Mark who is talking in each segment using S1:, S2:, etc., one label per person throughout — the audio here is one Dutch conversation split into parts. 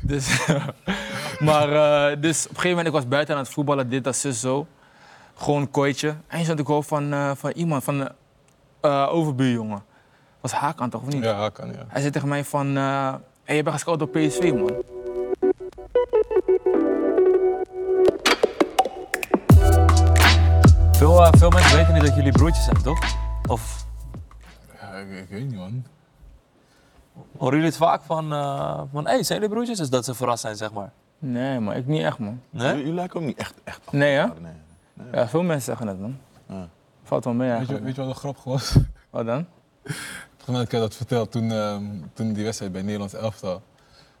S1: Dus, maar eh, dus op een gegeven moment, ik was buiten aan het voetballen, dit, dat, zus, zo. Gewoon een kooitje. En je zat ik hoofd van, eh, van iemand, van de eh, overbuurjongen. Was Hakan toch, of niet?
S2: Ja, kan ja.
S1: Hij zei tegen mij van, eh hey, je bent gescout door PSV, man.
S3: Veel, eh, veel mensen weten niet dat jullie broertjes zijn, toch? Of
S2: ja ik, ik weet niet, man.
S3: horen jullie het vaak van, eh van hey, zijn jullie broertjes? Dus dat ze verrast zijn, zeg maar.
S1: Nee, man, ik niet echt, man.
S3: Nee?
S4: Jullie lijken ook niet echt, echt af.
S1: Nee, hè?
S4: Nee.
S1: Ja, veel mensen zeggen dat, man.
S4: Ja.
S1: Valt wel mee,
S2: Weet je,
S1: eigenlijk.
S2: weet je wat een grap was? Volgens
S1: Wat dan?
S2: mij had ik je dat verteld toen, ehm, toen die wedstrijd bij Nederlands elftal.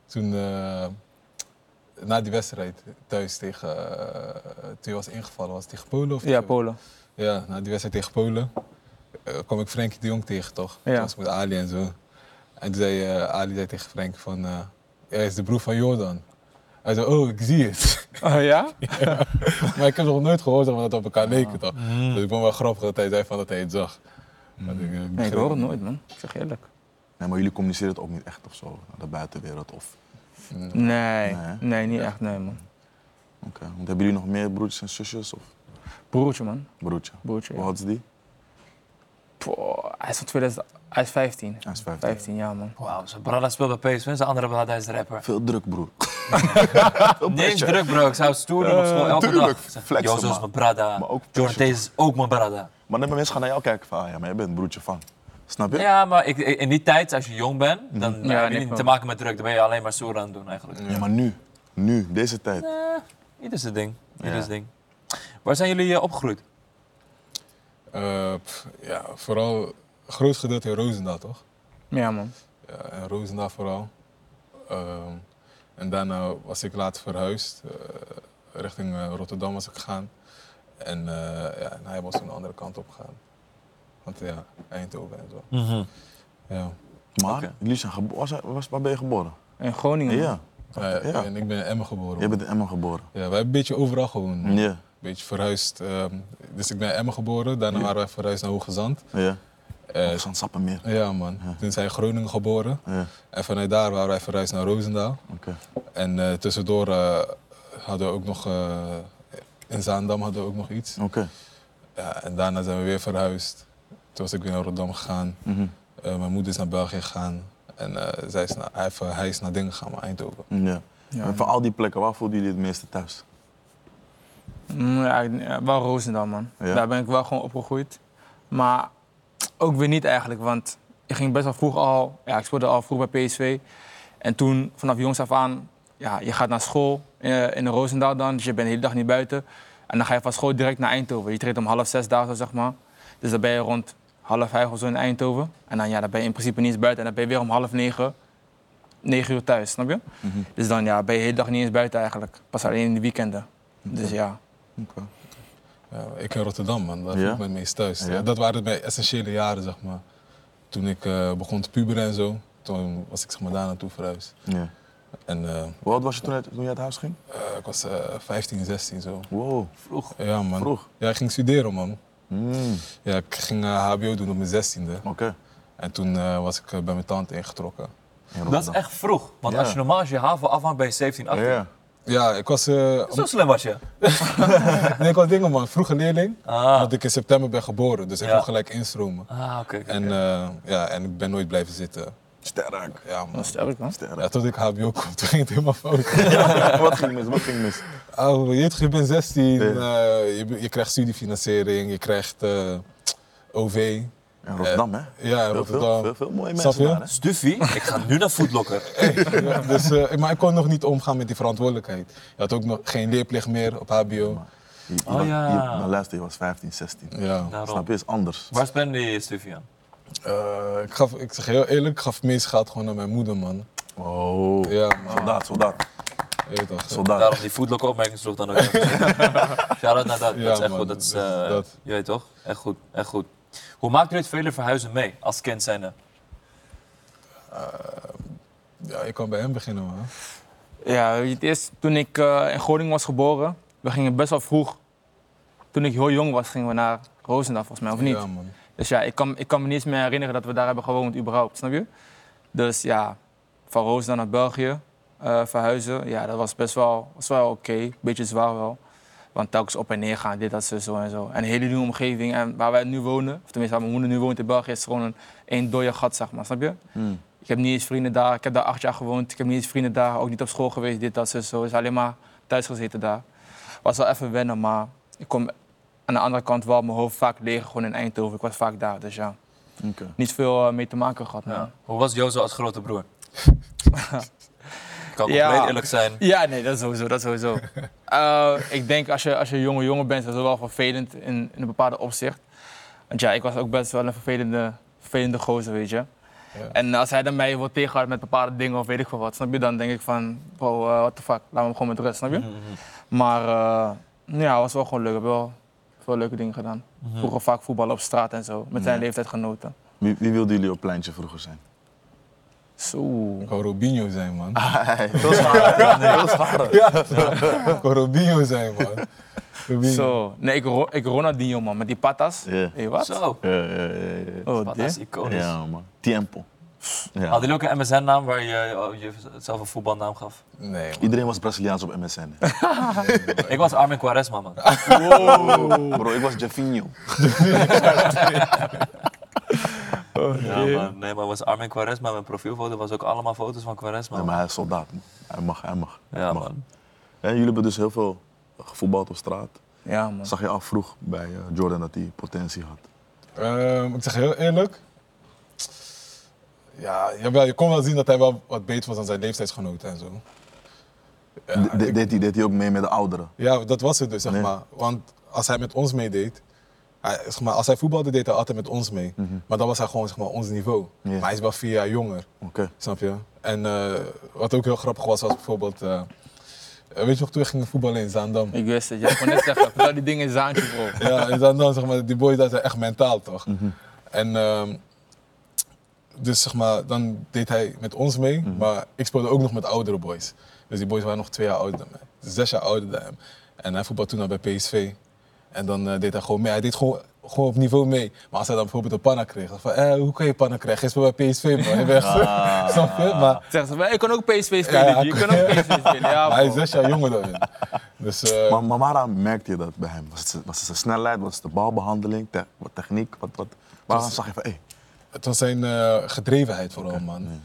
S2: Toen, eh, na die wedstrijd thuis tegen, eh, toen je was ingevallen, was het tegen Polen of
S1: Ja,
S2: tegen-
S1: Polen.
S2: Ja, na die wedstrijd tegen Polen eh, kwam ik Frenkie de Jong tegen, toch?
S1: Ja.
S2: Toen was ik met Ali en zo. En toen zei eh, Ali zei tegen Frenkie van, eh, hij is de broer van Jordan. Hij zei, oh, ik zie het.
S1: Oh ja?
S2: maar ik heb nog nooit gehoord dat we dat op elkaar leken, toch?
S3: Mm.
S2: Dus ik vond wel grappig dat hij zei van dat hij het zag. Dat ik, eh,
S1: Nee, ik
S2: begreep.
S1: hoor het nooit, man. Ik zeg je eerlijk.
S4: Nee, maar jullie communiceren het ook niet echt of zo, naar de buitenwereld of...
S2: Mm.
S1: Nee,
S4: Nee, hè?
S1: nee, niet echt, nee, man.
S4: Oké, want hebben jullie nog meer broertjes en zusjes of
S1: Broertje, man.
S4: broertje?
S1: Broertje, ja.
S4: Hoe oud is die?
S1: Poh, hij is van 2000, hij is 15.
S4: Hij is 15.
S1: 15 jaar, man.
S3: Wauw, zijn brada speelt bij PSV en zijn andere brada is de rapper.
S4: Veel druk, broer.
S3: Niks druk, bro. Ik zou het stoer doen op school elke
S4: tuurlijk.
S3: dag. Zeg,
S4: Flexen,
S3: Jozo is
S4: man.
S3: mijn brada.
S4: Maar ook
S3: Jordan Taze is ook mijn brada.
S4: Maar dan mensen gaan naar jou kijken van, ah ja, maar jij bent een broertje van. Snap je?
S3: Ja, maar ik, ik- in die tijd, als je jong bent, dan
S1: Ja,
S3: heb je
S1: nee,
S3: niet
S1: klopt.
S3: te maken met druk. Dan ben je alleen maar stoer aan het doen, eigenlijk.
S4: Mhm. Ja, maar nu. Nu, deze tijd.
S3: Eh, ieder zijn ding. Ieder
S4: Ja.
S3: zijn ding. Waar zijn jullie eh, opgegroeid?
S2: Eh, pff, ja, vooral een groot gedeelte in Roosendaal, toch?
S1: Ja, man.
S2: Ja, in Roosendaal vooral. Ehm, en daarna was ik later verhuisd. eh, richting eh, Rotterdam was ik gegaan. En eh, ja, en hij was toen de andere kant op gegaan. Want ja, Eindhoven en zo.
S4: Mhm.
S2: Ja.
S4: Maar
S3: Oké.
S4: jullie zijn gebo- was, was, waar ben je geboren?
S1: In Groningen. man.
S4: Ja.
S2: Eh,
S4: ja.
S2: En ik ben in Emmen geboren.
S4: Jij bent in Emmen geboren.
S2: Ja, wij hebben een beetje overal gewoond.
S4: Ja.
S2: Een beetje verhuisd. ehm, dus ik ben in Emmen geboren. Daarna waren wij verhuisd naar Hoge Zand.
S4: Ja.
S2: Eh,
S4: We gaan sappen meer.
S2: ja man, toen zijn we in Groningen geboren.
S4: Ja.
S2: En vanuit daar waren wij verhuisd naar Roosendaal.
S4: Oké.
S2: En eh, tussendoor eh, hadden we ook nog. eh, in Zaandam hadden we ook nog iets.
S4: Oké.
S2: Ja, en daarna zijn we weer verhuisd. Toen was ik weer naar Rotterdam gegaan.
S4: Mhm.
S2: Eh, mijn moeder is naar België gegaan. En eh, zij is naar, hij, heeft- hij is naar Dingen gegaan, maar Eindhoven.
S4: Ja. En van al die plekken, waar voelden jullie het meeste thuis?
S1: Mm, ja, ik- ja, wel Roosendaal, man.
S4: Ja.
S1: Daar ben ik wel gewoon opgegroeid. Maar ook weer niet eigenlijk, want ik ging best wel vroeg al... Ja, ik speelde al vroeg bij PSV. En toen, vanaf jongs af aan... Ja, je gaat naar school eh, in Roosendaal dan, dus je bent de hele dag niet buiten. En dan ga je van school direct naar Eindhoven. Je treedt om half zes daar, zo zeg maar. Dus dan ben je rond half vijf of zo in Eindhoven. En dan, ja, dan ben je in principe niet eens buiten. En dan ben je weer om half negen, negen uur thuis, snap je? Dus dan ja, ben je de hele dag niet eens buiten eigenlijk. Pas alleen in de weekenden. Dus ja.
S4: Oké.
S2: Ja, ik in Rotterdam, man. Daar
S4: Ja?
S2: voel ik me het meest thuis.
S4: Ja.
S2: Ja, dat waren mijn essentiële jaren, zeg maar. Toen ik eh, begon te puberen en zo. Toen was ik zeg maar, daar naartoe verhuisd.
S4: Ja.
S2: En eh,
S4: Hoe oud was je toen, uit- toen je uit huis ging?
S2: eh, ik was eh 15, 16 zo.
S4: Wow.
S3: Vroeg.
S2: Ja, man.
S4: Vroeg.
S2: Ja, ik ging studeren, man.
S4: Mm.
S2: Ja, ik ging eh, HBO doen op mijn 16e.
S4: Oké.
S2: En toen eh, was ik eh, bij mijn tante ingetrokken.
S4: In
S3: Dat is
S4: Rotterdam.
S3: echt vroeg. Want
S4: Ja.
S3: als je normaal als je HAVO afhangt bij 17, 18.
S4: Ja.
S2: Ja, ik was, eh,
S3: Zo slim was je.
S2: nee, ik was dingen, man. Vroege leerling.
S3: Ah,
S2: Want ik in september ben geboren, dus ik
S3: Ja.
S2: kon gelijk instromen.
S3: ah oké. oké.
S2: En, eh, ja, en ik ben nooit blijven zitten.
S4: Sterk.
S2: Ja, man.
S1: Sterk, man.
S4: Sterk.
S2: Ja, tot ik HBO kwam, toen ging het helemaal fout.
S4: wat ging mis? Wat ging mis?
S2: Oh, je, weet toch, je bent 16,
S4: Ja.
S2: eh, je, be- je krijgt studiefinanciering, je krijgt eh, OV.
S4: In Rotterdam, hè?
S2: Ja, in
S4: Heel veel,
S2: Rotterdam.
S4: veel, veel, mooie
S2: Snap
S4: mensen
S2: je?
S4: daar, hè?
S3: Stuffy, ik ga nu naar Foodlocker.
S2: Ja, dus, eh, maar ik kon nog niet omgaan met die verantwoordelijkheid. Je had ook nog geen leerplicht meer op HBO.
S4: Je, je
S3: Oh,
S4: was-
S3: ja.
S4: je- maar luister, je was 15, 16.
S2: Ja.
S3: Daarom.
S4: Snap je? Is anders.
S3: Waar spende je Stuffy aan?
S2: Eh, ik, gaf, ik zeg heel eerlijk, ik gaf het meest geld gewoon aan mijn moeder, man.
S4: Oh.
S2: Ja, man.
S4: Soldaat, soldaat,
S2: Je weet toch, eh.
S4: soldaat.
S3: Daarom die Foodlocker opmerking sloeg dan ook. Shout-out naar dat.
S2: Ja,
S3: dat is echt
S2: man,
S3: goed. Dat is,
S2: dat is
S3: eh,
S2: dat.
S3: Je weet toch? Echt goed. Echt goed. Hoe maakt jullie het vele verhuizen mee als kind zijnde?
S2: Ja, je kan bij hem beginnen, man.
S1: Ja, weet je, het eerst toen ik eh, in Groningen was geboren, we gingen best wel vroeg. Toen ik heel jong was, gingen we naar Roosendaal volgens mij, of niet?
S2: Ja, man.
S1: Dus ja, ik kan, ik kan me niet eens meer herinneren dat we daar hebben gewoond überhaupt, snap je? Dus ja, van Roosendaal naar België. eh, verhuizen. Ja, dat was best wel, was wel oké. Beetje zwaar wel. Want telkens op en neer gaan, dit, dat, zo, zo en zo. En een hele nieuwe omgeving. En waar wij nu wonen, of tenminste waar mijn moeder nu woont in België, is gewoon een, een dode gat, zeg maar. Snap je?
S4: Hmm.
S1: Ik heb niet eens vrienden daar. Ik heb daar acht jaar gewoond. Ik heb niet eens vrienden daar. Ook niet op school geweest, dit, dat, zo, zo. Is alleen maar thuis gezeten daar. Was wel even wennen, maar ik kom aan de andere kant wel mijn hoofd vaak leeg, gewoon in Eindhoven. Ik was vaak daar, dus ja.
S4: Oké.
S1: Niet veel eh, mee te maken gehad, nee.
S3: Ja. Hoe was Jozo als grote broer? kan
S1: Ja.
S3: compleet eerlijk zijn.
S1: Ja, nee, dat sowieso, dat sowieso. Eh, ik denk als je, als je jonge jongen bent, is dat wel vervelend in, in een bepaalde opzicht. Want ja, ik was ook best wel een vervelende, vervelende gozer, weet je. En als hij dan mij wil tegenhouden met bepaalde dingen of weet ik veel wat, snap je? Dan denk ik van, bro, eh, what the fuck, laat me gewoon met rust, snap je? Maar eh, ja, het was wel gewoon leuk. Ik heb wel veel leuke dingen gedaan. Vroeger vaak voetballen op straat en zo, met zijn
S4: Ja.
S1: leeftijdgenoten.
S4: Wie, wie wilden jullie op pleintje vroeger zijn?
S1: Zo.
S2: Ik wou Robinho zijn, man.
S1: Ah.
S4: Heel zwaar. Heel zwaar.
S2: Ik wou Robinho zijn, man. Robinho.
S1: Zo. Nee, ik, ro- ik Ronaldinho, man, met die patas.
S4: Ja.
S1: Hé, wat?
S3: Zo,
S4: Ja, ja, ja, ja, ja.
S1: Oh,
S3: wat
S1: dit?
S3: is iconisch.
S4: Ja, man. Tiempo. Ja.
S3: Hadden jullie ook een MSN-naam waar je, oh, je zelf een voetbalnaam gaf?
S2: Nee, man.
S4: Iedereen was Braziliaans op MSN.
S3: Ik was Armin Quaresma, man.
S4: Bro, ik was Javinho.
S3: Ja, man. Nee, maar was Armin Quaresma. Mijn profielfoto was ook allemaal foto's van Quaresma.
S4: Nee, maar hij is soldaat. man. Hij mag, hij mag.
S3: Ja,
S4: mag.
S3: man.
S4: Hè, jullie hebben dus heel veel gevoetbald op straat.
S1: Ja, man.
S4: Zag je al vroeg bij eh, Jordan dat hij potentie had?
S2: Ehm, ik zeg heel eerlijk. Ja, jawel, je kon wel zien dat hij wel wat beter was dan zijn leeftijdsgenoten en zo. Ja,
S4: De- de-
S2: ik-
S4: deed, hij, deed hij ook mee met de ouderen?
S2: ja, dat was het dus, zeg
S4: Nee.
S2: maar. Want als hij met ons meedeed, hij- zeg maar, als hij voetbalde, deed hij altijd met ons mee. Maar dan was hij gewoon zeg maar, ons niveau.
S4: Mhm. Ja.
S2: Maar hij is wel vier jaar jonger.
S4: Oké.
S2: Snap je? En eh, wat ook heel grappig was, was bijvoorbeeld. eh, weet je nog, toen we gingen voetballen in Zaandam?
S1: Ik wist het, jij kon net zeggen, vertel die dingen in zaantje, bro.
S2: Ja, en dan, dan zeg maar, die boys daar zijn echt mentaal toch? En ehm, dus zeg maar, dan deed hij met ons mee, maar ik speelde ook nog met oudere boys. Dus die boys waren nog twee jaar ouder dan mij, Dus zes jaar ouder dan hem. En hij voetbalde toen al bij PSV. En dan eh, deed hij gewoon mee. Hij deed gewoon, gewoon op niveau mee. Maar als hij dan bijvoorbeeld een panna kreeg, dan van, eh, hoe kan je panna krijgen? Gisteren bij PSV, man. Je bent echt, snap je? Maar
S1: Zeggen ze, maar je kan ook PSV spelen,
S2: Ja, ja,
S1: je kan ook PSV spelen. Ja,
S2: hij is
S1: bro.
S2: zes jaar jonger dan hem. Dus, eh,
S4: Maar Mamara merkte je dat bij hem? Was het, zijn- was het zijn snelheid, was het de balbehandeling, te- wat techniek? Wat, wat, waarom zag je van, hé, hey,
S2: Het was zijn eh, gedrevenheid vooral, man.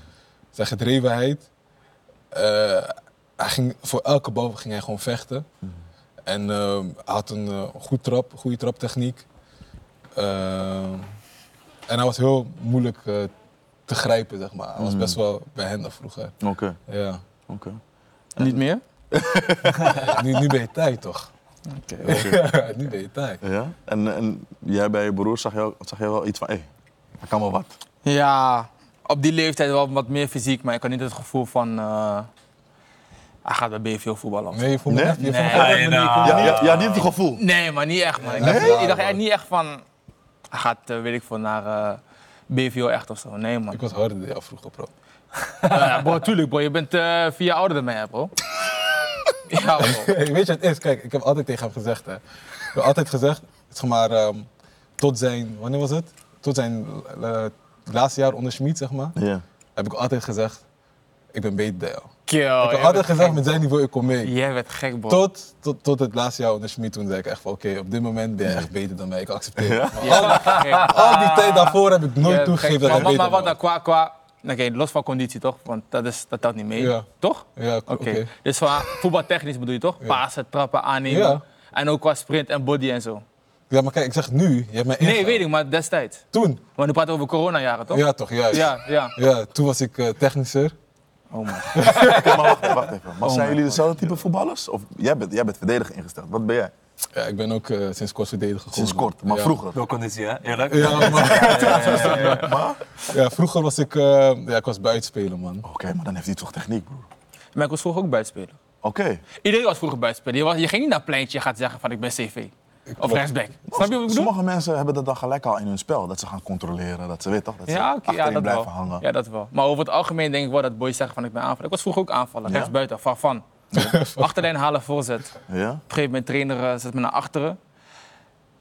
S2: Zijn gedrevenheid. eh, hij ging, voor elke bal ging hij gewoon vechten.
S4: Mhm.
S2: En ehm, hij had een eh, goed trap, goede traptechniek. Ehm, en hij was heel moeilijk eh, te grijpen, zeg maar. Hij
S4: Mhm.
S2: was best wel behendig vroeger.
S4: oké,
S2: Ja.
S4: oké.
S1: Niet meer?
S2: nu, nu ben je tijd, toch? nu ben je tijd.
S4: Ja? En, en jij bij je broer zag je, ook- zag je wel iets van, hé, hey, hij kan wel wat.
S1: Ja, op die leeftijd wel wat meer fysiek, maar ik had niet het gevoel van... eh, hij gaat bij BVO voetballen. of zo.
S2: Nee, je voelt me
S4: Nee?
S2: echt. je
S1: Nee.
S2: voelt me echt
S3: Nee,
S2: niet- je
S3: nou.
S1: Ah,
S2: voelt me
S4: Ja,
S2: niet-
S4: ja, ja, die heeft het gevoel.
S1: Nee, maar niet echt, man. Ik dacht, ik dacht echt niet echt van... Hij gaat, eh, weet ik veel, naar eh, BVO echt of zo. Nee, man.
S2: Ik was harder dan jou vroeger, bro.
S1: Ja, bro, tuurlijk, bro. Je bent eh vier jaar ouder dan mij, hè, bro. ja, bro.
S2: Hey, weet je wat het is? Kijk, ik heb altijd tegen hem gezegd, hè. Ik heb altijd gezegd, zeg maar, ehm, tot zijn, wanneer was het? Tot zijn eh, laatste jaar onder Schmid, zeg maar,
S4: Ja.
S2: heb ik altijd gezegd, ik ben beter dan jou.
S1: Kill,
S2: ik heb altijd gezegd, met zijn niveau, ik kom mee.
S1: Jij werd gek, bro.
S2: Tot, tot, tot het laatste jaar onder Schmid, toen zei ik echt van, oké, op dit moment ben je echt beter dan mij, ik accepteer het. Maar
S1: Jij werd gek, bro.
S2: Al die tijd daarvoor heb ik nooit
S1: Ja,
S2: toegegeven
S1: kijk,
S2: dat
S1: maar,
S2: ik
S1: maar,
S2: beter
S1: maar wat
S2: was.
S1: dan qua, qua oké, los van conditie toch? Want dat, is, dat telt niet mee.
S2: Ja.
S1: Toch?
S2: Ja, oké.
S1: Oké. Dus qua voetbaltechnisch bedoel je toch? Pasen, trappen, aannemen.
S2: Ja.
S1: En ook qua sprint en body en zo.
S2: Ja, maar kijk, ik zeg het nu, je hebt mij
S1: Nee,
S2: ingehaald.
S1: weet ik, maar destijds.
S2: Toen,
S1: Want nu praten we over coronajaren toch?
S2: ja toch, juist.
S1: Ja, ja.
S2: Ja, toen was ik eh, technischer.
S1: Oh man.
S4: Oké, maar wacht even, wacht even. Maar
S1: Oh
S4: zijn
S1: my
S4: jullie dezelfde type voetballers? Of jij bent, jij bent verdediger ingesteld, wat ben jij?
S2: Ja, ik ben ook eh, sinds kort verdediger geworden.
S4: Sinds kort, maar
S2: Ja.
S4: vroeger.
S3: Door conditie, hè? Eerlijk?
S2: Ja, maar...
S4: Maar?
S2: Ja, vroeger was ik, eh, ja, ik was buitenspeler, man.
S4: Oké, maar dan heeft hij toch techniek, broer.
S1: Maar ik was vroeger ook buitenspeler.
S4: Oké.
S1: Iedereen was vroeger buitenspeler. Je, was- je ging niet naar pleintje en gaat zeggen van ik ben CV. Of rechtsback. Snap je wat ik bedoel?
S4: Sommige mensen hebben dat dan gelijk al in hun spel. Dat ze gaan controleren, dat ze weet toch, dat ze
S1: Ja, oké, ja,
S4: achterin
S1: dat
S4: blijven
S1: wel.
S4: hangen.
S1: ja, dat wel. Maar over het algemeen denk ik wel dat boys zeggen van ik ben aanvaller. Ik was vroeger ook aanvaller,
S4: Ja?
S1: rechtsbuiten, van van. Achterlijn halen, voorzet.
S4: Ja?
S1: Op een gegeven moment trainer eh, zet me naar achteren.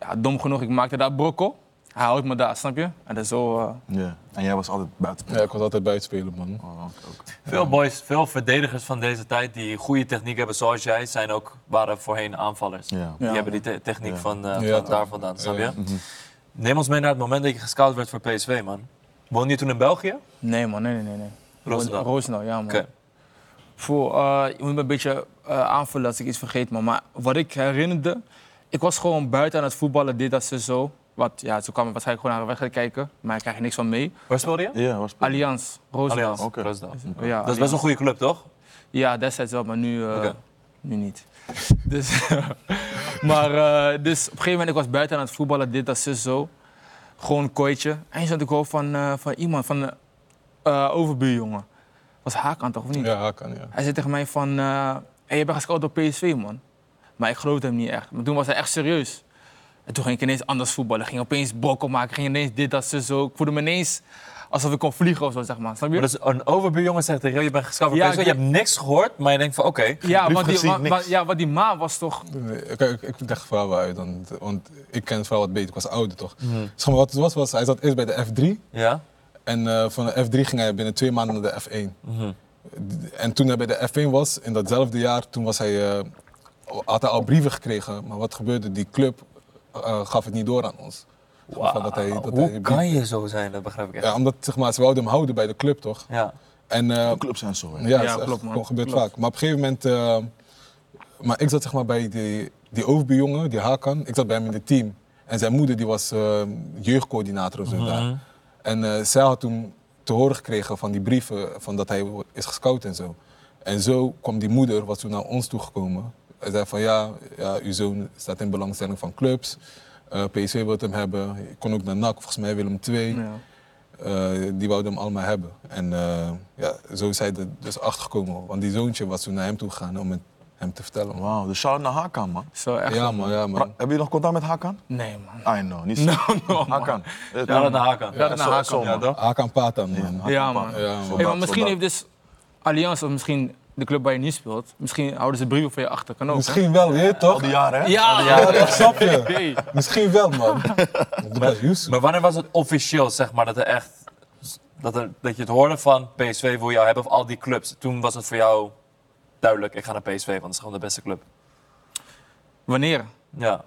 S1: Ja, dom genoeg, ik maakte daar brokkel. hij houdt me daar, snap je? En dat is zo... eh,
S4: Ja. En jij was altijd buiten.
S2: Ja, ik was altijd buitenspelen, man.
S4: Oh, oké, oké.
S3: Veel boys, veel verdedigers van deze tijd die goede techniek hebben zoals jij, zijn ook, waren voorheen aanvallers.
S4: Ja.
S3: Die
S1: Ja.
S3: hebben die te- techniek
S4: Ja. Mhm.
S3: van, eh, van
S2: Ja, toch.
S3: daar vandaan, snap je?
S2: Ja.
S3: Neem ons mee naar het moment dat je gescout werd voor PSV, man. Woonde je toen in België?
S1: nee man, nee, nee, nee. nee.
S3: Roosendaal.
S1: Roosendaal, ja man.
S3: Oké.
S1: Voor, eh, je moet me een beetje eh, aanvullen als ik iets vergeet. Man. Maar wat ik herinnerde, ik was gewoon buiten aan het voetballen, dit, dat, ze zo. Want ja, ze kwamen waarschijnlijk gewoon naar een wedstrijd kijken, maar ik krijg er niks van mee.
S3: Waar speelde je?
S4: Ja, was
S1: Allianz, Roosendaal.
S3: Allianz,
S4: Oké.
S3: Roosendaal.
S1: Ja,
S3: Dat is best een goede club, toch?
S1: Ja, destijds wel, maar nu, eh,
S3: Oké.
S1: nu niet. dus, maar eh, dus op een gegeven moment, ik was buiten aan het voetballen, dit, dat, zus, zo. Gewoon een kooitje. En je zat ik hoofd van, eh, van iemand, van de eh overbuurjongen. Was Hakan toch, of niet?
S2: Ja, kan, ja.
S1: Hij zei tegen mij van, eh hey, je bent gescout door PSV, man. Maar ik geloofde hem niet echt. Maar toen was hij echt serieus. En toen ging ik ineens anders voetballen. Ging opeens bokken maken, ging ineens dit, dat, zus, zo. Ik voelde me ineens alsof ik kon vliegen of zo, zeg maar. Snap je?
S3: Maar dus een overbuurjongen zegt tegen jou, je bent gescout voor
S1: Ja,
S3: PSV,
S1: ik
S3: je
S1: weet-
S3: hebt niks gehoord, maar je denkt van oké.
S1: Ja,
S4: brief
S1: want die,
S4: gezien,
S1: wa-
S4: niks.
S1: wa- ja, want die ma was toch...
S2: Nee, Ik, ik, ik leg het verhaal wel uit, want, want ik ken het verhaal wat beter. Ik was ouder, toch?
S4: Mhm.
S2: Zeg maar, wat het was, was hij zat eerst bij de F3.
S3: Ja?
S2: En eh, van de F3 ging hij binnen twee maanden naar de F1.
S3: Mhm.
S2: En toen hij bij de F1 was, in datzelfde jaar, toen was hij, eh, had hij al brieven gekregen. Maar wat gebeurde? Die club eh, gaf het niet door aan ons. Zeg maar, van dat hij, dat
S3: Wauw,
S2: hij
S3: Hoe
S2: die-
S3: kan je zo zijn? Dat begrijp ik echt.
S2: Ja, omdat zeg maar, ze wilden hem houden bij de club, toch?
S3: Ja.
S2: En, eh,
S4: Clubs en zo. hè.
S2: ja,
S1: Ja,
S2: dat
S1: klopt, man.
S2: gebeurt
S1: Klopt.
S2: vaak. Maar op een gegeven moment... eh, maar ik zat zeg maar bij die, die overbuurjongen, die Hakan, ik zat bij hem in het team. En zijn moeder die was eh, jeugdcoördinator of zo
S3: Mhm.
S2: daar. En eh, zij had toen te horen gekregen van die brieven, van dat hij wo- is gescout en zo. En zo kwam die moeder, was toen naar ons toegekomen. En zei van ja, ja, uw zoon staat in belangstelling van clubs. Eh PSV wil hem hebben. Ik kon ook naar NAC, volgens mij Willem II.
S1: Ja.
S2: Eh, die wouden hem allemaal hebben. En eh, ja, zo is hij er dus achtergekomen. Want die zoontje was toen naar hem toe gegaan om het hem te vertellen. Man.
S4: Wauw, de shout naar Hakan, man.
S1: Zo echt.
S2: Ja man, ja
S4: Pra-
S2: man.
S4: Hebben jullie nog contact met Hakan?
S1: Nee, man.
S4: I know, niet zo. Hakan. Eh,
S3: Ja, dat naar Hakan.
S1: Ja, dat naar Hakan,
S4: zo,
S3: Ja,
S4: man.
S3: toch?
S2: Hakan Patan man.
S4: Hakan,
S1: Ja, man.
S2: Ja, man.
S1: Hey,
S4: Soldaat,
S1: maar misschien heeft
S4: soldaat.
S1: dus Allianz of misschien de club waar je nu speelt, misschien houden ze brieven voor je achter. Kan ook. hè?
S2: Misschien wel, weet je
S4: Al
S2: toch?
S4: die jaren, hè?
S1: Ja,
S2: Ja,
S1: ja.
S2: Oh, dat snap je.
S1: Hey.
S2: Misschien wel man. Dat was Yusuf.
S3: Maar wanneer was het officieel, zeg maar, dat er echt... Dat, er, dat je het hoorde van PSV wil jou hebben of al die clubs. Toen was het voor jou duidelijk, ik ga naar PSV, want het is gewoon de beste club.
S1: Wanneer?
S3: Ja.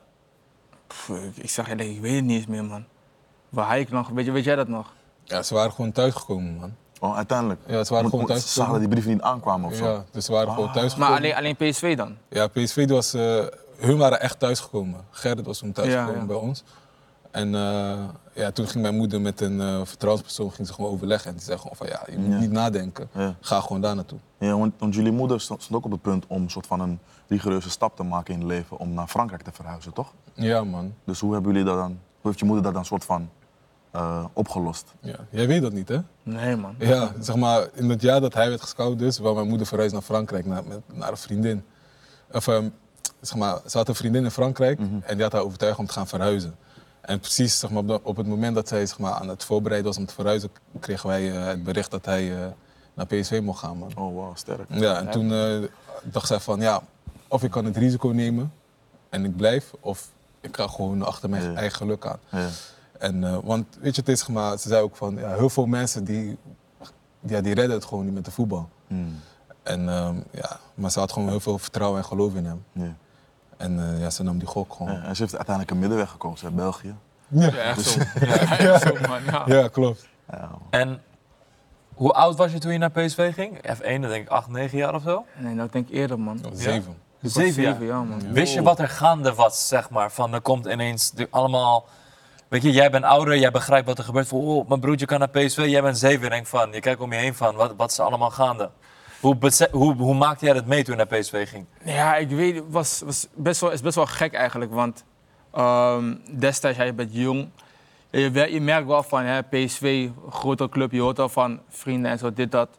S1: Pff, ik- ik zeg, eerlijk, ik weet het niet eens meer, man. Waar haal ik nog? Weet, je- weet jij dat nog?
S2: Ja, ze waren gewoon thuisgekomen man.
S4: Oh, uiteindelijk.
S2: Ja, ze waren gewoon
S4: Ze zagen dat
S2: thuisgekomen.
S4: die brieven niet aankwamen of zo.
S2: Ja, dus ze waren gewoon
S1: Maar
S2: thuisgekomen.
S1: alleen, alleen PSV dan?
S2: Ja, PSV was, eh, hun waren echt thuisgekomen. Gerrit was toen thuisgekomen
S1: Ja, ja.
S2: bij ons. En eh, ja, toen ging mijn moeder met een eh, vertrouwenspersoon ging ze gewoon overleggen. En die zei gewoon van ja, je moet niet nadenken.
S4: Ja.
S2: Ga gewoon daar naartoe.
S4: Ja, want, want jullie moeder stond, stond ook op het punt om een soort van een rigoureuze stap te maken in het leven om naar Frankrijk te verhuizen, toch?
S2: Ja man.
S4: Dus hoe hebben jullie dat dan, hoe heeft je moeder dat dan soort van eh, opgelost?
S2: Ja. Jij weet dat niet hè?
S1: Nee, man.
S2: Ja, zeg maar in het jaar dat hij werd gescout dus, waar mijn moeder verhuisd naar Frankrijk naar, met, naar een vriendin. Of ehm, zeg maar, ze had een vriendin in Frankrijk en die had haar overtuigd om te gaan verhuizen. En precies zeg maar, op dat- op het moment dat zij zeg maar, aan het voorbereiden was om te verhuizen, kregen wij eh, het bericht dat hij eh, naar PSV mocht gaan man.
S4: Oh, wauw, sterk.
S2: Ja, en toen eh, dacht zij van ja, of ik kan het risico nemen en ik blijf, of ik ga gewoon achter mijn
S4: Ja.
S2: eigen geluk aan.
S4: Ja.
S2: En, eh, want weet je, het is gemaakt, ze zei ook van ja, heel veel mensen die, ja, die redden het gewoon niet met de voetbal.
S4: Hmm,
S2: En, ehm, ja, maar ze had gewoon heel veel vertrouwen en geloof in hem.
S4: ja.
S2: En eh, ja, ze nam die gok gewoon.
S4: Ja,
S2: Ja,
S4: en ze heeft uiteindelijk een middenweg gekozen, hè, België.
S1: Ja, echt zo. Ja, echt zo, man. Ja.
S2: klopt.
S3: En hoe oud was je toen je naar PSV ging? F1, dan denk ik 8, 9 jaar of zo.
S1: Nee, dat denk ik eerder, man. Ik was
S2: Zeven.
S3: Zeven,
S1: Zeven jaar, man.
S3: Wist je wat er gaande was, zeg maar? Van er komt ineens de- allemaal. Weet je, jij bent ouder, jij begrijpt wat er gebeurt. Van, oh, mijn broertje kan naar PSV, jij bent zeven. Denk van, je kijkt om je heen van, wat, wat is er allemaal gaande? Hoe, bese- hoe, hoe maakte jij dat mee toen je naar PSV ging?
S1: Ja, ik weet, het was, was best wel, is best wel gek eigenlijk. Want ehm, destijds, ja, je bent jong. Je, wer- je merkt wel van hè, PSV, grote club. Je hoort wel van vrienden en zo, dit, dat.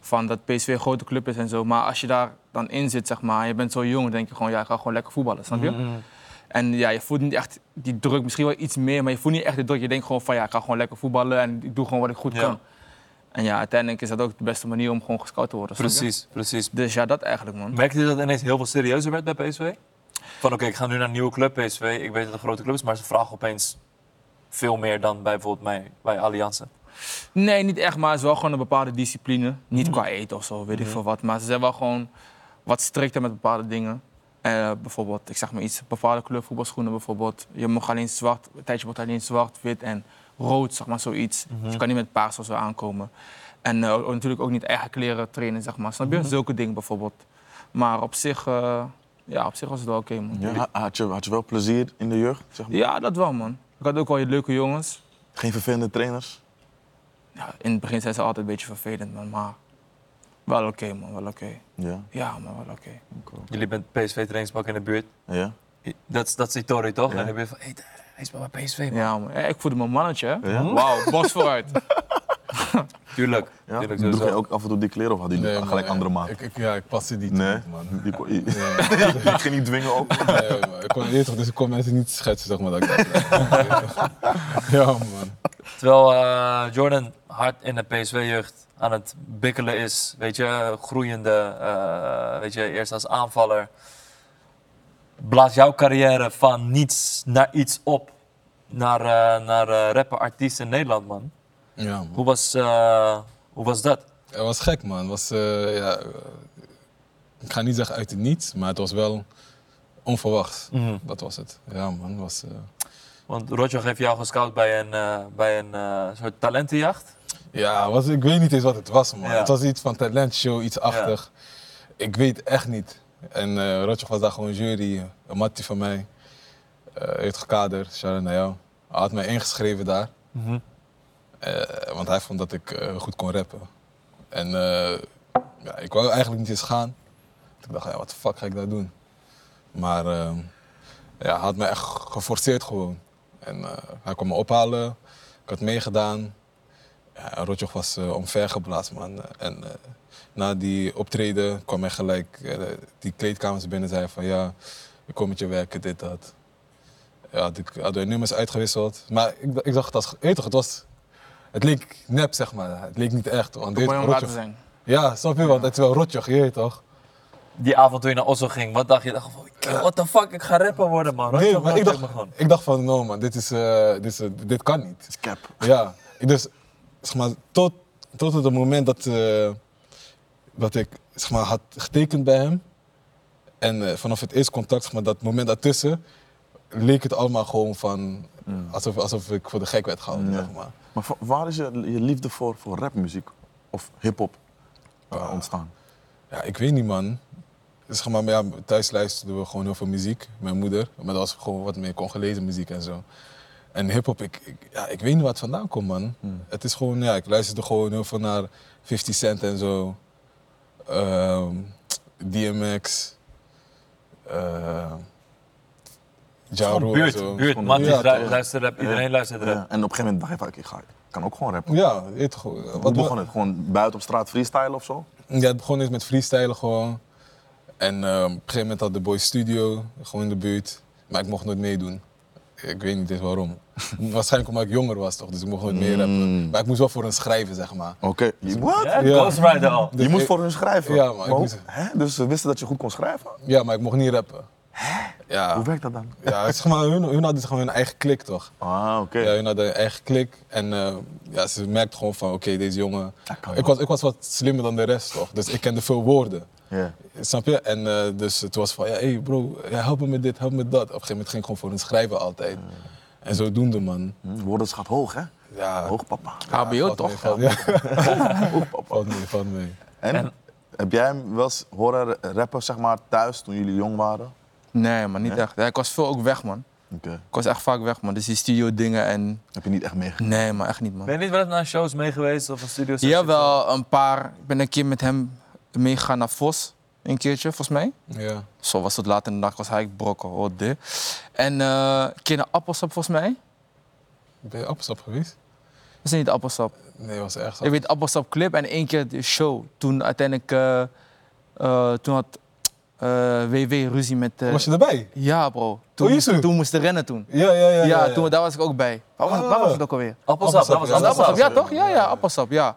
S1: Van dat PSV een grote club is en zo. Maar als je daar dan in zit, zeg maar, en je bent zo jong, dan denk je gewoon, ja, ik ga gewoon lekker voetballen, snap je?
S3: Mm-hmm.
S1: En ja, je voelt niet echt die druk, misschien wel iets meer, maar je voelt niet echt de druk. Je denkt gewoon van, ja, ik ga gewoon lekker voetballen en ik doe gewoon wat ik goed
S3: Ja.
S1: kan. En ja, uiteindelijk is dat ook de beste manier om gewoon gescout te worden. snap je?
S3: Precies, precies.
S1: Dus ja, dat eigenlijk, man.
S3: Merkte je dat het ineens heel veel serieuzer werd bij PSV? Van oké, ik ga nu naar een nieuwe club, PSV. Ik weet dat het een grote club is, maar ze vragen opeens Veel meer dan bij bijvoorbeeld mij, bij Alliansen.
S1: Nee, niet echt, maar het is wel gewoon een bepaalde discipline. Niet qua eten of zo, weet ik veel wat. Maar ze zijn wel gewoon wat strikter met bepaalde dingen. Eh, bijvoorbeeld, ik zeg maar iets, bepaalde kleur voetbalschoenen bijvoorbeeld. Je mag alleen zwart, een tijdje mocht alleen zwart, wit en rood, zeg maar zoiets. Dus je kan niet met paars of zo aankomen. En eh, natuurlijk ook niet eigen kleren trainen, zeg maar. Snap je? Zulke dingen bijvoorbeeld. Maar op zich, eh, ja, op zich was het wel oké, man.
S4: Ja, ha- had, je, had je wel plezier in de jeugd? Zeg maar?
S1: Ja, dat wel, man. Ik had ook wel leuke jongens.
S4: Geen vervelende trainers?
S1: Ja, in het begin zijn ze altijd een beetje vervelend, man. Maar wel oké, man. Wel oké.
S4: Ja.
S1: Ja, maar wel oké.
S3: Jullie bent PSV-trainingspak in de buurt.
S4: Ja?
S3: Dat, is- dat is die Torre, toch?
S4: Ja.
S3: En dan ben je van, hé, hey, hij is bij PSV. man.
S1: Ja, man. Ja, ik voelde me een mannetje. hè.
S4: Ja?
S1: Wauw, bos vooruit.
S3: Tuurlijk.
S4: ja?
S3: Tuurlijk,
S4: Droeg
S3: sowieso.
S4: je ook af en toe die kleren of had je
S2: Nee, man,
S4: gelijk
S2: ik-
S4: andere maat?
S2: Ik, ik, ja, ik paste die
S4: Nee,
S2: niet, man.
S4: die kon, die
S2: Nee,
S4: ging niet dwingen ook.
S2: nee, man. Ik kon, je weet toch, dus ik kon mensen niet schetsen, zeg maar. Dat ik dat- ja, man.
S3: Terwijl eh, Jordan hard in de PSV-jeugd aan het bikkelen is. Weet je, groeiende. eh, weet je, eerst als aanvaller. Blaas jouw carrière van niets naar iets op. Naar, eh, naar eh, rapper, artiest in Nederland, man.
S2: Ja, man.
S3: Hoe was, eh, hoe was dat?
S2: Het was gek, man. Het was, eh, ja, eh, ik ga niet zeggen uit het niets, maar het was wel onverwachts. Dat was het. Ja, man. het Was, eh,
S3: Want Roger heeft jou gescout bij een, eh, bij een eh, soort talentenjacht.
S2: ja, het was, ik weet niet eens wat het was, man.
S3: Ja.
S2: Het was iets van talentshow, iets achtig. Ik weet echt niet. En eh Rotjoch was daar gewoon jury, een mattie van mij. Eh heeft gekader, shout naar jou. Hij had mij ingeschreven daar. Eh, want hij vond dat ik eh, goed kon rappen. En eh, ja, ik wou eigenlijk niet eens gaan. Ik dacht, ja, wat de fuck ga ik daar doen? Maar ehm, ja, hij had me echt geforceerd gewoon. En eh, hij kwam me ophalen. Ik had meegedaan. Ja, Rotjoch was eh omvergeblazen, man. En eh, na die optreden kwam hij gelijk eh, die kleedkamers binnen en zei van... Ja, ik kom met je werken, dit, dat. Ja, had ik hadden we nummers uitgewisseld. Maar ik, d- ik dacht, dat, weet je toch, het was... Het leek nep, zeg maar. Het leek niet echt. Want dit
S1: Mooi om raar te
S2: Rotjoch...
S1: zijn.
S2: Ja, snap je? Want het is wel Rotjoch, je weet toch?
S3: Die avond toen je naar Oslo ging, wat dacht je? Dacht, van, what the fuck, ik ga rapper worden, man. Roger,
S2: Nee, maar
S3: Roger,
S2: ik dacht,
S3: maar gewoon.
S2: ik dacht van, no man, dit, is, eh, dit, is, eh, dit kan niet.
S4: is cap.
S2: Ja, dus zeg maar, tot, tot het moment dat, eh, dat ik zeg maar, had getekend bij hem. En eh, vanaf het eerste contact, zeg maar, dat moment daartussen, leek het allemaal gewoon van alsof, alsof ik voor de gek werd gehouden.
S4: Ja.
S2: Zeg maar.
S4: Maar va- waar is je, je liefde voor, voor rapmuziek of hip-hop eh, ontstaan?
S2: Ja, ik weet niet, man. Zeg maar, maar ja, thuis luisterden we gewoon heel veel muziek, mijn moeder. Maar dat was gewoon wat meer Congolese muziek en zo. En hip-hop, ik, ik, ja, ik weet niet waar het vandaan komt, man. Het is gewoon, ja, ik luisterde gewoon heel veel naar 50 Cent en zo. Ehm, DMX. Uh, ja
S3: Gewoon
S2: Rule en zo.
S3: buurt, buurt. Man,
S2: ja, toch.
S3: luistert rap, iedereen
S4: Ja.
S3: luistert rap.
S4: Eh, Ja, En op een gegeven moment dacht je van, ik, ga, ik kan ook gewoon rappen.
S2: Ja, je weet toch, wat
S4: Hoe
S2: we-
S4: begon het? Gewoon buiten op straat freestylen of zo?
S2: Ja, het begon eens met freestylen gewoon. En eh, op een gegeven moment had de Boys Studio, gewoon in de buurt. Maar ik mocht nooit meedoen. Ik weet niet eens waarom. Waarschijnlijk omdat ik jonger was toch, dus ik mocht nooit meer
S4: Mm.
S2: rappen. Maar ik moest wel voor een schrijven, zeg maar.
S4: Oké. je Wat?
S3: Ja,
S2: Ja. Dus
S3: Ghost Rider al.
S4: je moest
S2: ik-
S4: voor hun schrijven?
S2: Ja, maar ik
S4: hoe-
S2: moest-
S4: hè? Dus ze wisten dat je goed kon schrijven?
S2: Ja, maar ik mocht niet rappen. Ja,
S4: Hoe werkt dat dan?
S2: ja zeg maar, hun, hun hadden gewoon hun eigen klik toch?
S4: Ah, oké.
S2: Ja, hun hadden hun eigen klik. En eh, ja, ze merkten gewoon van, oké, deze jongen...
S4: Dat kan
S2: Ik
S4: wel.
S2: was, ik was wat slimmer dan de rest toch, dus ik kende veel woorden.
S4: Ja.
S2: Snap je? En eh, dus het was van, ja, hey bro, ja, help me met dit, help me met dat. Op een gegeven moment ging ik gewoon voor hun schrijven altijd.
S1: Ah.
S2: En zodoende, man.
S4: Hm, Woordenschat hoog, hè?
S2: Ja,
S4: Hoog, papa.
S1: HBO
S2: valt mee,
S1: toch?
S2: Valt, ja. valt mee, valt mee.
S4: En, heb jij hem wel eens horen rappen, zeg maar, thuis toen jullie jong waren?
S1: Nee, man, niet echt. Ja, ik was veel ook weg, man.
S4: Oké.
S1: Ik was echt vaak weg, man. Dus die studio dingen en...
S4: Heb je niet echt meegekregen?
S1: Nee, maar echt niet, man.
S3: Ben je niet wel eens naar shows mee geweest of een studio sessie?
S1: Jawel, een paar. Ik ben een keer met hem meegegaan naar Vos. Een keertje, volgens mij.
S2: Ja.
S1: Zo was het later in de dag, was hij brokken. Oh, de. En eh, een keer naar Appelsap, volgens mij.
S2: Ben je appelsap geweest?
S1: Dat is niet Appelsap.
S2: Nee, was echt
S1: Ik weet Appelsap Clip en één keer de show. Toen uiteindelijk... eh, eh, toen had eh, WW ruzie met... eh,
S2: Was je erbij?
S1: Ja, bro. Toen,
S2: Oh, is het?
S1: toen moest de rennen toen.
S2: Ja, ja, ja.
S1: Ja, Toen, daar was ik ook bij. Waar was, waar was het ook alweer?
S3: Appelsap, dat was
S2: Appelsap,
S1: Appelsap,
S2: ja.
S3: appelsap.
S1: ja toch? Ja, ja, appelsap, ja.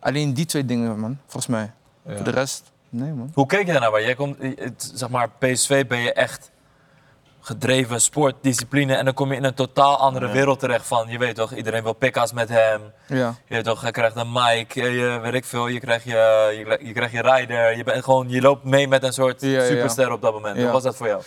S1: Alleen die twee dingen, man, volgens mij.
S2: Ja.
S1: Voor de rest, nee, man.
S3: Hoe keek je daarnaar? Maar Jij komt, eh, het- zeg maar, PSV ben je echt gedreven, sport, discipline. En dan kom je in een totaal andere wereld terecht van, je weet toch, iedereen wil pikka's met hem.
S1: Ja.
S3: Je weet toch, hij krijgt een mic, je, je- weet ik veel, je krijgt je, je, krijgt- je krijgt je rider. Je, bent gewoon, je loopt mee met een soort
S1: Ja, ja, ja.
S3: superster op dat moment. Hoe
S1: Ja.
S3: was dat voor jou?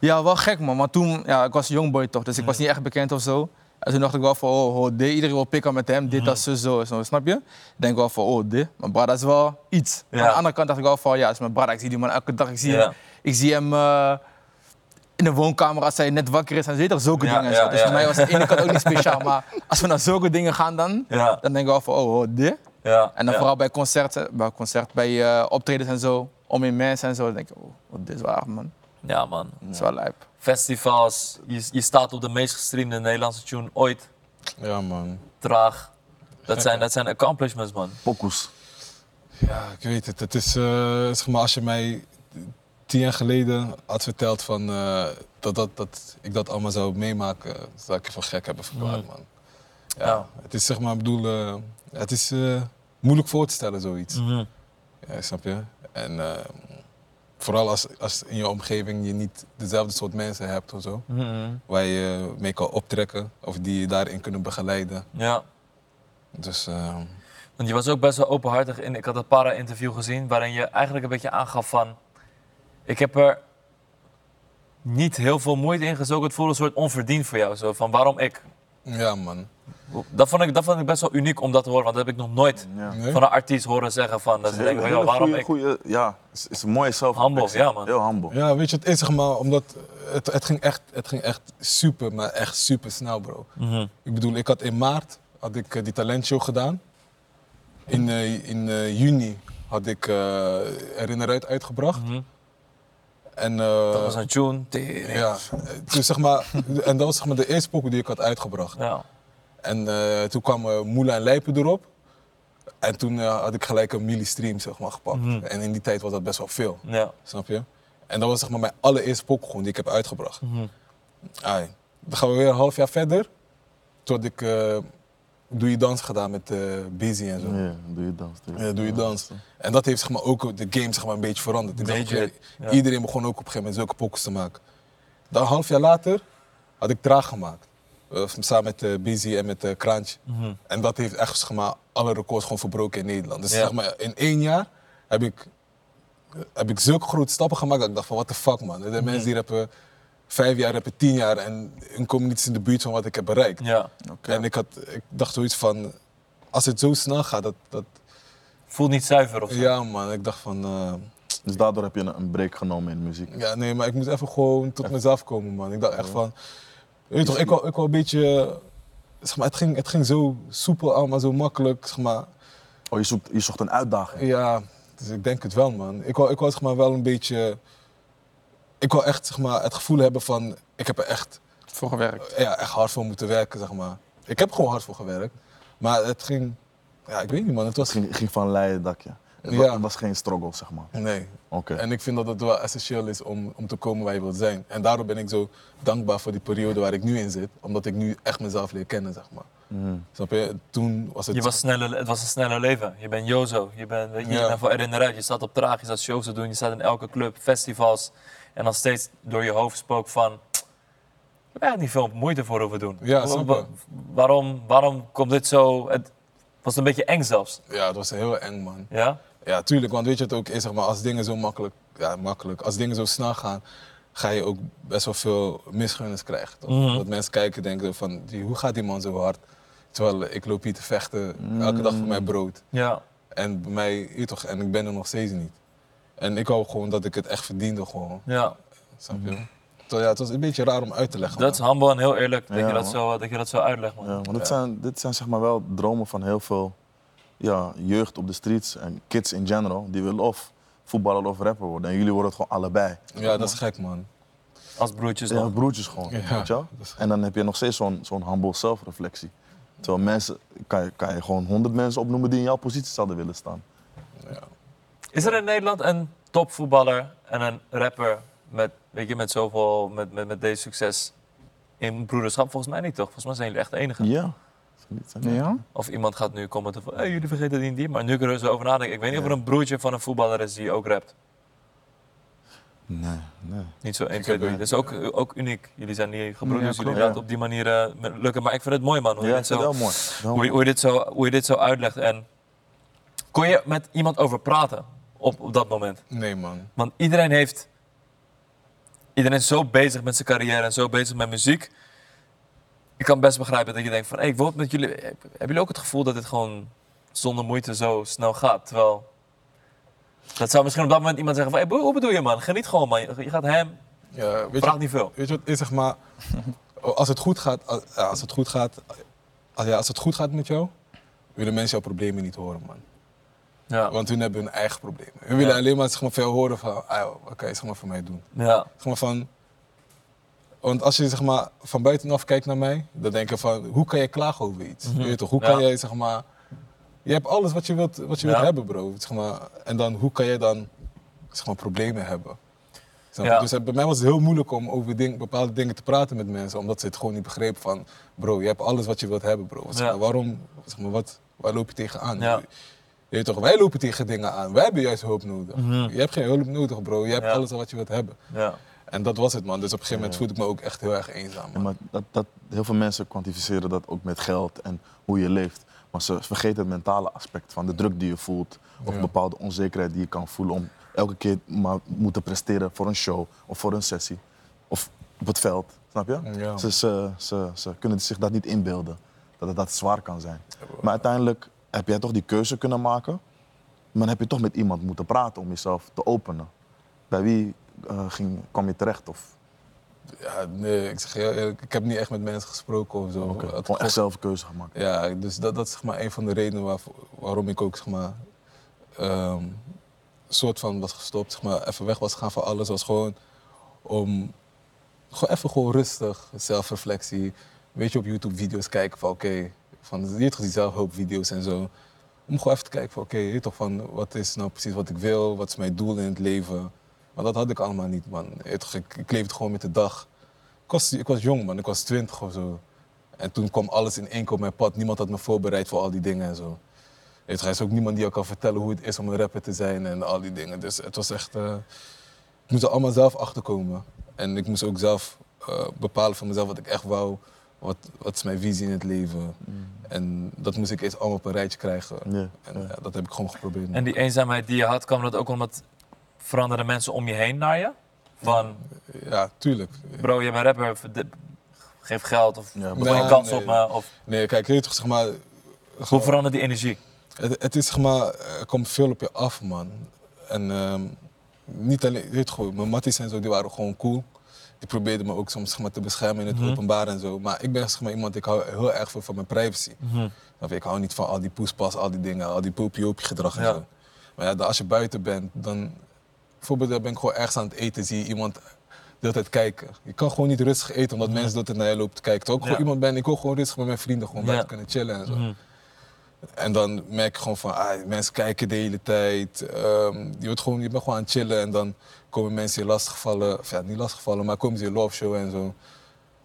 S1: ja, wel gek man. Maar toen, ja, ik was een jongboy toch, dus ik was niet echt bekend of zo. En toen dacht ik wel van, oh, oh dit, iedereen wil pikken met hem, dit,
S3: Mhm.
S1: dat, zo, zo, zo, snap je? Ik denk wel van, oh, dit, mijn brada is wel iets.
S3: Ja.
S1: Aan de andere kant dacht ik wel van, ja, het is mijn brada, ik zie die man elke dag, ik zie
S3: Ja.
S1: hem, ik zie hem eh, in de woonkamer als hij net wakker is en zo, weet je toch, zulke
S3: Ja,
S1: dingen. en
S3: ja,
S1: zo. Dus
S3: ja.
S1: voor mij was het aan de ene kant ook niet speciaal, maar als we naar zulke dingen gaan dan,
S3: Ja.
S1: dan denk ik wel van, oh, oh dit.
S3: Ja,
S1: En dan
S3: ja.
S1: vooral bij concerten, bij, concert, bij eh, optredens en zo, om in mensen en zo, dan denk ik, oh, oh, dit is waar man,
S3: Ja, man.
S1: dit is wel lijp.
S3: Festivals, je, je staat op de meest gestreamde Nederlandse tune ooit.
S2: Ja, man.
S3: Traag. Dat zijn, dat zijn accomplishments, man.
S4: Pokus.
S2: Ja, ik weet het. Het is, eh, zeg maar, als je mij tien jaar geleden had verteld van, eh, dat, dat, dat ik dat allemaal zou meemaken, zou ik je voor gek hebben verklaard, man. Ja,
S3: Ja.
S2: Het is, zeg maar, ik bedoel, eh, het is eh, moeilijk voor te stellen, zoiets.
S3: Mm. Mhm.
S2: Ja, snap je? En eh, vooral als, als in je omgeving je niet dezelfde soort mensen hebt of zo,
S3: Mhm.
S2: waar je mee kan optrekken of die je daarin kunnen begeleiden.
S3: Ja.
S2: Dus eh,
S3: Want je was ook best wel openhartig in. Ik had het para-interview gezien waarin je eigenlijk een beetje aangaf van... Ik heb er niet heel veel moeite in gezogen. Het voelde een soort onverdiend voor jou. Zo van, waarom ik?
S2: ja, man.
S3: Dat vond, ik, dat vond ik best wel uniek om dat te horen. Want dat heb ik nog nooit
S4: Ja.
S2: Nee?
S3: van een artiest horen zeggen van... Dat ze denken, van,
S4: Hele
S3: joh, waarom
S4: goeie-
S3: ik?
S4: goeie- ja, is, is een mooie zelf.
S3: Humble, ja, man.
S4: Heel humble.
S2: Ja, weet je, het is zeg maar, omdat het, het, ging echt, het ging echt super, maar echt super snel, bro.
S3: Mhm.
S2: Ik bedoel, ik had in maart had ik eh, die talentshow gedaan. In, eh, in eh, juni had ik eh Herinner Uit uitgebracht.
S3: Mhm.
S2: En, eh,
S3: Dat was een tune. Tering.
S2: ja, eh, dus zeg maar, en dat was zeg maar de eerste pokoe die ik had uitgebracht.
S3: Ja.
S2: En eh, toen kwamen Moela en Lijpen erop. En toen eh, had ik gelijk een millistream zeg maar, gepakt. En in die tijd was dat best wel veel.
S3: Ja.
S2: Snap je? En dat was zeg maar mijn allereerste pokoe gewoon die ik heb uitgebracht.
S3: Mhm.
S2: Ai. Dan gaan we weer een half jaar verder. Toen had ik eh, Doe Je Dans gedaan met eh Busy en zo.
S4: Ja, doe je dans. doe je-
S2: Ja, Eh, Doe Je Dans. En dat heeft zeg maar, ook de game zeg maar, een beetje veranderd. Ik zag op een
S3: Beetje,
S2: gegeven-
S3: ja.
S2: Iedereen begon ook op een gegeven moment zulke pokoes te maken. Dan een half jaar later had ik Traag gemaakt. Eh, samen met eh Busy en met eh Kraantje.
S3: Mhm.
S2: En dat heeft echt zeg maar, alle records gewoon verbroken in Nederland. Dus
S3: Ja.
S2: zeg maar, in één jaar heb ik heb ik zulke grote stappen gemaakt dat ik dacht van what the fuck man.
S3: Mhm.
S2: Er zijn mensen die rappen vijf jaar, rappen tien jaar en hun komen niet eens in de buurt van wat ik heb bereikt.
S3: ja.
S2: En ik, had, ik dacht zoiets van, als het zo snel gaat, dat, dat
S3: Voelt niet zuiver of zo.
S2: ja man, ik dacht van, eh,
S4: Dus daardoor heb je een, een break genomen in muziek.
S2: ja nee, maar ik moet even gewoon tot mezelf komen man. Ik dacht echt van, weet je toch, ik wou, ik wou een beetje, eh, zeg maar, het ging, het ging zo soepel allemaal, zo makkelijk, zeg maar.
S4: Oh, je zoekt, je zocht een uitdaging.
S2: Ja, dus ik denk het wel, man. Ik wil, ik wil zeg maar wel een beetje. Ik wil echt zeg maar, het gevoel hebben van. Ik heb er echt,
S1: Voor gewerkt.
S2: ja, echt hard voor moeten werken, zeg maar. Ik heb er gewoon hard voor gewerkt. Maar het ging. Ja, ik weet niet, man. Het
S4: Het
S2: was.
S4: ging, ging van een leien dakje. Het wa-
S2: Ja.
S4: het was geen struggle, zeg maar.
S2: Nee.
S4: Oké.
S2: En ik vind dat het wel essentieel is om, om te komen waar je wilt zijn. En daarom ben ik zo dankbaar voor die periode waar ik nu in zit. Omdat ik nu echt mezelf leer kennen, zeg maar. Snap je? Toen was het.
S3: Mhm. Je was sneller, het was een sneller leven. Je bent Jozo, je bent weet je, je
S2: Ja.
S3: bent voor herinnerd. Je staat op traag, je staat shows te doen, je staat in elke club, festivals. En dan steeds door je hoofd spook van... Ik heb eigenlijk niet veel moeite voor hoeven doen.
S2: Ja,
S3: Wa-
S2: snap
S3: wa-
S2: je.
S3: waarom, waarom komt dit zo... Het was een beetje eng zelfs.
S2: Ja, het was heel eng, man.
S3: Ja?
S2: Ja, tuurlijk, want weet je het ook is, zeg maar, als dingen zo makkelijk, ja, makkelijk, als dingen zo snel gaan, ga je ook best wel veel misgunnings krijgen. Toch?
S3: Mhm.
S2: Dat mensen kijken en denken van, die, hoe gaat die man zo hard? Terwijl eh, ik loop hier te vechten, elke dag voor mijn
S3: Mhm.
S2: brood.
S3: Ja.
S2: En bij mij, je toch, en ik ben er nog steeds niet. En ik hoop gewoon dat ik het echt verdiende, gewoon.
S3: ja.
S2: Snap je? Terwijl, ja, het was een beetje raar om uit te leggen.
S3: Dat is humble en heel eerlijk dat,
S4: Ja,
S3: je, dat,
S4: man.
S3: zo, dat je dat zo uitlegt, man.
S4: Ja, want dit zijn, dit zijn zeg maar wel dromen van heel veel ja, jeugd op de streets en kids in general. Die willen of voetballer of rapper worden. En jullie worden het gewoon allebei.
S2: man. Ja, dat is gek, man.
S3: Als broertjes
S4: Ja,
S3: nog.
S4: broertjes gewoon.
S2: Ja,
S4: weet je wel?
S2: dat is-
S4: En dan heb je nog steeds zo'n zo'n humble zelfreflectie. Terwijl mensen, kan je, kan je gewoon honderd mensen opnoemen die in jouw positie zouden willen staan.
S3: Is er in Nederland een topvoetballer en een rapper met, weet je, met zoveel, met, met, met deze succes in broederschap? Volgens mij niet, toch? Volgens mij zijn jullie echt de enige.
S4: Ja. Zijn niet- zijn niet-
S1: Ja?
S3: Of iemand gaat nu commenten van, hey, jullie vergeten die en die. Maar nu kunnen we er zo over nadenken. Ik weet niet of er een broertje van een voetballer is die ook rapt.
S4: Nee, nee.
S3: Niet zo 1, 2, 3. Dat is ook, ook uniek. Jullie zijn niet
S1: Ja,
S3: gebroeders,
S1: klopt.
S3: jullie laten
S4: Ja.
S3: op die manier eh, met- lukken. Maar ik vind het mooi, man. Hoe, je
S4: Ja,
S3: dit
S4: ik vind het
S3: zo,
S4: wel mooi. Wel
S3: hoe, je,
S4: mooi.
S3: hoe, je dit zo, hoe je dit zo uitlegt. En kon je met iemand over praten op, op dat moment?
S2: Nee, man.
S3: Want iedereen heeft. Iedereen is zo bezig met zijn carrière en zo bezig met muziek. Ik kan best begrijpen dat je denkt van, hey, ik wil het met jullie. Hebben jullie ook het gevoel dat dit gewoon zonder moeite zo snel gaat? Terwijl. Dat zou misschien op dat moment iemand zeggen van, hey, broer, hoe bedoel je man? Geniet gewoon man. Je gaat hem.
S2: Ja, weet,
S3: Vraag
S2: je,
S3: niet veel.
S2: weet je wat is, zeg maar... Als het goed gaat, als, ja, als het goed gaat, als, ja, als het goed gaat met jou, willen mensen jouw problemen niet horen, man.
S3: Ja.
S2: Want hun hebben hun eigen problemen. Hun willen
S3: Ja.
S2: alleen maar zeg maar, veel horen van, ah, joh, wat kan je zeg maar, voor mij doen?
S3: Ja.
S2: Zeg maar van, want als je zeg maar, van buitenaf kijkt naar mij, dan denk je van, hoe kan je klagen over iets?
S3: Mhm.
S2: Weet je toch, hoe
S3: Ja.
S2: kan jij zeg maar, je hebt alles wat je wilt, wat je
S3: Ja.
S2: wilt hebben bro. Zeg maar, en dan, hoe kan jij dan zeg maar, problemen hebben? Snap je?
S3: Ja.
S2: Dus het- bij mij was het heel moeilijk om over ding- bepaalde dingen te praten met mensen, omdat ze het gewoon niet begrepen van, bro, je hebt alles wat je wilt hebben bro. Zeg
S3: Ja.
S2: maar, waarom, zeg maar, wat, waar loop je tegenaan?
S3: Ja.
S2: Je weet toch, wij lopen tegen dingen aan. Wij hebben juist hulp nodig.
S3: Mhm.
S2: Je hebt geen hulp nodig, bro. Je hebt
S3: Ja.
S2: alles wat je wilt hebben.
S3: Ja.
S2: En dat was het, man. Dus op een gegeven moment voelde ik me ook echt heel erg eenzaam.
S4: Ja,
S2: man.
S4: maar dat, dat, heel veel mensen kwantificeren dat ook met geld en hoe je leeft. Maar ze vergeten het mentale aspect van de druk die je voelt. Of
S2: Ja.
S4: een bepaalde onzekerheid die je kan voelen om elke keer maar moeten presteren voor een show of voor een sessie. Of op het veld, snap je?
S2: Ja.
S4: Ze, ze, ze, ze kunnen zich dat niet inbeelden, dat het dat zwaar kan zijn. Maar uiteindelijk heb jij toch die keuze kunnen maken. Maar dan heb je toch met iemand moeten praten om jezelf te openen. Bij wie eh, ging, kwam je terecht? Of,
S2: Ja, nee, ik zeg je heel eerlijk, ik heb niet echt met mensen gesproken of zo.
S4: Oké,
S2: Het
S4: Gewoon echt
S2: gevoel-
S4: zelf een keuze gemaakt.
S2: Ja, dus dat, dat is zeg maar een van de redenen waarvoor- waarom ik ook, zeg maar, ehm, soort van was gestopt. Zeg maar, even weg was gegaan van alles. Was gewoon om, gewoon even gewoon rustig, zelfreflectie. Weet je, op YouTube-video's kijken van, oké, van, je hebt gezien zelfhulpvideo's en zo. Om gewoon even te kijken van, oké, je weet toch van, wat is nou precies wat ik wil? Wat is mijn doel in het leven? Maar dat had ik allemaal niet, man. Je weet toch, Ik, ik leefde gewoon met de dag. Ik was, ik was jong, man. Ik was twintig of zo. En toen kwam alles in één keer op mijn pad. Niemand had me voorbereid voor al die dingen en zo. Je weet toch, Er is ook niemand die jou kan vertellen hoe het is om een rapper te zijn en al die dingen. Dus het was echt... eh, ik moest er allemaal zelf achter komen. En ik moest ook zelf eh, bepalen voor mezelf wat ik echt wou. Wat, wat is mijn visie in het leven? En dat moest ik eerst allemaal op een rijtje krijgen.
S4: Ja,
S2: En
S4: ja.
S2: ja, dat heb ik gewoon geprobeerd.
S3: En die eenzaamheid die je had, kwam dat ook omdat veranderde mensen om je heen naar je? Van,
S2: Ja, tuurlijk.
S3: bro, je bent rapper, verd- geef geld of
S4: Ja,
S3: gooi een
S2: Nee,
S3: kans
S2: nee.
S3: op me. Of,
S2: Nee, kijk, je weet toch, zeg maar...
S3: hoe verandert die energie?
S2: Het, het is zeg maar, er komt veel op je af, man. En ehm, niet alleen, je weet gewoon, mijn matties en zo, die waren gewoon cool. Die probeerden me ook soms zeg maar, te beschermen in het
S3: Mhm.
S2: openbaar en zo. Maar ik ben zeg maar, iemand, ik hou heel erg veel van mijn privacy.
S3: Mhm.
S2: Snap je? Ik hou niet van al die poespas, al die dingen, al die poepie gedrag en
S3: Ja.
S2: zo. Maar ja, dan als je buiten bent, dan... Bijvoorbeeld dan ben ik gewoon ergens aan het eten, zie je iemand de hele tijd kijken. Je kan gewoon niet rustig eten, omdat mensen de hele tijd naar je lopen te kijken. Terwijl ik
S3: Mhm. Ja.
S2: gewoon iemand ben, ik wil gewoon rustig met mijn vrienden gewoon
S3: Ja.
S2: buiten kunnen chillen en zo.
S3: Mhm.
S2: En dan merk je gewoon van, ah, mensen kijken de hele tijd. Ehm, je, wordt gewoon, je bent gewoon aan het chillen en dan komen mensen je lastigvallen. Of ja, niet lastigvallen, maar komen ze je love show en zo.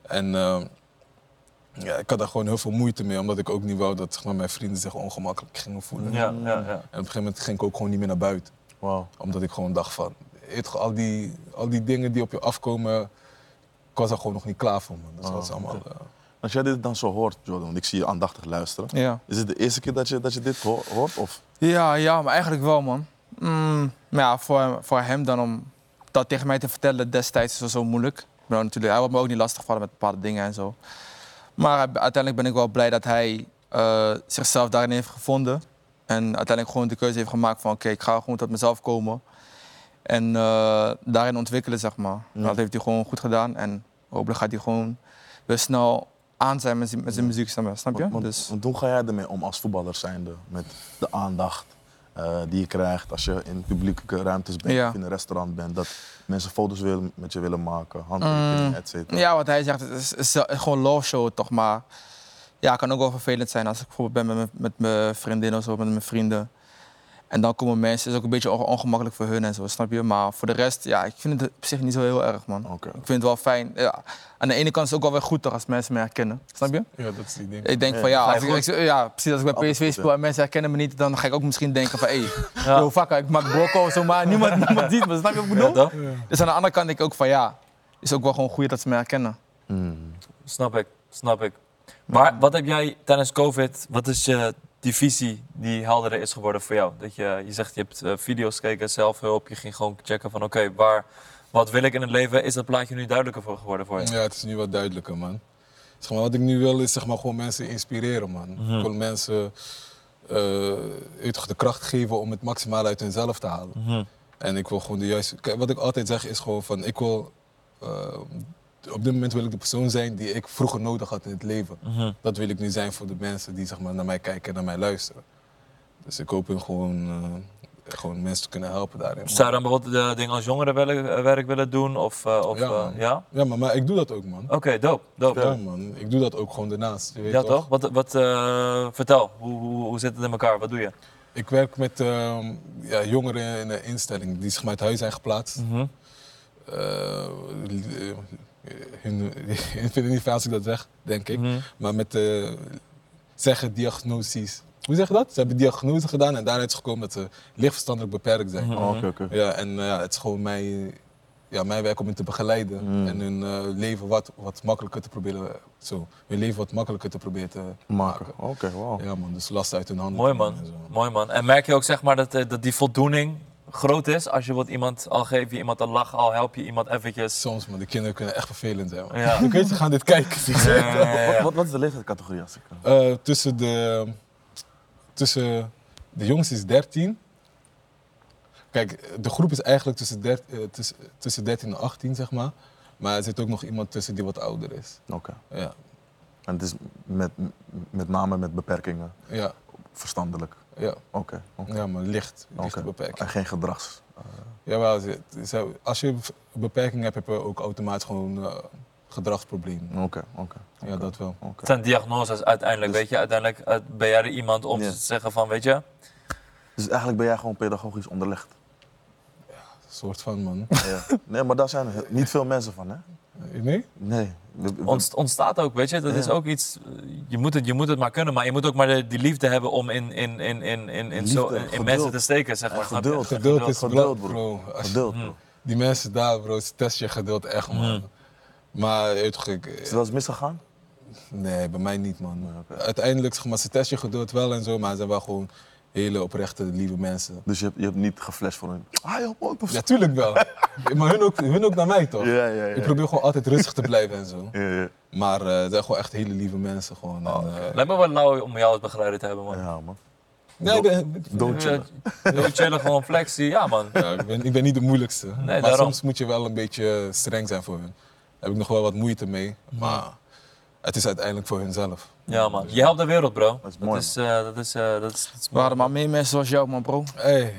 S2: En ehm, ja, ik had daar gewoon heel veel moeite mee, omdat ik ook niet wou dat zeg maar, mijn vrienden zich ongemakkelijk gingen voelen.
S3: Ja,
S2: En op
S3: ja, ja.
S2: een gegeven moment ging ik ook gewoon niet meer naar buiten,
S1: eh,
S4: Wauw.
S2: omdat ik gewoon dacht van, weet je, al, die, al die dingen die op je afkomen, ik was daar gewoon nog niet klaar voor. Man. Dus
S4: Oh,
S2: dat is allemaal. eh,
S4: Als jij dit dan zo hoort, Jordan, want ik zie je aandachtig luisteren.
S1: Ja.
S4: Is dit de eerste keer dat je, dat je dit ho- hoort? Of?
S1: Ja, ja, maar eigenlijk wel, man. Mm, maar ja, voor, voor hem dan om dat tegen mij te vertellen destijds is wel zo moeilijk. Maar natuurlijk, hij wil me ook niet lastigvallen met bepaalde dingen en zo. Maar eh, uiteindelijk ben ik wel blij dat hij eh, zichzelf daarin heeft gevonden. En uiteindelijk gewoon de keuze heeft gemaakt van... oké, ik ga gewoon tot mezelf komen. En eh, daarin ontwikkelen, zeg maar.
S4: Ja.
S1: Dat heeft hij gewoon goed gedaan. En hopelijk gaat hij gewoon weer snel aan zijn met zijn, met zijn muziek, snap je? Snap je?
S4: Want, want,
S1: Dus,
S4: want hoe ga jij ermee om als voetballer zijnde? Met de aandacht eh, die je krijgt als je in publieke ruimtes bent
S1: Ja.
S4: of in een restaurant bent. Dat mensen foto's willen, met je willen maken, handtekeningen,
S1: Mm.
S4: et cetera.
S1: Ja, wat hij zegt, het is, is, is gewoon love show toch, maar ja, het kan ook wel vervelend zijn als ik bijvoorbeeld ben met, mijn- met mijn vriendin of zo, met mijn vrienden. En dan komen mensen, het is ook een beetje onge- ongemakkelijk voor hun en zo, snap je? Maar voor de rest, ja, ik vind het op zich niet zo heel erg, man.
S4: Oké.
S1: Ik vind het wel fijn. Ja. Aan de ene kant is het ook wel weer goed toch, als mensen me herkennen, snap je?
S2: Ja, dat is die ding.
S1: Ik denk van
S4: Ja,
S1: ja, als
S4: ga
S1: ik,
S4: je
S1: ik- ja, precies. Als ik bij
S4: Altijd
S1: PSV
S4: goed,
S1: speel en mensen herkennen me niet, dan ga ik ook misschien denken van hé, hey,
S3: Ja.
S1: yo, vakker, ik maak brokko of zo, maar niemand, niemand ziet me. Snap je wat ik bedoel?
S3: toch?
S1: Dus aan de andere kant denk ik ook van ja, is ook wel gewoon goed dat ze me herkennen.
S2: Mm.
S3: Snap ik, snap ik. Maar wat heb jij tijdens COVID, wat is je die visie die helderder is geworden voor jou? Dat je, je zegt, je hebt eh, video's gekeken, zelfhulp, je ging gewoon checken van oké, waar, wat wil ik in het leven? Is dat plaatje nu duidelijker voor geworden voor je?
S2: Ja, het is nu wat duidelijker, man. Zeg maar, wat ik nu wil is zeg maar, gewoon mensen inspireren, man.
S3: Mhm.
S2: Ik wil mensen eh, weet je toch, de kracht geven om het maximaal uit hunzelf te halen.
S3: Mhm.
S2: En ik wil gewoon de juiste... Kijk, wat ik altijd zeg is gewoon van, ik wil... eh, op dit moment wil ik de persoon zijn die ik vroeger nodig had in het leven.
S3: Mhm.
S2: Dat wil ik nu zijn voor de mensen die zeg maar, naar mij kijken en naar mij luisteren. Dus ik hoop hun gewoon, eh, gewoon mensen te kunnen helpen daarin.
S3: Zou je dan bijvoorbeeld eh, dingen als jongerenwerk willen doen? Of, eh, of,
S2: Ja,
S3: eh,
S2: man.
S3: ja?
S2: Ja, maar, maar ik doe dat ook, man.
S3: Oké, dope, dope.
S2: Ja, man. Ik doe dat ook gewoon daarnaast. Je weet
S3: Oh. Ja, toch? Wat, wat, eh, vertel, hoe, hoe, hoe zit het in elkaar? Wat doe je?
S2: Ik werk met ehm, ja, jongeren in een instelling die zich uit huis zijn geplaatst.
S3: Mm. Mm-hmm.
S2: Eh, eh, hun, hun vinden het niet fijn als ik dat zeg, denk
S3: Mm.
S2: ik.
S3: Mm-hmm.
S2: Maar met eh, zeggen diagnoses. Hoe zeg je dat? Ze hebben diagnose gedaan en daaruit is gekomen dat ze lichtverstandelijk beperkt zijn.
S3: Mm.
S4: Oh, Oké, oké.
S2: Ja, en eh, ja, het is gewoon mijn, ja, mijn werk om hen te begeleiden.
S3: Mm.
S2: En hun eh, leven wat, wat makkelijker te proberen. Zo, hun leven wat makkelijker te proberen te
S4: Maken.
S2: maken.
S4: Oké, wauw.
S2: Ja, man, dus last uit hun handen.
S3: Mooi
S2: te
S3: man,
S2: nemen en zo.
S3: mooi man. En merk je ook zeg maar dat, eh, dat die voldoening groot is als je wat iemand al geef je iemand een lach, al help je iemand eventjes.
S2: Soms, man, de kinderen kunnen echt vervelend zijn. Man.
S3: Ja.
S2: Ik weet, ze gaan dit kijken.
S3: Ja, ja, ja,
S4: Wat,
S3: ja.
S4: wat, wat is de leeftijdscategorie als ik... eh,
S2: Eh, tussen, de, tussen de jongste is 13. Kijk, de groep is eigenlijk tussen, der- eh, tussen, tussen 13 en 18, zeg maar. Maar er zit ook nog iemand tussen die wat ouder is.
S4: Oké.
S2: Ja,
S4: En het is met, met name met beperkingen,
S2: ja,
S4: verstandelijk.
S2: ja.
S4: Oké. oké,
S2: ja maar licht, licht
S4: oké.
S2: beperking.
S4: En geen gedrags.
S2: Jawel, ze- ze- als je een beperking hebt, heb je ook automatisch gewoon eh, gedragsproblemen.
S4: Oké, oké.
S2: Ja, dat wel.
S3: Het
S4: oké.
S3: zijn diagnoses uiteindelijk,
S4: Dus-
S3: weet je. Uiteindelijk eh, ben jij er iemand om
S4: Ja.
S3: te zeggen van, weet je,
S4: Dus eigenlijk ben jij gewoon pedagogisch onderlegd.
S2: Een soort van, man.
S4: Ja. Nee, maar daar zijn he- niet veel mensen van, hè?
S2: Nee?
S4: Nee. We- we-
S3: ontst- ontstaat ook, weet je. Dat
S4: Ja.
S3: is ook iets, eh, je moet, het, je moet het maar kunnen, maar je moet ook maar de, die liefde hebben om in, in, in, in, in, in, zo,
S4: Liefde,
S3: in- in,
S4: geduld.
S3: mensen te steken, zeg maar.
S4: En
S3: snap je?
S4: geduld.
S2: Geduld is
S4: Geduld,
S2: geduld,
S4: bro.
S2: bro. Als je-
S4: Geduld, bro.
S2: Die mensen daar, bro, ze test je geduld echt, man.
S4: Hmm.
S2: Maar, je weet toch, ik-
S4: Is het wel eens misgegaan?
S2: Nee, bij mij niet, man. Uiteindelijk, zeg maar, ze test je geduld wel en zo, maar ze zijn wel gewoon hele oprechte, lieve mensen.
S4: Dus je hebt, je hebt niet geflasht voor een... Ah, joh, wat of zo.
S2: Natuurlijk wel. maar hun ook, hun ook naar mij, toch?
S4: Ja, ja, ja.
S2: Ik probeer gewoon altijd rustig te blijven en zo.
S4: Ja, ja.
S2: Maar eh, het zijn gewoon echt hele lieve mensen, gewoon.
S4: Oh,
S2: En, eh,
S3: Lijkt me wel lauw om jou als begeleider te hebben, man.
S4: Ja, man.
S2: nee, ik ben-
S4: Doodje.
S3: Ja, dood chillen, gewoon flexie. Ja, man.
S2: Ja, ik, ben, ik ben niet de moeilijkste. maar
S3: daarom.
S2: soms moet je wel een beetje eh, streng zijn voor hun. Daar heb ik nog wel wat moeite mee,
S4: Hmm.
S2: maar het is uiteindelijk voor hunzelf.
S3: Ja, man. Je helpt de wereld, bro.
S4: Dat is mooi,
S3: Dat is, eh, dat is, eh, dat is, dat is
S1: We hadden maar meer mensen zoals jou, man, bro.
S2: Hey.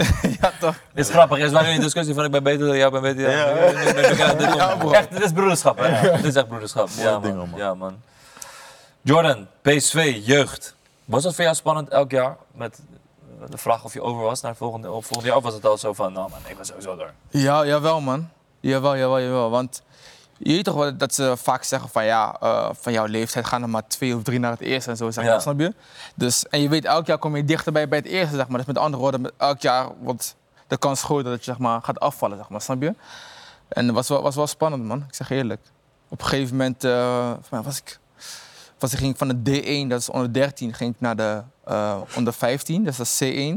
S1: Ja, toch?
S3: Dit is grappig. Is wel weer een discussie van ik ben beter dan jou, ik ben beter dan jou. Ik ben- ik ben- ik ben- dit komt- Echt, dit is broederschap. Hè? Dit is echt broederschap. Ja,
S4: dingen,
S3: man.
S4: man.
S3: Ja, man. Jordan, PSV, jeugd. Was dat voor jou spannend elk jaar? Met eh, de vraag of je over was naar het volgende, of volgend jaar? Of was het al zo van, nou man, ik ben sowieso door.
S1: Ja, jawel, man. Jawel, jawel, jawel. Want je weet toch wel dat ze vaak zeggen van ja, eh, van jouw leeftijd gaan er maar twee of drie naar het eerste en zo, zeg
S3: Ja.
S1: maar, snap je? Dus, en je weet, elk jaar kom je dichterbij bij het eerste, zeg maar. Dus met andere woorden, met elk jaar wordt de kans groter dat je zeg maar, gaat afvallen, zeg maar, snap je? En het was wel, was wel spannend, man. Ik zeg je eerlijk. Op een gegeven moment eh, volgens mij was ik, was, ik ging ik van de D1, dat is onder 13, ging ik naar de eh, onder 15, dus dat is C1.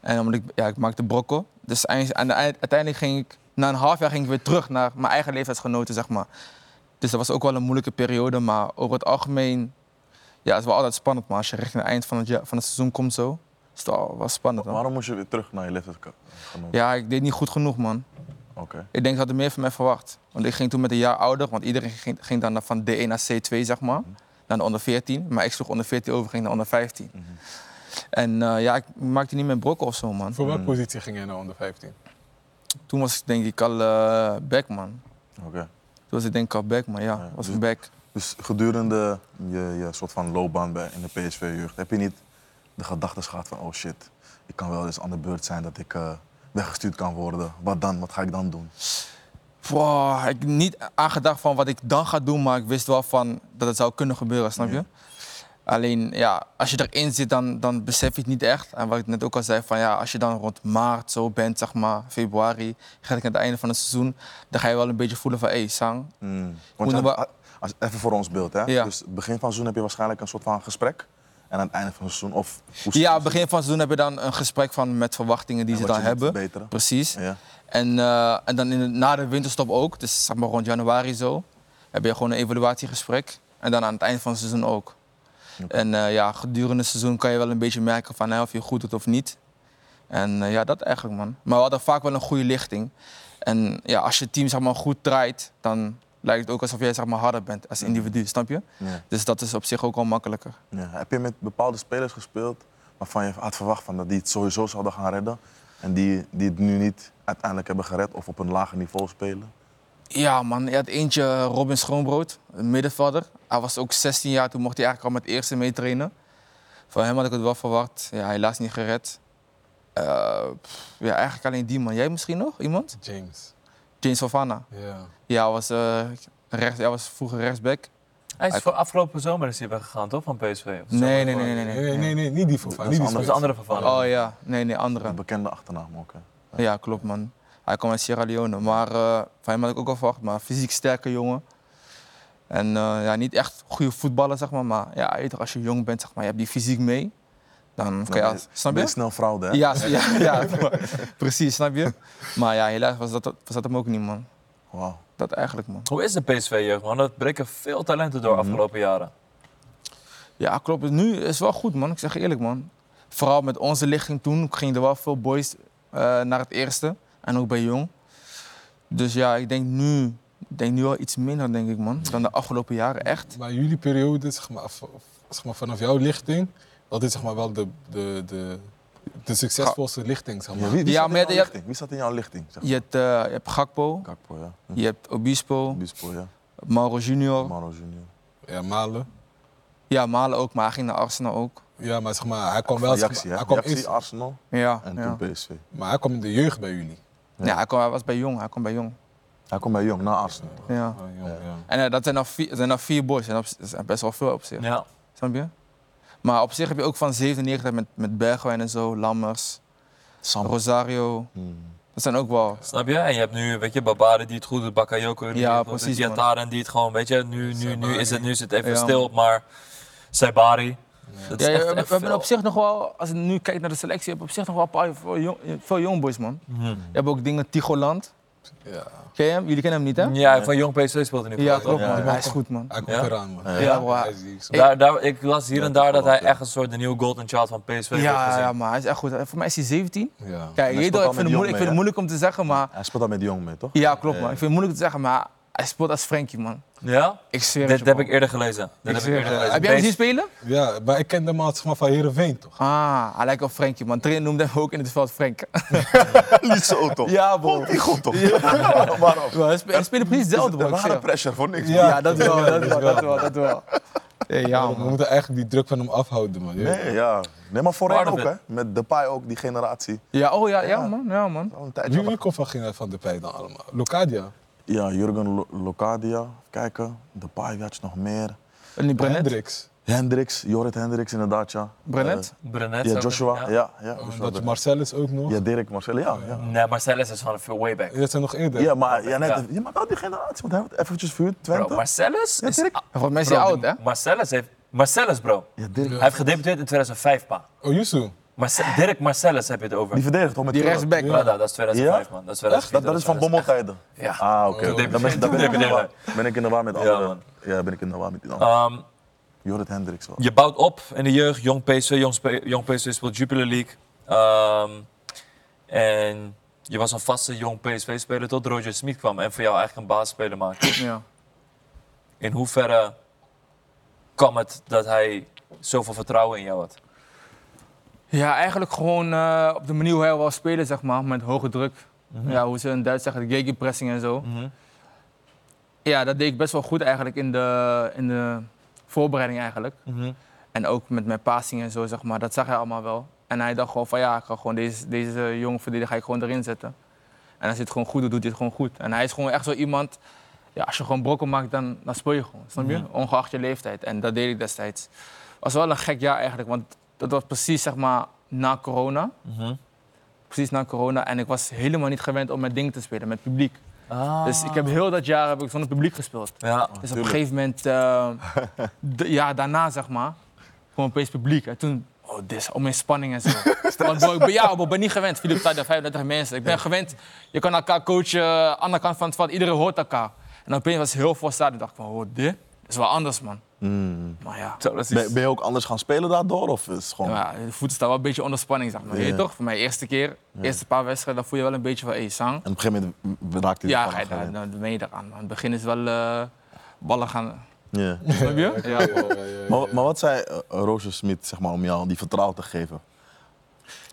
S1: En omdat ik, ja, ik maakte brokkel. Dus eind- aan de eind- uiteindelijk ging ik, na een half jaar ging ik weer terug naar mijn eigen leeftijdsgenoten, zeg maar. Dus dat was ook wel een moeilijke periode, maar over het algemeen, ja, het is wel altijd spannend, maar als je richting het eind van het, ja- van het seizoen komt zo, is het al wel spannend. man.
S4: Waarom moest je weer terug naar je leeftijdsgenoot?
S1: Ja, ik deed niet goed genoeg, man.
S4: Oké.
S1: Ik denk dat er meer van mij verwacht. Want ik ging toen met een jaar ouder, want iedereen ging, ging dan van D1 naar C2, zeg maar. Dan de onder 14. Maar ik sloeg onder 14 over, ging naar onder 15. En eh, ja, ik maakte niet meer brokken of zo, man.
S2: Voor welke positie ging jij nou onder 15?
S1: Toen was ik denk ik al eh back, man.
S4: Oké.
S1: Toen was ik denk ik al back, man. Ja,
S4: Ja,
S1: was
S4: dus-
S1: ik back.
S4: Dus gedurende je, je soort van loopbaan bij, in de PSV-jeugd heb je niet de gedachte gehad van oh shit, ik kan wel eens aan de beurt zijn dat ik eh, weggestuurd kan worden. Wat dan? Wat ga ik dan doen?
S1: Wow, ik niet aangedacht van wat ik dan ga doen, maar ik wist wel van dat het zou kunnen gebeuren, snap je?
S4: Ja.
S1: Alleen ja, als je erin zit, dan, dan besef je het niet echt. En wat ik net ook al zei, van ja, als je dan rond maart zo bent, zeg maar, februari, ga ik aan het einde van het seizoen, dan ga je wel een beetje voelen van, hé, hey, Sang,
S4: Want je
S1: Moeten
S4: had- als, ah, even voor ons beeld, hè?
S1: Ja.
S4: Dus het begin van het seizoen heb je waarschijnlijk een soort van gesprek. En aan het einde van het seizoen, of hoe
S1: Ja, begin van het seizoen heb je dan een gesprek van met verwachtingen die
S4: En
S1: ze
S4: wat
S1: dan
S4: je moet
S1: hebben.
S4: verbeteren.
S1: Precies.
S4: Ja.
S1: En, eh, en dan in de, na de winterstop ook, dus zeg maar rond januari zo, heb je gewoon een evaluatiegesprek. En dan aan het eind van het seizoen ook. En eh, ja, gedurende het seizoen kan je wel een beetje merken van, hè, of je goed doet of niet. En eh, ja, dat eigenlijk man. Maar we hadden vaak wel een goede lichting. En ja, als je team zeg maar, goed draait, dan lijkt het ook alsof jij zeg maar, harder bent als individu, snap je?
S4: Ja.
S1: Dus dat is op zich ook al makkelijker.
S4: Ja. Heb je met bepaalde spelers gespeeld waarvan je had verwacht van dat die het sowieso zouden gaan redden? En die, die het nu niet uiteindelijk hebben gered of op een lager niveau spelen?
S1: Ja, man. Je had eentje, eh, Robin Schoonbrood, een middenvelder. Hij was ook 16 jaar, toen mocht hij eigenlijk al met eerste meetrainen. Van hem had ik het wel verwacht. Ja, helaas niet gered. Eh, pff, ja, eigenlijk alleen die man. Jij misschien nog? Iemand?
S2: James.
S1: James Savannah.
S2: Ja.
S1: Ja, hij was, eh, rechts, hij was vroeger rechtsback.
S3: Hij is
S1: Hij-
S3: voor afgelopen zomer is hij weggegaan, toch? Van PSV? Of zo?
S1: Nee, nee, nee, nee. nee.
S2: Nee, nee, nee, niet die Fofana.
S4: is
S2: niet die
S3: Dat is
S4: anders.
S2: spits.
S3: een andere vervanger.
S1: Oh ja, nee, nee, andere.
S4: Een bekende achternaam ook. Hè?
S1: Ja, klopt man. Hij kwam uit Sierra Leone. Maar eh, van hem had ik ook al verwacht. Maar fysiek sterke jongen. En eh, ja, niet echt goede voetballer, zeg maar. Maar ja, je weet toch, als je jong bent, zeg maar, je hebt die fysiek mee. Dan kan je... als-
S4: Dan Nou, ben
S1: snap
S4: ben
S1: je?
S4: snel fraude, hè?
S1: Ja, ja, ja, precies, snap je? Maar ja, helaas was dat, was dat hem ook niet, man.
S4: Wauw.
S1: Dat eigenlijk, man.
S3: Hoe is de PSV-jeugd, man? Er breken veel talenten door de afgelopen jaren.
S1: Ja, klopt. Nu is het wel goed, man. Ik zeg je eerlijk, man. Vooral met onze lichting toen gingen er wel veel boys eh, naar het eerste. En ook bij jong. Dus ja, ik denk nu, ik denk nu wel iets minder, denk ik, man. Dan de afgelopen jaren, echt.
S2: Oh, Maar jullie periode, zeg maar, v- zeg maar, vanaf jouw lichting, dat is zeg maar wel de, de, de, de succesvolste lichting, zeg
S4: Ja,
S2: maar.
S4: wie, wie,
S1: Ja,
S4: zat in
S1: maar
S4: jouw
S1: je-
S4: lichting? wie zat in jouw lichting? Zeg.
S1: Je hebt, eh, je hebt Gakpo,
S4: Kakpo, ja.
S1: je hebt Obispo,
S4: Bispo, ja.
S1: Mauro Junior.
S4: Maro Junior.
S2: Ja, Malen.
S1: Ja, Malen ook, maar hij ging naar Arsenal ook.
S2: Ja, maar zeg maar, hij kwam wel... zeg
S4: Ajaxie,
S2: maar, hij
S4: hè?
S2: kwam
S4: Ajaxie,
S2: eerst-
S4: Arsenal
S1: Ja,
S4: en
S1: ja.
S4: toen PSV.
S2: maar hij kwam in de jeugd bij jullie.
S1: ja hij, kwam, hij was bij jong, hij kwam bij jong.
S4: Hij komt bij Jong, na Arsenal. toch?
S1: Ja.
S2: Ah, jong, ja.
S1: En eh, dat zijn al vier, dat zijn al vier boys, en dat is- dat is best wel veel op zich.
S3: Ja.
S1: Snap je? Maar op zich heb je ook van 97 met, met Bergwijn en zo, Lammers,
S4: Sam.
S1: Rosario.
S4: Hmm.
S1: Dat zijn ook wel.
S3: Snap je? En je hebt nu, weet je, Babare die het goed doet, Bakayoko,
S1: Ja,
S3: die het goed doet,
S1: precies, man.
S3: Diatara en die het gewoon, weet je, nu, nu, nu,
S2: Saibari.
S3: is, het, nu is het even
S1: Ja,
S3: stil, maar Saibari. dat is
S1: Ja, ja,
S3: echt-
S1: we,
S3: echt
S1: we hebben
S3: veel.
S1: op zich nog wel, als ik nu kijk naar de selectie, heb je op zich nog wel een paar veel, jong, veel jongboys, man.
S3: Hmm.
S1: Je hebt ook dingen, Tigoland.
S2: ja.
S1: Ken je hem? Jullie kennen hem niet, hè?
S3: Ja, van jong PSV speelt hij nu.
S1: Ja,
S3: voor.
S1: klopt,
S4: Ja,
S1: man.
S4: ja.
S1: Hij is goed, man.
S2: Hij komt
S3: Ja?
S2: eraan, man.
S1: Ja, bro,
S2: Hij
S1: hij-
S2: is- ik-
S3: Daar, daar, ik las hier en daar dat hij
S4: klopt, ja.
S3: echt een soort de nieuwe golden child van PSV wordt
S1: Ja,
S3: gezien.
S1: ja, maar hij is echt goed. Voor mij is hij 17.
S2: ja.
S1: Kijk, je
S4: speelt
S1: weet wel,
S4: al
S1: ik vind het
S4: met jong
S1: moeilijk- ik
S4: mee,
S1: vind het moeilijk om te zeggen, maar...
S4: Hij speelt al met Jong mee, toch?
S1: Ja, klopt, man. Ik vind het moeilijk te zeggen, maar hij speelt als Frankie, man.
S3: Ja?
S1: Ik zweer het
S3: Dit
S1: je,
S3: heb
S1: man.
S3: ik eerder gelezen. Dit
S1: Ik
S3: heb ik
S1: zweer
S3: eerder
S1: het je.
S3: gelezen.
S1: Heb jij hem zien
S3: Beest-
S1: spelen?
S2: ja, maar ik ken de maat zeg maar, van Heerenveen, toch?
S1: Ah, hij lijkt wel Frenkie, man. Trainer noemde hem ook in het veld Frank.
S4: Niet zo, toch?
S1: Ja, bro.
S4: Die god, toch? Waarom?
S1: Hij spe- hij speelde precies hetzelfde, man.
S4: Een
S1: ik
S4: rare
S1: zweer.
S4: pressure, voor niks.
S2: Ja.
S4: Ja.
S1: Ja, dat wel, dat wel, dat wel, dat wel. Hey, ja,
S2: we
S1: man.
S2: moeten eigenlijk die druk van hem afhouden, man.
S4: Nee, ja. Nee, maar voorheen
S3: Part of
S4: ook, hè.
S3: it.
S4: Met Depay ook, die generatie.
S1: Ja, oh ja, ja,
S4: Ja.
S1: man. Ja, man.
S4: Al een tijdje
S2: Wie,
S4: al-
S2: wie komt van, Gina- van de pij dan allemaal? Locadia?
S4: Ja, Jurgen Lo- Locadia. Even kijken. Depay, wie had je nog meer?
S1: En die Brenet.
S2: Hendricks.
S4: Hendricks, Jorrit Hendricks inderdaad, ja.
S1: Brenet?
S3: Brenet
S4: Ja,
S3: ook-
S4: Joshua. Ja, ja. Joshua
S2: Oh,
S4: Brenet.
S2: Dat Marcellus ook nog.
S4: ja,
S2: Ja.
S4: Dirk Marcel, ja. ja.
S3: Nee, Marcellus is van veel way back.
S2: Dat zijn nog eerder.
S4: Ja, maar, ja, net,
S3: Ja.
S4: je maakt al die generatie, want hij wordt eventjes verhuurd,
S3: Bro,
S4: Twente.
S3: Marcellus
S4: Ja,
S3: is...
S4: Dirk.
S1: Volgens mij is hij
S3: Bro,
S1: oud,
S3: die
S1: hè?
S3: Marcellus heeft... Marcellus, bro.
S4: Ja, Dirk.
S3: Hij heeft gedebuteerd in 2005, pa.
S2: Oh, Yusu.
S3: Marce- Dirk Marcellus heb je het over.
S4: Die verdedigt toch met
S1: Die
S4: Jurgen?
S1: rechtsback,
S3: Ja,
S1: man.
S3: dat, dat is 2005,
S4: Ja?
S3: man. Dat is
S4: Echt?
S3: 2004,
S4: Dat, dat is van
S3: 2005.
S4: bommeltijden?
S3: Ja.
S4: Ah, oké.
S3: Toen
S4: Dan ben, dan ben ik in de
S3: debuteerde
S4: war. Ben ik in de war met
S3: Ja,
S4: anderen.
S3: man.
S4: Ja, ben ik in de war met die anderen.
S3: Ehm,
S4: Jorrit Hendricks wel.
S3: je bouwt op in de jeugd. Jong PSV, jong, spe- jong PSV speelt Jupiler League. Ehm, en je was een vaste jong PSV-speler tot Roger Smit kwam en voor jou eigenlijk een baasspeler maakte.
S1: Ja.
S3: In hoeverre kwam het dat hij zoveel vertrouwen in jou had?
S1: Ja, eigenlijk gewoon eh, op de manier hoe hij wil spelen, zeg maar, met hoge druk. Ja, hoe ze in Duits zeggen, de gegenpressing en zo.
S4: Mhm,
S1: Ja, dat deed ik best wel goed eigenlijk in de, in
S4: mhm.
S1: de voorbereiding eigenlijk. En ook met mijn passing en zo, zeg maar. Dat zag hij allemaal wel. En hij dacht gewoon van ja, ik ga gewoon deze, deze jonge verdediger ga ik gewoon erin zetten. En als hij het gewoon goed doet, doet hij het gewoon goed. En hij is gewoon echt zo iemand, ja, als je gewoon brokken maakt, dan, dan speel je gewoon. Snap je? Ongeacht je leeftijd. En dat deed ik destijds. Het was wel een gek jaar eigenlijk, want dat was precies zeg maar na corona.
S3: Mhm.
S1: Precies na corona. En ik was helemaal niet gewend om met dingen te spelen, met publiek.
S3: Ah.
S1: Dus ik heb heel dat jaar heb ik zonder publiek gespeeld.
S3: Ja.
S1: Dus op een gegeven moment, eh, d- ja, daarna zeg maar, gewoon opeens publiek. En toen, oh, dit is om in spanning en zo. Want bro, ik ben, ja, bro, ik ben niet gewend. Philip Stadion, 35 mensen. Ik ben gewend, je kan elkaar coachen, eh, aan de andere kant van het veld, iedereen hoort elkaar. En opeens was het heel veel stadion. dacht ik van, oh, dit is wel anders, man. Maar ja,
S3: Zo, dat is
S4: Ben, ben je ook anders gaan spelen daardoor? Of is het gewoon...
S1: ja, de voeten staan wel een beetje onder spanning, zeg maar.
S4: Ja.
S1: Weet je toch? Voor mijn eerste keer, eerste paar wedstrijden, dan voel je wel een beetje van, hé, sang.
S4: En op een gegeven moment raakte hij
S1: Ja,
S4: ervan
S1: ga je
S4: af,
S1: daar, dan ben je eraan. man. In het begin is wel eh, ballen gaan...
S4: Ja.
S1: Snap je? Ja.
S4: Maar, maar wat zei eh, Roosje Smit zeg maar, om jou die vertrouwen te geven?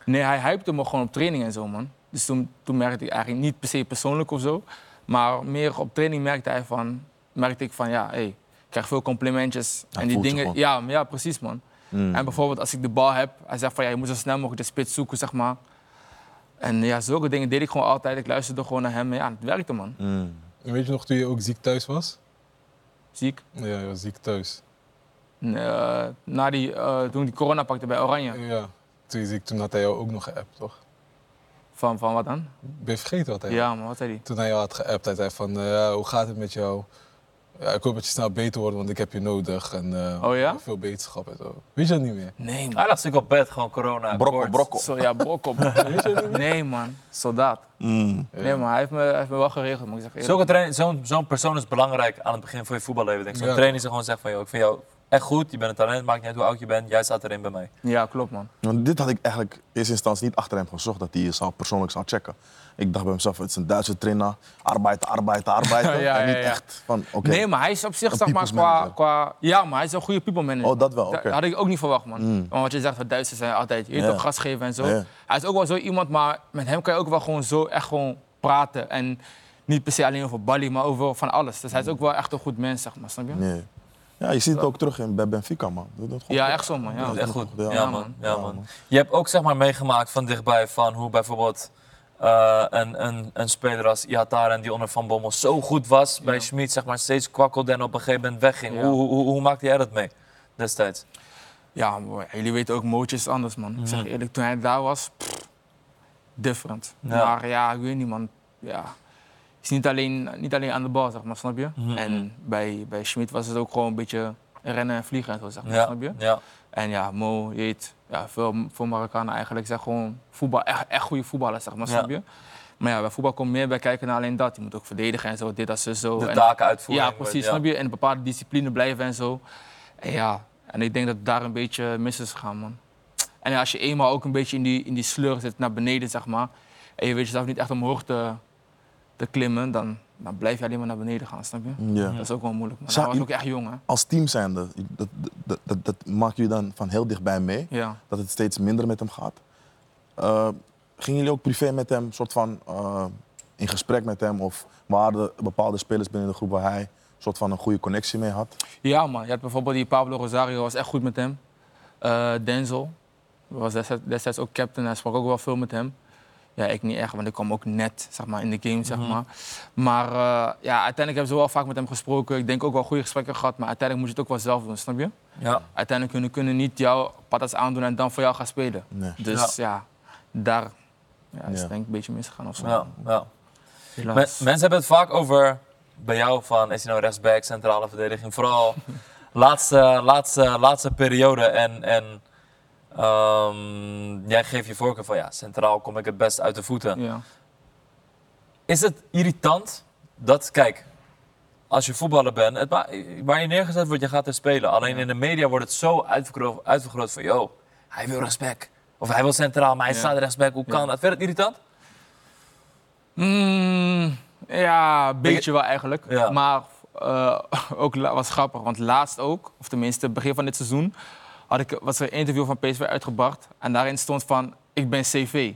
S1: Nee, hij hypte me gewoon op training en zo, man. Dus toen, toen merkte ik eigenlijk niet per se persoonlijk of zo. Maar meer op training merkte, hij van, merkte ik van, ja, hey, ik krijg veel complimentjes.
S4: Hij
S1: en die
S4: voelt Hmm. je
S1: dingen,
S4: gewoon.
S1: ja, ja, precies, man. En bijvoorbeeld als ik de bal heb, hij zegt van, ja, je moet zo snel mogelijk de spits zoeken, zeg maar. En ja, zulke dingen deed ik gewoon altijd. Ik luisterde gewoon naar hem. En Ja, het werkte, man.
S4: Hmm.
S2: Weet je nog toen je ook ziek thuis was?
S1: Ziek.
S2: Ja, je was ziek thuis.
S1: En, eh, na die, eh, toen ik die corona pakte bij Oranje.
S2: Ja. Toen, je ziek, toen had hij jou ook nog geappt, toch?
S1: Van, van wat dan?
S2: Ben je vergeten wat hij
S1: Ja, man, wat zei hij?
S2: Toen hij jou had geappt, hij zei van, eh, ja, hoe gaat het met jou? Ja, ik hoop dat je snel beter wordt, want ik heb je nodig. En eh,
S1: Oh ja?
S2: veel beterschap en zo. Weet je dat niet meer?
S1: Nee, man.
S3: Hij lag ziek op bed, gewoon corona.
S4: Brokkel,
S3: koorts.
S4: brokkel.
S1: Zo, ja, brok op. Nee, man. Soldaat.
S4: Mm.
S1: Nee, maar hij heeft me, hij heeft me wel geregeld, moet ik zeggen.
S3: Zulke train- Zo'n zo'n persoon is belangrijk aan het begin van je voetballeven. denk ik. Zo'n
S2: Ja.
S3: trainer die gewoon zegt van, joh, ik vind jou echt goed, je bent een talent, maakt niet uit hoe oud je bent, jij staat erin bij mij.
S1: Ja, klopt, man.
S4: Want dit had ik eigenlijk in eerste instantie niet achter hem gezocht, dat hij je zou, persoonlijk zou checken. Ik dacht bij mezelf, het is een Duitse trainer, arbeiden, arbeiden, arbeiden.
S1: Ja,
S4: en niet
S1: ja, ja.
S4: echt van, oké.
S1: Nee, maar hij is op zich,
S4: Een
S1: zeg maar,
S4: people's
S1: qua,
S4: manager.
S1: qua... Ja, maar hij is een goede people manager.
S4: Oh, dat wel,
S1: Dat
S4: oké. Mm.
S1: had ik ook niet verwacht, man. Want wat je zegt, van Duitsers zijn altijd, je weet
S4: Ja.
S1: toch, gas geven en zo.
S4: Ja.
S1: Hij is ook wel zo iemand, maar met hem kan je ook wel gewoon zo echt gewoon praten. En niet per se alleen over Bali, maar over van alles. Dus hij is ook wel echt een goed mens, zeg maar, snap je?
S4: Nee. Mm. Ja, je ziet het ook terug in, bij Benfica, man. Doe dat gewoon
S1: Ja,
S4: goed.
S1: echt zo, man. Ja.
S3: Dat is echt goed. Ja,
S4: Ja,
S3: man.
S1: man.
S3: Ja, man. Je hebt ook zeg maar meegemaakt van dichtbij van hoe bijvoorbeeld eh, een, een, een speler als Iataren die onder Van Bommel zo goed was bij Schmid, zeg maar steeds kwakkelde en op een gegeven moment wegging.
S1: Ja.
S3: Hoe, hoe, hoe, hoe maakte jij dat mee destijds?
S1: Ja, maar jullie weten ook, Mootje is anders, man. Ik zeg je eerlijk, toen hij daar was, pff, different.
S3: Ja.
S1: Maar ja, ik weet niet, man. Ja. Het is niet alleen, niet alleen aan de bal, zeg maar, snap je? En bij, bij Schmid was het ook gewoon een beetje rennen en vliegen en zo, zeg maar,
S3: Ja,
S1: snap je?
S3: ja.
S1: En ja, Mo, jeet, ja, veel, veel Marokkanen eigenlijk zijn gewoon voetbal, echt, echt goede voetballers, zeg maar,
S3: Ja.
S1: snap je? Maar ja, bij voetbal komt meer bij kijken dan alleen dat. Je moet ook verdedigen en zo, dit, dat, zo, zo.
S3: De
S1: En-
S3: taken uitvoeren.
S1: ja, precies.
S3: Ja.
S1: Snap je? En een bepaalde discipline blijven en zo. En ja, en ik denk dat daar een beetje mis is gegaan, man. En als je eenmaal ook een beetje in die, in die sleur zit, naar beneden, zeg maar. En je weet jezelf niet echt omhoog te, te klimmen, dan, dan blijf je alleen maar naar beneden gaan, snap je?
S3: Mm.
S4: Ja.
S1: Dat is ook wel moeilijk, man.
S4: Zou
S1: Hij was
S4: je-
S1: ook echt jong, hè?
S4: Als team zijnde, dat, dat, dat, dat maak je dan van heel dichtbij mee.
S1: Ja.
S4: dat het steeds minder met hem gaat. Eh, gingen jullie ook privé met hem, soort van eh, in gesprek met hem? Of waren er bepaalde spelers binnen de groep waar hij soort van een goede connectie mee had?
S1: Ja, man. Je had bijvoorbeeld die Pablo Rosario, was echt goed met hem. Eh, Denzel was destijds, destijds ook captain. Hij sprak ook wel veel met hem. Ja, ik niet echt, want ik kwam ook net zeg maar, in de game, zeg maar. Maar eh, ja, uiteindelijk hebben ze wel vaak met hem gesproken. Ik denk ook wel goede gesprekken gehad, maar uiteindelijk moet je het ook wel zelf doen, snap je?
S3: Ja.
S1: Uiteindelijk kunnen, kunnen niet jou patas aandoen en dan voor jou gaan spelen.
S4: Nee.
S1: Dus ja, daar ja, is
S4: Ja.
S1: denk ik een beetje misgegaan of zo.
S3: Ja, ja.
S1: Helaas.
S3: Men- mensen hebben het vaak over bij jou van is hij nou rechtsback, centrale verdediging, vooral laatste, laatste, laatste periode en, en ehm, jij geeft je voorkeur van ja, centraal kom ik het best uit de voeten.
S1: ja.
S3: Is het irritant dat, kijk, als je voetballer bent, het ma- waar je neergezet wordt, je gaat er spelen. Alleen in de media wordt het zo uitvergroot, uitvergroot van yo, hij wil rechtsback. Of hij wil centraal, maar hij
S1: Ja.
S3: staat rechtsback, hoe kan
S1: Ja.
S3: dat? Vind je het irritant?
S1: Mm, ja, een beetje wel eigenlijk.
S3: Ja.
S1: Maar eh, ook la- was grappig, want laatst ook, of tenminste begin van dit seizoen, had ik, was er een interview van PSV uitgebracht. En daarin stond van, ik ben CV.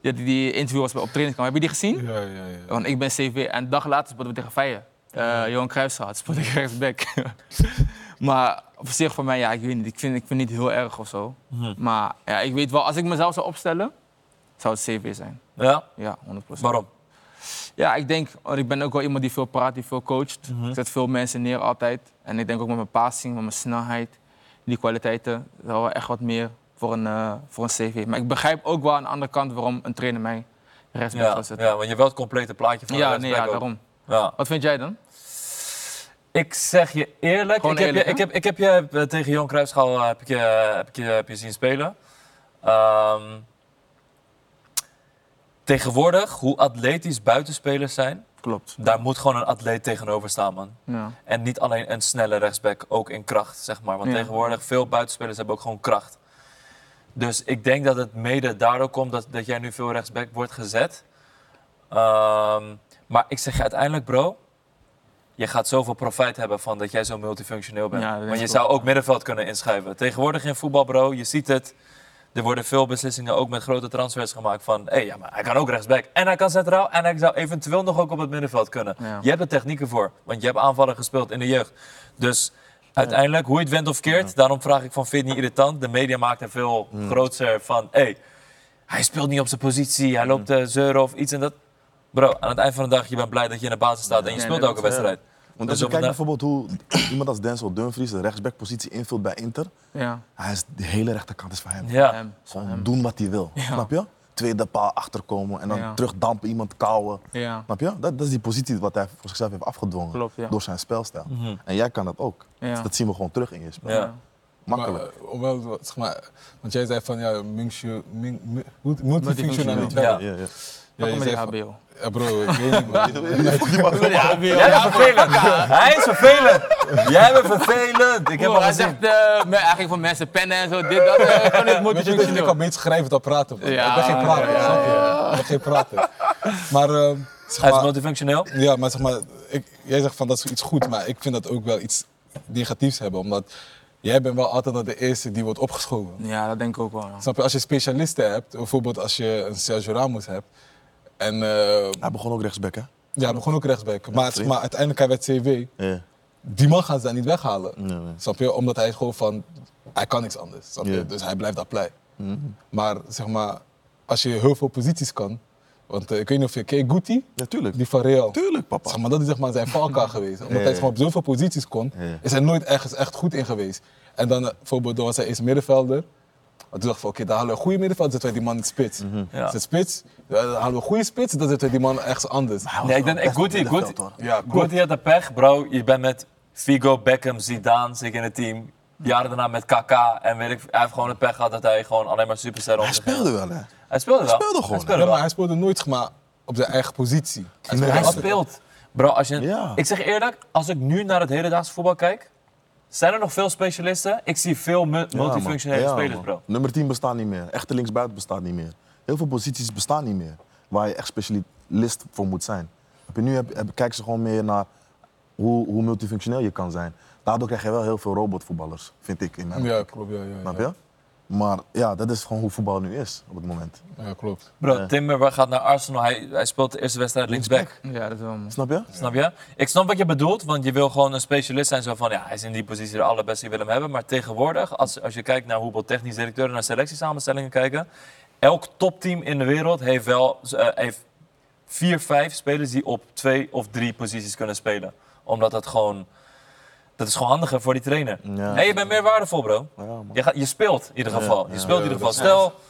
S1: ja, die, die interview was bij op trainingskamp. Heb je die gezien?
S2: Ja, ja, ja.
S1: Want ik ben CV. En een dag later speelden we tegen Feyenoord. Eh Johan Cruijffschaat speelde ik rechtsback. maar op zich voor mij, ja, ik weet niet. Ik vind, ik vind het niet heel erg of zo.
S3: Mhm.
S1: Maar ja, ik weet wel, als ik mezelf zou opstellen, zou het CV zijn.
S3: Ja?
S1: Ja, 100%.
S3: Waarom?
S1: Ja, ik denk, want ik ben ook wel iemand die veel praat, die veel coacht.
S3: Mhm.
S1: Ik zet veel mensen neer altijd. En ik denk ook met mijn passing, met mijn snelheid, die kwaliteiten, zou wel echt wat meer voor een, eh, voor een CV. Maar ik begrijp ook wel aan de andere kant waarom een trainer mij rechtsback
S3: Ja,
S1: zou
S3: ja,
S1: zetten.
S3: want je hebt wel het complete plaatje van
S1: Ja,
S3: de
S1: nee, ja,
S3: rechtsback ook.
S1: daarom.
S3: Ja.
S1: Wat vind jij dan?
S3: Ik zeg je eerlijk,
S1: Gewoon
S3: ik, heb
S1: eerlijk,
S3: je, ik, heb, ik heb je eh, tegen Johan Cruijffschaal eh, heb ik je, heb ik je, heb je zien spelen. Ehm, tegenwoordig, hoe atletisch buitenspelers zijn,
S1: Klopt.
S3: daar moet gewoon een atleet tegenover staan, man.
S1: Ja.
S3: En niet alleen een snelle rechtsback, ook in kracht, zeg maar. Want
S1: Ja.
S3: tegenwoordig, veel buitenspelers hebben ook gewoon kracht. Dus ik denk dat het mede daardoor komt dat, dat jij nu veel rechtsback wordt gezet. Ehm, maar ik zeg je uiteindelijk, bro, je gaat zoveel profijt hebben van dat jij zo multifunctioneel bent.
S1: Ja, dat denk
S3: Want je
S1: ik
S3: zou
S1: ook.
S3: ook middenveld kunnen inschrijven. Tegenwoordig in voetbal, bro, je ziet het. Er worden veel beslissingen ook met grote transfers gemaakt van... hé, ja, maar hij kan ook rechtsback en hij kan centraal... en hij zou eventueel nog ook op het middenveld kunnen.
S1: Ja.
S3: Je hebt de technieken voor, want je hebt aanvallen gespeeld in de jeugd. Dus uiteindelijk, hoe je het went of keert... daarom vraag ik van, vind je het niet irritant? De media maakt er veel grootser van... hé, hij speelt niet op zijn positie, hij loopt eh zeuren of iets en dat... Bro, aan het eind van de dag, je bent blij dat je in de basis staat... en je
S1: Nee,
S3: speelt
S1: dat
S3: ook een
S1: is,
S4: eh,
S3: wedstrijd.
S4: Want
S3: Dus
S4: als je
S3: op
S4: kijkt
S3: de-
S4: bijvoorbeeld hoe iemand als Denzel Dumfries de rechtsbackpositie invult bij Inter.
S1: Ja. Ehm,
S4: Hij is, de hele rechterkant is van hem.
S3: Ja,
S1: Hem.
S4: Gewoon doen wat hij wil. Snap je? Tweede paal achterkomen en dan
S1: Ja.
S4: terugdampen, iemand kouwen.
S1: Ja.
S4: Snap je? Dat, dat is die positie wat hij voor zichzelf heeft afgedwongen.
S1: Klopt, ja.
S4: Door zijn spelstijl. En jij kan dat ook.
S1: Ja.
S4: Dus dat zien we gewoon terug in je spel.
S3: ja.
S4: Makkelijk.
S2: Maar, eh, hoewel, wat- zeg maar, want jij zei van ja, multio- min- mu- multi-
S1: Multifunctioneel.
S2: multifunctionaliteit.
S3: Ja.
S2: Ja.
S4: ja, ja.
S1: Waarom
S2: je
S1: met die
S2: zei van-
S1: HBO?
S2: Ja, bro, ik weet niet, man.
S3: Jij bent vervelend. Hij is vervelend. Jij bent vervelend. Ik heb
S1: Bro,
S3: al
S1: hij
S3: gezien.
S1: zegt eh, me- eigenlijk van mensen pennen en zo, dit, dat. eh, kan niet
S2: Weet je, dat ik
S1: multifunctioneel.
S2: kan beter schrijven dan praten. man.
S1: Ja,
S2: ik ben geen prater.
S1: ja,
S2: snap je? Ik ben geen prater. Maar, ehm, zeg
S3: Hij is
S2: maar-
S3: multifunctioneel.
S2: Ja, maar zeg maar, ik, jij zegt van dat is iets goed, maar ik vind dat ook wel iets negatiefs hebben, omdat jij bent wel altijd de eerste die wordt opgeschoven.
S1: Ja, dat denk ik ook wel. ja.
S2: Snap je? Als je specialisten hebt, bijvoorbeeld als je een Sergio Ramos hebt, en eh,
S4: Hij begon ook rechtsback, hè?
S2: ja, hij begon ook rechtsback, maar, zeg maar uiteindelijk hij werd CV,
S4: Ja.
S2: die man gaan ze daar niet weghalen.
S4: Nee, nee.
S2: Snap je? Omdat hij gewoon van, hij kan niks anders, snap je?
S4: Ja. Mhm.
S2: Dus hij blijft daar plei. Maar zeg maar, als je heel veel posities kan, want eh, ik weet niet of je, ken je Guti?
S4: Natuurlijk.
S2: Die van Real.
S4: Tuurlijk, papa.
S2: Zeg maar, dat is zeg maar zijn valkuil geweest. Omdat hij zeg maar, op zoveel posities kon,
S4: Ja.
S2: is hij nooit ergens echt goed in geweest. En dan eh, bijvoorbeeld, dan was hij eerst middenvelder. En toen dacht ik van, oké, daar halen we een goede middenvelder, zetten wij die man in de spits.
S4: Mhm.
S3: Ja.
S2: Is het spits? Ja, Dan halen we een goede spits, dan zetten wij die man ergens anders.
S3: Nee, ik denk, ik, Guti, Guti,
S4: middenveld, hoor.
S2: Ja, klopt.
S3: Guti had de pech, bro. Je bent met Figo, Beckham, Zidane, zit in het team. Jaren daarna met KK en weet ik, hij heeft gewoon de pech gehad dat hij gewoon alleen maar superster
S4: Hij speelde wel, hè?
S3: Hij speelde wel.
S4: speelde gewoon,
S3: Hij speelde
S2: Ja,
S3: wel.
S2: maar hij speelde nooit zeg maar, op zijn eigen positie. Hij
S4: Nee.
S2: speelde
S3: Hij
S2: altijd-
S3: speelt. Bro, als je,
S4: Ja.
S3: ik zeg eerlijk, als ik nu naar het hedendaagse voetbal kijk, zijn er nog veel specialisten? Ik zie veel mu- multifunctionele
S4: Ja, man. Ja,
S3: spelers,
S4: man.
S3: bro.
S4: Nummer 10 bestaat niet meer. Echte linksbuiten bestaat niet meer. Heel veel posities bestaan niet meer. Waar je echt specialist voor moet zijn. Heb je nu heb, heb, kijken ze gewoon meer naar hoe, hoe multifunctioneel je kan zijn. Daardoor krijg je wel heel veel robotvoetballers, vind ik. In mijn,
S2: Ja, klopt. Ja, ja,
S4: Snap
S2: ja.
S4: je? Maar ja, dat is gewoon hoe voetbal nu is op het moment.
S2: ja klopt.
S3: Bro, Timber gaat naar Arsenal. Hij, hij speelt de eerste wedstrijd linksback.
S1: Ja, dat is wel mooi.
S4: Snap je?
S3: Snap je? Ik snap wat je bedoelt, want je wil gewoon een specialist zijn. Zo van, ja, hij is in die positie de allerbeste, je wil hem hebben. Maar tegenwoordig, als, als je kijkt naar hoeveel technisch directeuren naar selectiesamenstellingen kijken... Elk topteam in de wereld heeft wel eh, heeft vier, vijf spelers die op twee of drie posities kunnen spelen. Omdat dat gewoon... Dat is gewoon handiger voor die trainer.
S4: Ja.
S3: Nee, je bent meer waardevol, bro.
S4: Ja, man.
S3: Je, gaat, je speelt in ieder geval.
S4: Ja,
S3: je
S4: ja.
S3: speelt in ieder
S2: Ja,
S3: geval.
S2: dat
S3: Stel,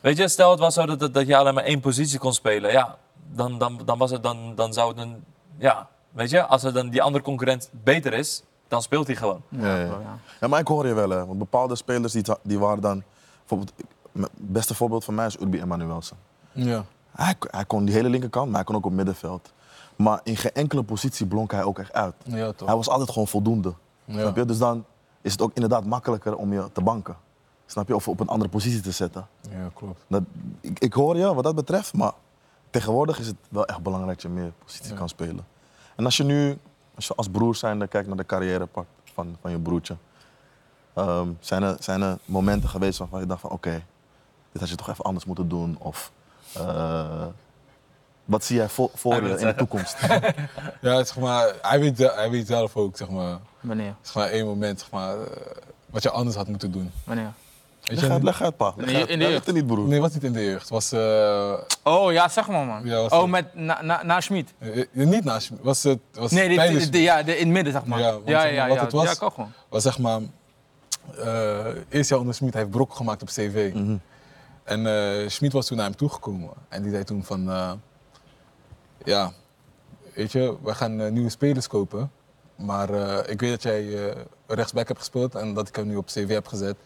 S3: weet je, stel het was zo dat, dat, dat je alleen maar één positie kon spelen. Ja, dan, dan, dan, was het, dan, dan zou het een... Ja, weet je, als er dan die andere concurrent beter is, dan speelt hij gewoon.
S4: Ja, ja.
S1: ja.
S4: Ja, maar ik hoor je wel, hè. Want bepaalde spelers die, die waren dan... Bijvoorbeeld, ik- mijn beste voorbeeld van mij is Urbi Emanuelsen.
S2: Ja.
S4: Hij, hij kon die hele linkerkant, maar hij kon ook op middenveld. Maar in geen enkele positie blonk hij ook echt uit.
S2: Ja, toch.
S4: Hij was altijd gewoon voldoende.
S2: Ja.
S4: Snap je? Dus dan is het ook inderdaad makkelijker om je te banken. Snap je? Of op een andere positie te zetten.
S2: Ja, klopt.
S4: Dat, ik, ik hoor je wat dat betreft, maar tegenwoordig is het wel echt belangrijk dat je meer positie kan spelen. En als je nu, als, je als broer zijnde kijkt naar de carrièrepad van, van je broertje. ehm, zijn, er, zijn er momenten geweest waarvan je dacht van oké, dit had je toch even anders moeten doen? Of eh, Wat zie jij vo- voor je in de toekomst?
S2: Ja, zeg maar, hij, weet, hij weet zelf ook, zeg maar,
S1: Wanneer?
S2: zeg maar één moment, zeg maar, eh, wat je anders had moeten doen.
S1: Wanneer?
S2: Weet
S4: Leg uit,
S2: je,
S4: leg uit, pa. Leg
S1: Nee, in de
S4: uit. Daar
S1: jeugd.
S4: ligt er niet, broer.
S2: nee, was niet in de jeugd. Was, eh,
S1: Oh ja, zeg maar man.
S2: Ja, was
S1: oh,
S2: dat?
S1: met na, na, na Schmid.
S2: eh, eh, niet naast je, was het was
S1: Nee, dit-
S2: tijdens
S1: dit- dit- ja, de, in het midden zeg maar.
S2: Ja,
S1: Ja,
S2: want
S1: ja,
S2: zeg
S1: ja.
S2: maar wat
S1: ja,
S2: het was.
S1: kan gewoon.
S2: was zeg maar, eh eerst jaar onder Schmid, hij heeft brok gemaakt op CV. En eh Schmid was toen naar hem toegekomen en die zei toen van, eh, ja, weet je, we gaan eh, nieuwe spelers kopen. Maar eh, ik weet dat jij eh, rechtsback hebt gespeeld en dat ik hem nu op CV heb gezet.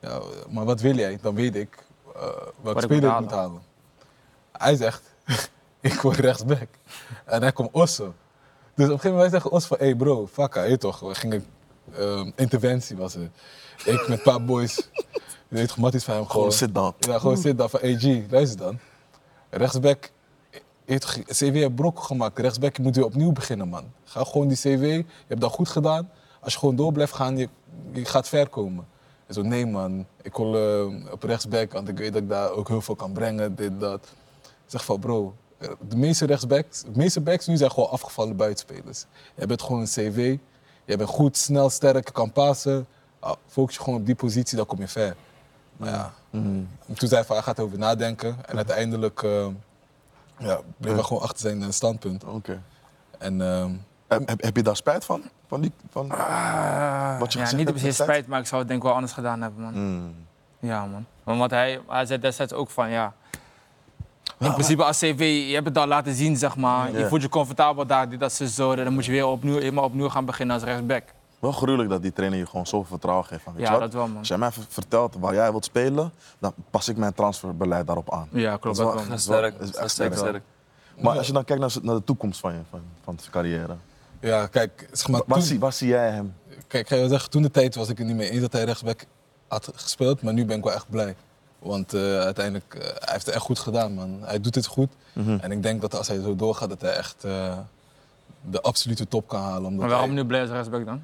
S2: Ja, maar wat wil jij? Dan weet ik eh welke
S1: moet
S2: speler ik
S1: halen.
S2: moet halen. Hij zegt, ik word rechtsback. En hij komt Osso. Dus op een gegeven moment wij zeggen Os van, hé hey bro, fakka, hé toch. We gingen, ehm, interventie was het. Ik met een paar boys, je weet gewoon, matties van hem
S4: Gewoon
S2: gewoon.
S4: sit down.
S2: Ja, gewoon zit daar van, hey G, luister dan. Rechtsback, heeft ge- CV heeft brok gemaakt. Rechtsback, je moet weer opnieuw beginnen man. Ga gewoon die CV, je hebt dat goed gedaan. Als je gewoon door blijft gaan, je, je gaat ver komen. En zo, nee man, ik wil eh, op rechtsback, want ik weet dat ik daar ook heel veel kan brengen, dit, dat. Ik zeg van bro, de meeste rechtsbacks, de meeste backs nu zijn gewoon afgevallen buitenspelers. Je bent gewoon een CV, je bent goed, snel, sterk, kan passen. Ah, Focus je gewoon op die positie, dan kom je ver. Maar ja, toen zei hij van hij gaat erover nadenken en uiteindelijk eh, ja, bleef hij gewoon achter zijn eh, standpunt.
S4: Oké.
S2: En ehm,
S4: Heb, heb- heb je daar spijt van? Van die... Van...
S1: Ah,
S4: Wat je gezegd
S1: ja, niet
S4: hebt
S1: op zich
S4: destijds?
S1: spijt, maar ik zou het denk ik wel anders gedaan hebben man.
S4: Hmm.
S1: Ja man. Want wat hij, hij zei destijds ook van ja. In principe als CV, je hebt het al laten zien zeg maar.
S4: Ja.
S1: Je voelt je comfortabel daar, dit, dat ze zo. Dan moet je weer opnieuw, helemaal opnieuw gaan beginnen als rechtsback.
S4: Wel gruwelijk dat die trainer je gewoon zoveel vertrouwen geeft. Van, weet
S1: Ja,
S4: je wat?
S1: dat wel, man.
S4: Als jij mij v- vertelt waar jij wilt spelen, dan pas ik mijn transferbeleid daarop aan.
S1: Ja, klopt.
S4: Dat
S1: Dat
S4: is
S1: wel.
S4: wel-
S3: Dat is sterk.
S4: wel- is
S3: Dat
S4: echt
S3: is sterk.
S4: sterk.
S3: sterk.
S4: Maar als je dan kijkt naar, z- naar de toekomst van je, van, van zijn carrière.
S2: ja, kijk, zeg maar,
S4: Waar
S2: toen-
S4: zie, waar zie jij hem?
S2: Kijk, ik ga je zeggen, toen de tijd was ik het niet mee eens dat hij rechtsback had gespeeld. Maar nu ben ik wel echt blij. Want eh, uiteindelijk, eh, hij heeft het echt goed gedaan, man. Hij doet het goed. En ik denk dat als hij zo doorgaat, dat hij echt eh, de absolute top kan halen. Omdat,
S1: Maar waarom
S2: hij-
S1: nu blij als rechtsback dan?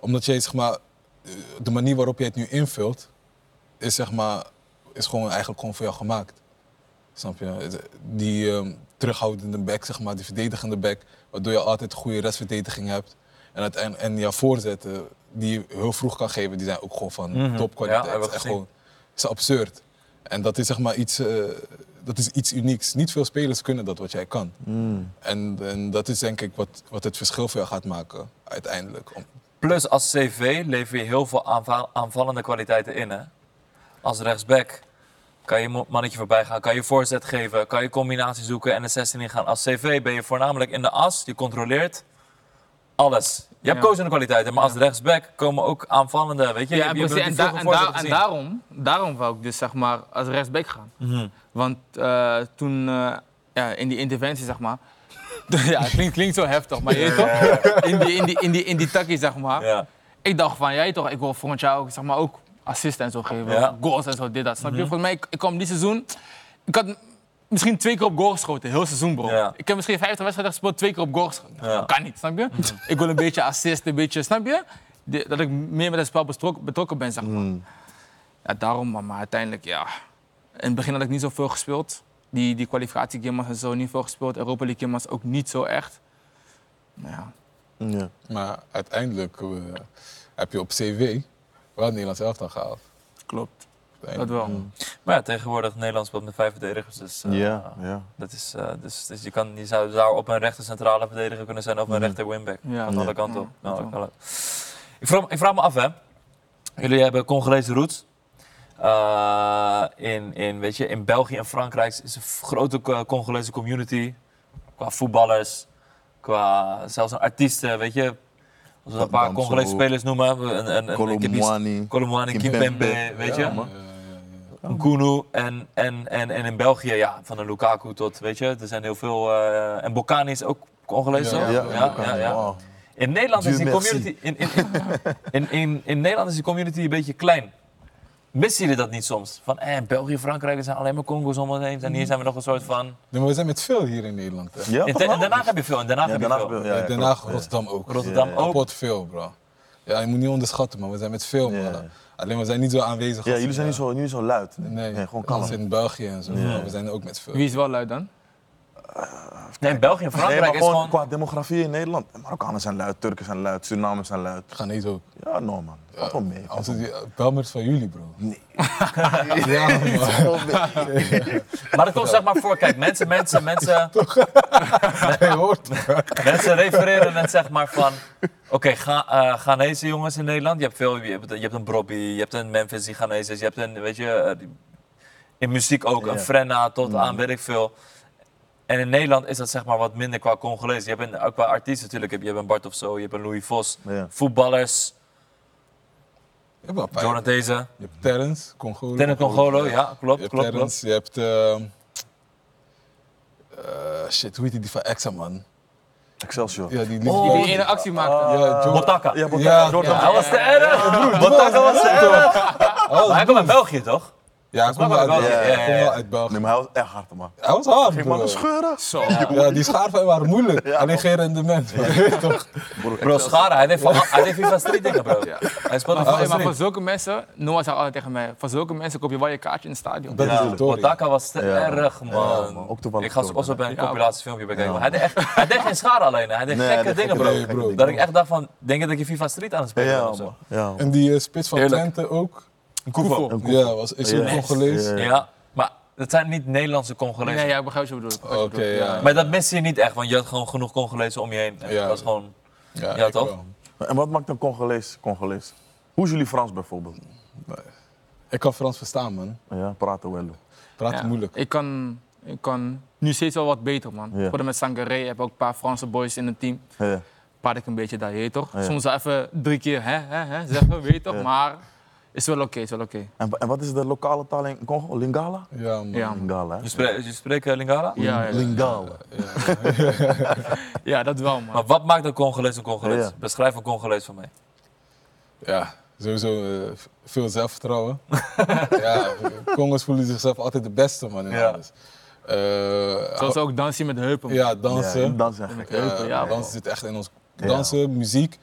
S2: omdat jij, zeg maar, eh, de manier waarop je het nu invult, is, zeg maar, is gewoon eigenlijk gewoon voor jou gemaakt. Snap je? Het- Die ehm, terughoudende back, zeg maar, die verdedigende back, waardoor je altijd een goede restverdediging hebt. En, uiteindelijk- en jouw voorzetten, die je heel vroeg kan geven, die zijn ook gewoon van topkwaliteit.
S3: Mhm. Ja, hebben
S2: Echt
S3: we gezien.
S2: gewoon, het is absurd. En dat is zeg maar iets, eh, dat is iets unieks. Niet veel spelers kunnen dat wat jij kan. En, en dat is denk ik wat, wat het verschil voor jou gaat maken, uiteindelijk. Om-
S3: Plus als CV lever je heel veel aanva- aanvallende kwaliteiten in. Hè? Als rechtsback kan je mo- mannetje voorbij gaan, kan je voorzet geven, kan je combinatie zoeken en de 16 ingaan. Als CV ben je voornamelijk in de as, je controleert alles. Je hebt
S1: Ja.
S3: kozende kwaliteiten, maar als rechtsback komen ook aanvallende, weet je.
S1: Ja,
S3: je,
S1: en,
S3: je hebt
S1: precies, en,
S3: niet veel
S1: da- en,
S3: voor voorzetten
S1: da- en
S3: gezien.
S1: daarom, daarom wou ik dus zeg maar als rechtsback gaan.
S3: Mhm.
S1: Want eh, toen, eh, ja, in die interventie zeg maar. ja, het klinkt, klinkt zo heftig, maar je weet toch? In die, in die, in die, in die takkie zeg maar.
S3: Ja.
S1: Ik dacht van, jij toch, ik wil volgend jaar ook, zeg maar, ook assisten en zo geven.
S3: Ja.
S1: Goals en zo, dit, dat. Snap je? Volgens mij, ik, ik kwam dit seizoen... Ik had m- misschien twee keer op goal geschoten, heel seizoen, bro.
S3: Ja.
S1: Ik heb misschien 50 wedstrijden gespeeld, twee keer op goal geschoten.
S3: Ja. Mhm.
S1: Kan niet, snap je? ik wil een beetje assist, een beetje, snap je? De- dat ik meer met het spel bestrok- betrokken ben, zeg maar.
S3: Mhm.
S1: Ja, daarom, maar, maar uiteindelijk, ja... In het begin had ik niet zoveel gespeeld. Die, die kwalificatiegames en zo, niet veel gespeeld. Europa League games ook niet zo echt. Nou ja,
S4: Ja.
S2: Maar uiteindelijk eh, heb je op CV wel het Nederlands elftal gehaald.
S1: klopt. Dat
S3: mhm.
S1: wel.
S3: Maar ja, tegenwoordig Nederland speelt met vijf verdedigers, dus... eh,
S4: ja, ja.
S3: Dat is, eh, dus, dus je, kan, je zou daar op een rechter centrale verdediger kunnen zijn of een rechter wingback.
S1: Ja.
S3: Van
S1: Ja.
S3: alle kanten op.
S1: Ja,
S3: Nou,
S1: dat
S3: kan het. ik, vraag, ik vraag me af, hè. Jullie hebben Congolese roots. Eh, in, in, weet je, in België en Frankrijk is een f- grote eh, Congolese community. Qua voetballers, qua zelfs een artiesten, weet je. Als we een paar
S4: Damso.
S3: Congolese spelers noemen. Een, een, een,
S4: Kolomwani.
S3: Kolomwani,
S4: Kimpembe.
S3: Kimpembe, weet je.
S4: Ja, man.
S3: Nkunu en, en, en, en in België, ja, van een Lukaku tot, weet je, er zijn heel veel. eh, en Bocani is ook Congolees,
S2: Ja,
S3: toch?
S4: Ja,
S3: ja, ja, ja.
S4: Wauw.
S3: In Nederland is
S4: Dieu
S3: die
S4: merci.
S3: community. In, in, in, in, in Nederland is die community een beetje klein. Missen jullie dat niet soms? Van eh, België, Frankrijk, er zijn alleen maar Congo's om ons heen. En hier zijn we nog een soort van.
S2: Nee, maar we zijn met veel hier in Nederland. Hè.
S4: Ja,
S3: In,
S4: toch wel?
S3: en daarna heb je veel. En daarna
S4: Ja,
S3: heb je
S4: daarna
S3: veel.
S4: wil- ja, ja,
S2: Den Haag,
S4: klopt, ja.
S2: Rotterdam ook.
S3: Rotterdam ook.
S2: Kapot veel, bro. Ja, je moet niet onderschatten, man. We zijn met veel, man.
S4: Ja.
S2: Alleen we zijn niet zo aanwezig. als-
S4: Ja,
S2: eh,
S4: jullie zijn niet zo, jullie zijn zo luid.
S2: Nee,
S4: gewoon kalm.
S2: als in België en zo. We zijn ook met veel.
S1: Wie is wel luid dan?
S3: Nee, in België en
S4: Nee,
S3: Frankrijk
S4: maar
S3: is
S4: gewoon,
S3: gewoon...
S4: qua demografie in Nederland. Marokkanen zijn luid, Turken zijn luid, Surinamers zijn luid.
S2: Ghanese ook.
S4: Ja, no man. Valt wel mee.
S2: Als het, ja, bel me eens van jullie, bro.
S4: Ja, man.
S3: Maar dat komt zeg maar voor, kijk, mensen, mensen, mensen,
S2: Hij hoort.
S3: mensen refereren het zeg maar van, oké, ga, eh, Ghanese jongens in Nederland, je hebt veel, je hebt, je hebt een Brobby, je hebt een Memphis die Ghanese is, je hebt een, weet je, eh, die- in muziek ook, een
S4: Ja.
S3: Frenna tot aan, weet ik veel. En in Nederland is dat zeg maar wat minder qua Congolees. Je hebt een, ook qua artiesten natuurlijk, je hebt- je hebt een Bart of zo, je hebt een Louis Vos,
S4: Ja.
S3: voetballers,
S2: Je hebt wel een paar.
S3: Jonathan Deze,
S2: Je hebt Terrence, Congo.
S3: Tenet Congolo, ja,
S2: eh, Je
S3: klopt,
S2: hebt
S3: klopt, klopt.
S2: Terrence, je hebt... ehm, eh, shit, hoe heet die die van Exa, man?
S4: Excelsior.
S2: Ja, die liep...
S1: Die
S3: Oh,
S1: die ene actie maakte.
S2: ja, Joe-
S3: Botaka.
S4: Ja, Botta-
S2: Ja, Oh.
S4: Jordan.
S3: Hij was te erg! Botaka was te erg! Maar hij komt uit België, toch?
S2: Ja, hij komt wel uit
S3: wel-
S2: België.
S3: ja, ja,
S2: Hij komt
S3: ja.
S2: wel uit België.
S4: Nee, maar hij was echt hard, man.
S2: Hij was hard,
S4: Geen
S2: broer.
S4: mannen scheuren.
S1: Zo.
S2: Ja, die schaarven waren moeilijk.
S4: Ja,
S2: Alleen
S4: man.
S2: geen rendement. man. Weet je toch?
S3: Bro, Schara, hij deed van- hij deed FIFA Street dingen, bro. Hij speelde
S1: Maar,
S3: FIFA
S1: voor- maar voor
S3: Street.
S1: zulke mensen, Noah zei altijd tegen mij, voor zulke mensen koop je wel je kaartje in het stadion.
S2: Dat
S4: Ja.
S2: is de tory.
S3: Botaka was te
S4: Ja, man.
S3: erg, man.
S4: Ja, man. Ook toevallig
S3: ik ga zo
S4: ook,
S3: ook zo bij een
S1: Ja,
S3: compilatiefilmpje bekijken.
S4: Ja,
S3: maar Hij, deed echt, hij deed geen schade alleen, hij deed
S4: Nee,
S3: gekke
S4: hij deed
S3: dingen,
S4: gekke
S3: bro.
S2: dingen, bro.
S3: Dat ik echt dacht van, denk je dat je FIFA Street aan het spelen bent
S4: Ja,
S3: of zo?
S4: man. Ja, man.
S2: En die eh, spits van
S3: Eerlijk.
S2: Twente ook.
S1: Koevo.
S4: Een koepel.
S2: Ja, was, is ook
S4: Ja.
S2: Congolees.
S4: Ja.
S3: Ja, maar dat zijn niet Nederlandse Congolezen.
S1: Nee, ja, ik begrijp wat je bedoelt. ik begrijp wat je
S2: Oké,
S1: bedoelt,
S2: ja.
S3: Maar dat miste je niet echt, want je had gewoon genoeg Congolezen om je heen. En
S2: Ja.
S3: dat was gewoon...
S2: Ja,
S3: Ja,
S2: ik
S3: toch?
S2: wel.
S4: En wat maakt een Congolees Congolees? Hoe is jullie Frans bijvoorbeeld?
S2: Ik kan Frans verstaan, man.
S4: Ja, praten wel.
S2: Praat
S1: Ja,
S2: moeilijk.
S1: Ik kan, ik kan nu steeds wel wat beter, man.
S4: Ja.
S1: Vooral met Sangaré heb ik ook een paar Franse boys in het team.
S4: Ja.
S1: Praat ik een beetje daar, je weet toch?
S4: Ja.
S1: Soms wel even drie keer hè, hè, hè, zeggen, weet je toch? Maar is wel oké, is wel oké.
S4: En, en wat is de lokale taal in Congo? Lingala?
S2: Ja, man.
S1: Ja.
S4: Lingala, hè?
S3: Je spreekt, je spreekt eh, Lingala?
S1: Ja, ja, ja.
S4: Lingala.
S1: Ja, dat wel, man.
S3: Maar wat maakt een Congolees een Congolees?
S4: Ja.
S3: Beschrijf een Congolees voor mij.
S2: Ja, sowieso eh, v- veel zelfvertrouwen. ja, Congo's voelen zichzelf altijd de beste, man. In
S3: Ja.
S2: alles. Eh,
S1: Zoals ook dansen met de heupen. man.
S2: ja, dansen.
S4: Ja, dansen en gek.
S1: Ja. heupen,
S2: Eh,
S1: man.
S2: dansen zit echt in ons. Dansen, muziek,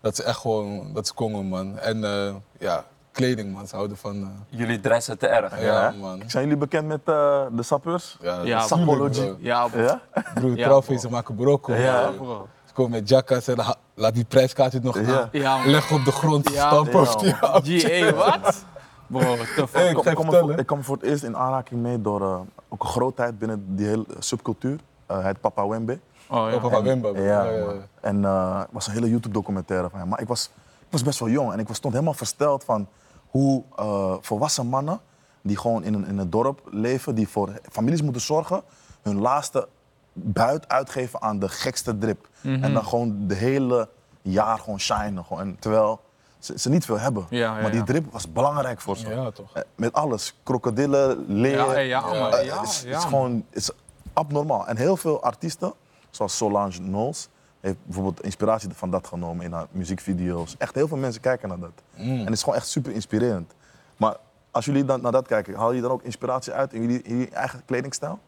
S2: dat is echt gewoon, dat is Congo, man. En eh, ja, kleding, man. Ze houden van. eh,
S3: Jullie dressen te erg.
S2: ja,
S4: Ja, hè?
S2: man.
S4: Zijn jullie bekend met eh, de sappeurs?
S2: Ja,
S1: Ja,
S2: dat is moeilijk,
S4: Sapology.
S2: bro.
S1: Ja, bro.
S4: Ja?
S2: Broer,
S1: Ja,
S2: trouwfeesten maken brokkel.
S4: Ja.
S2: man.
S1: bro.
S2: Ze komen met jackas en ha- laat die prijskaart het nog
S4: Ja.
S2: aan.
S1: Ja, man.
S2: Leg op de grond,
S1: Ja,
S2: stamp
S4: ja,
S2: op die
S4: man.
S2: hand.
S1: GA, wat? Bro, te
S2: Hey,
S1: fuck.
S4: Ik
S2: ga je
S4: kwam,
S2: vertellen.
S4: voor, ik kwam voor het eerst in aanraking mee door eh, ook een grootheid binnen die hele subcultuur. Eh hij heet Papa Wembe.
S1: Oh, ja.
S2: Papa van Wimba, bro.
S4: Ja,
S2: Ja, ja, ja.
S4: man. En eh, het was een hele YouTube-documentaire van hem. Maar ik was, ik was best wel jong en ik was, stond helemaal versteld van hoe eh, volwassen mannen die gewoon in een, in een dorp leven, die voor families moeten zorgen, hun laatste buit uitgeven aan de gekste drip. En dan gewoon de hele jaar gewoon shinen. Gewoon. En terwijl ze, ze niet veel hebben.
S1: Ja, ja,
S4: maar die
S1: ja.
S4: drip was belangrijk voor ze.
S2: Ja, toch.
S4: Eh, Met alles. Krokodillen, leer.
S1: Ja, hey, ja, man.
S2: Ja,
S1: Ja,
S4: Eh, het is, het is
S1: ja, man.
S4: gewoon het is abnormaal. En heel veel artiesten, zoals Solange Knowles, heeft bijvoorbeeld inspiratie van dat genomen in haar muziekvideo's. Echt heel veel mensen kijken naar dat. En het is gewoon echt super inspirerend. Maar als jullie dan naar dat kijken, haal je dan ook inspiratie uit in jullie, in jullie eigen kledingstijl?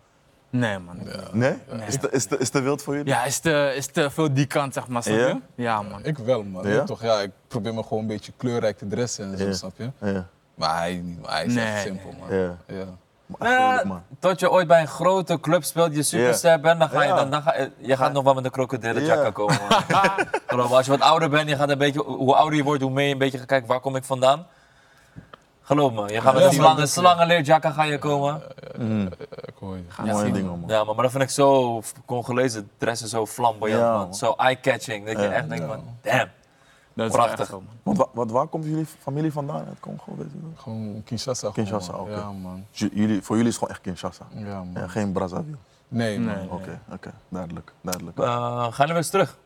S1: Nee, man.
S4: Nee? Is, te, is, te, is te wild voor jullie?
S1: Ja, is te, is te veel die kant, zeg maar. snap
S4: Ja?
S1: je? Ja, man.
S2: Ik wel, man.
S4: Ja?
S2: Toch, ja, ik probeer me gewoon een beetje kleurrijk te dressen en zo,
S4: Ja.
S2: snap je?
S4: Ja.
S2: Maar hij, niet, maar hij is echt
S1: Nee,
S2: simpel, man.
S4: Ja.
S2: Ja.
S4: Maar echt
S3: Nou,
S4: leuk, man.
S3: Tot je ooit bij een grote club speelt, je superster bent, dan ga je,
S4: Ja.
S3: dan, dan ga, je- je gaat nog wel met een krokodillen
S4: Ja.
S3: komen. man. Geloof me, als je wat ouder bent, je gaat een beetje, hoe ouder je wordt, hoe meer je een beetje gaat kijken waar kom ik vandaan. Geloof me, je gaat met
S2: Ja, man,
S3: een slangen,
S2: dat is-
S3: slangenleerjacka ga je komen.
S2: Ik hoor je.
S4: Mooie
S1: zien,
S4: dingen, man.
S3: Ja, maar, maar dat vind ik zo, Congolezen dressen zo flamboyant,
S4: Ja,
S3: man.
S4: man.
S3: Zo eye-catching, dat je echt denkt van, damn.
S1: Dat is
S3: Prachtig.
S1: echt zo, man.
S4: Want wa- wat, waar komt jullie familie vandaan uit Congo? Weet je wel?
S2: Gewoon Kinshasa. gewoon,
S4: Kinshasa,
S2: man.
S4: oké.
S2: Ja, man.
S4: J- jullie, voor jullie is het gewoon echt Kinshasa.
S2: Ja, man.
S4: Ja, geen Brazzaville.
S2: Nee, man.
S1: Nee.
S4: Oké, oké. Duidelijk, duidelijk.
S3: Eh, ga je nog eens terug?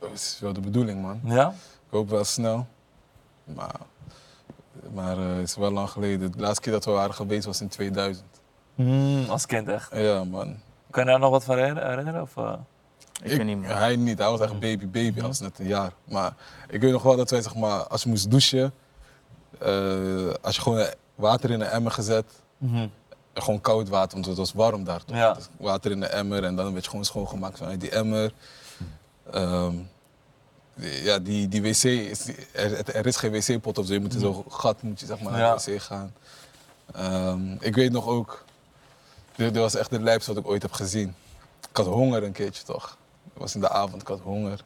S2: Dat is wel de bedoeling, man.
S3: Ja?
S2: Ik hoop wel snel. Maar, maar eh, het is wel lang geleden. De laatste keer dat we waren geweest was in 2000.
S3: Mm, als kind echt.
S2: Ja, man.
S3: Kan je daar nog wat van herinner- herinneren? Of, eh?
S1: Ik weet niet, man.
S2: Hij niet, hij was echt baby, baby, hij was net een jaar. Maar ik weet nog wel dat wij, zeg maar, als je moest douchen, eh, als je gewoon water in een emmer gezet, gewoon koud water, want het was warm daar toch?
S3: Ja.
S2: Dus water in de emmer en dan werd je gewoon schoongemaakt vanuit die emmer. Ehm, die- ja, die, die wc, is, er, het- er is geen wc-pot of zo, je moet in zo'n gat moet je, zeg maar, naar
S3: Ja.
S2: de wc gaan. Ehm, ik weet nog ook, Dit, dit was echt het lijpste wat ik ooit heb gezien. Ik had honger een keertje toch. Het was in de avond, ik had honger.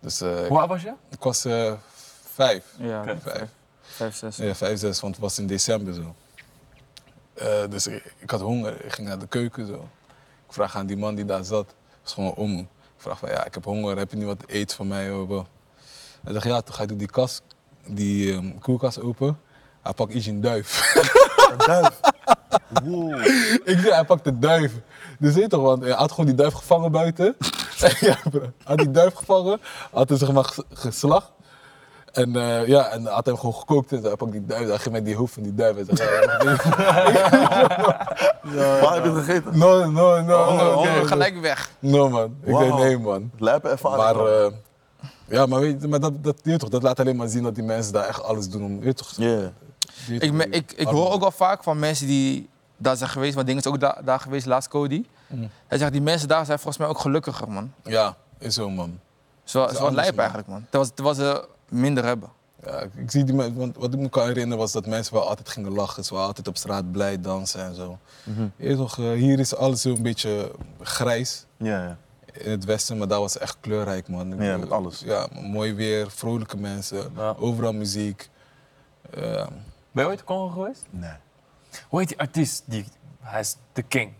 S2: Dus eh, ik,
S3: Hoe oud was je?
S2: ik was eh, vijf.
S1: Ja,
S3: Oké.
S1: vijf,
S2: Vijf,
S1: vijf, zes.
S2: ja, vijf, zes, want het was in december zo. Eh, dus ik, ik had honger, ik ging naar de keuken zo. Ik vraag aan die man die daar zat, dat was gewoon om. Ik vraag van ja, ik heb honger, heb je niet wat eten voor mij? Of, wat? Hij zegt ja, toen ga ik die kast, die ehm, koelkast open. Hij pakt iets een duif.
S4: Een duif. Wow.
S2: Ik zei, hij pakt de duif. Dus weet je toch, want hij had gewoon die duif gevangen buiten. ja, bro. Hij had die duif gevangen, had hem zeg maar ges- geslacht. En eh, ja, en had hem gewoon gekookt en zo. Hij pakt die duif, hij geeft mij die hoofd van die duif. En zei,
S4: Waar heb je het gegeten?
S2: no, no, no, no,
S1: Oh,
S2: no, no,
S1: gelijk weg.
S2: no, man. Ik
S4: Wauw.
S2: zei, nee, man.
S4: Lijpe ervaring.
S2: Maar,
S4: man.
S2: eh, ja, maar, weet, je, maar dat, dat, weet je toch, dat laat alleen maar zien dat die mensen daar echt alles doen om, weet je toch,
S4: Ja.
S2: weet je
S1: Ik,
S2: toch,
S1: me- ik, ik hoor ook wel vaak van mensen die daar zijn geweest, want Ding is ook da- daar geweest, laatst Cody.
S2: Mm.
S1: Hij zegt, die mensen daar zijn volgens mij ook gelukkiger, man.
S2: Ja, is zo, man.
S1: Zo,
S2: is
S1: wel
S2: anders,
S1: lijp
S2: man.
S1: eigenlijk, man. Terwijl, terwijl ze minder hebben.
S2: Ja, ik- ik zie die mensen, want wat ik me kan herinneren was dat mensen wel altijd gingen lachen. Ze waren altijd op straat blij dansen en zo.
S1: Mhm.
S2: Je weet toch, eh, hier is alles zo een beetje grijs
S4: Ja, ja.
S2: in het westen, maar daar was echt kleurrijk, man. Ik bedoel,
S4: Ja,
S2: dus,
S4: met alles.
S2: Ja, mooi weer, vrolijke mensen,
S3: Ja.
S2: overal muziek. Eh,
S3: Ben je ooit in Congo geweest?
S4: Nee.
S3: Hoe heet die artiest? Die, hij is de king.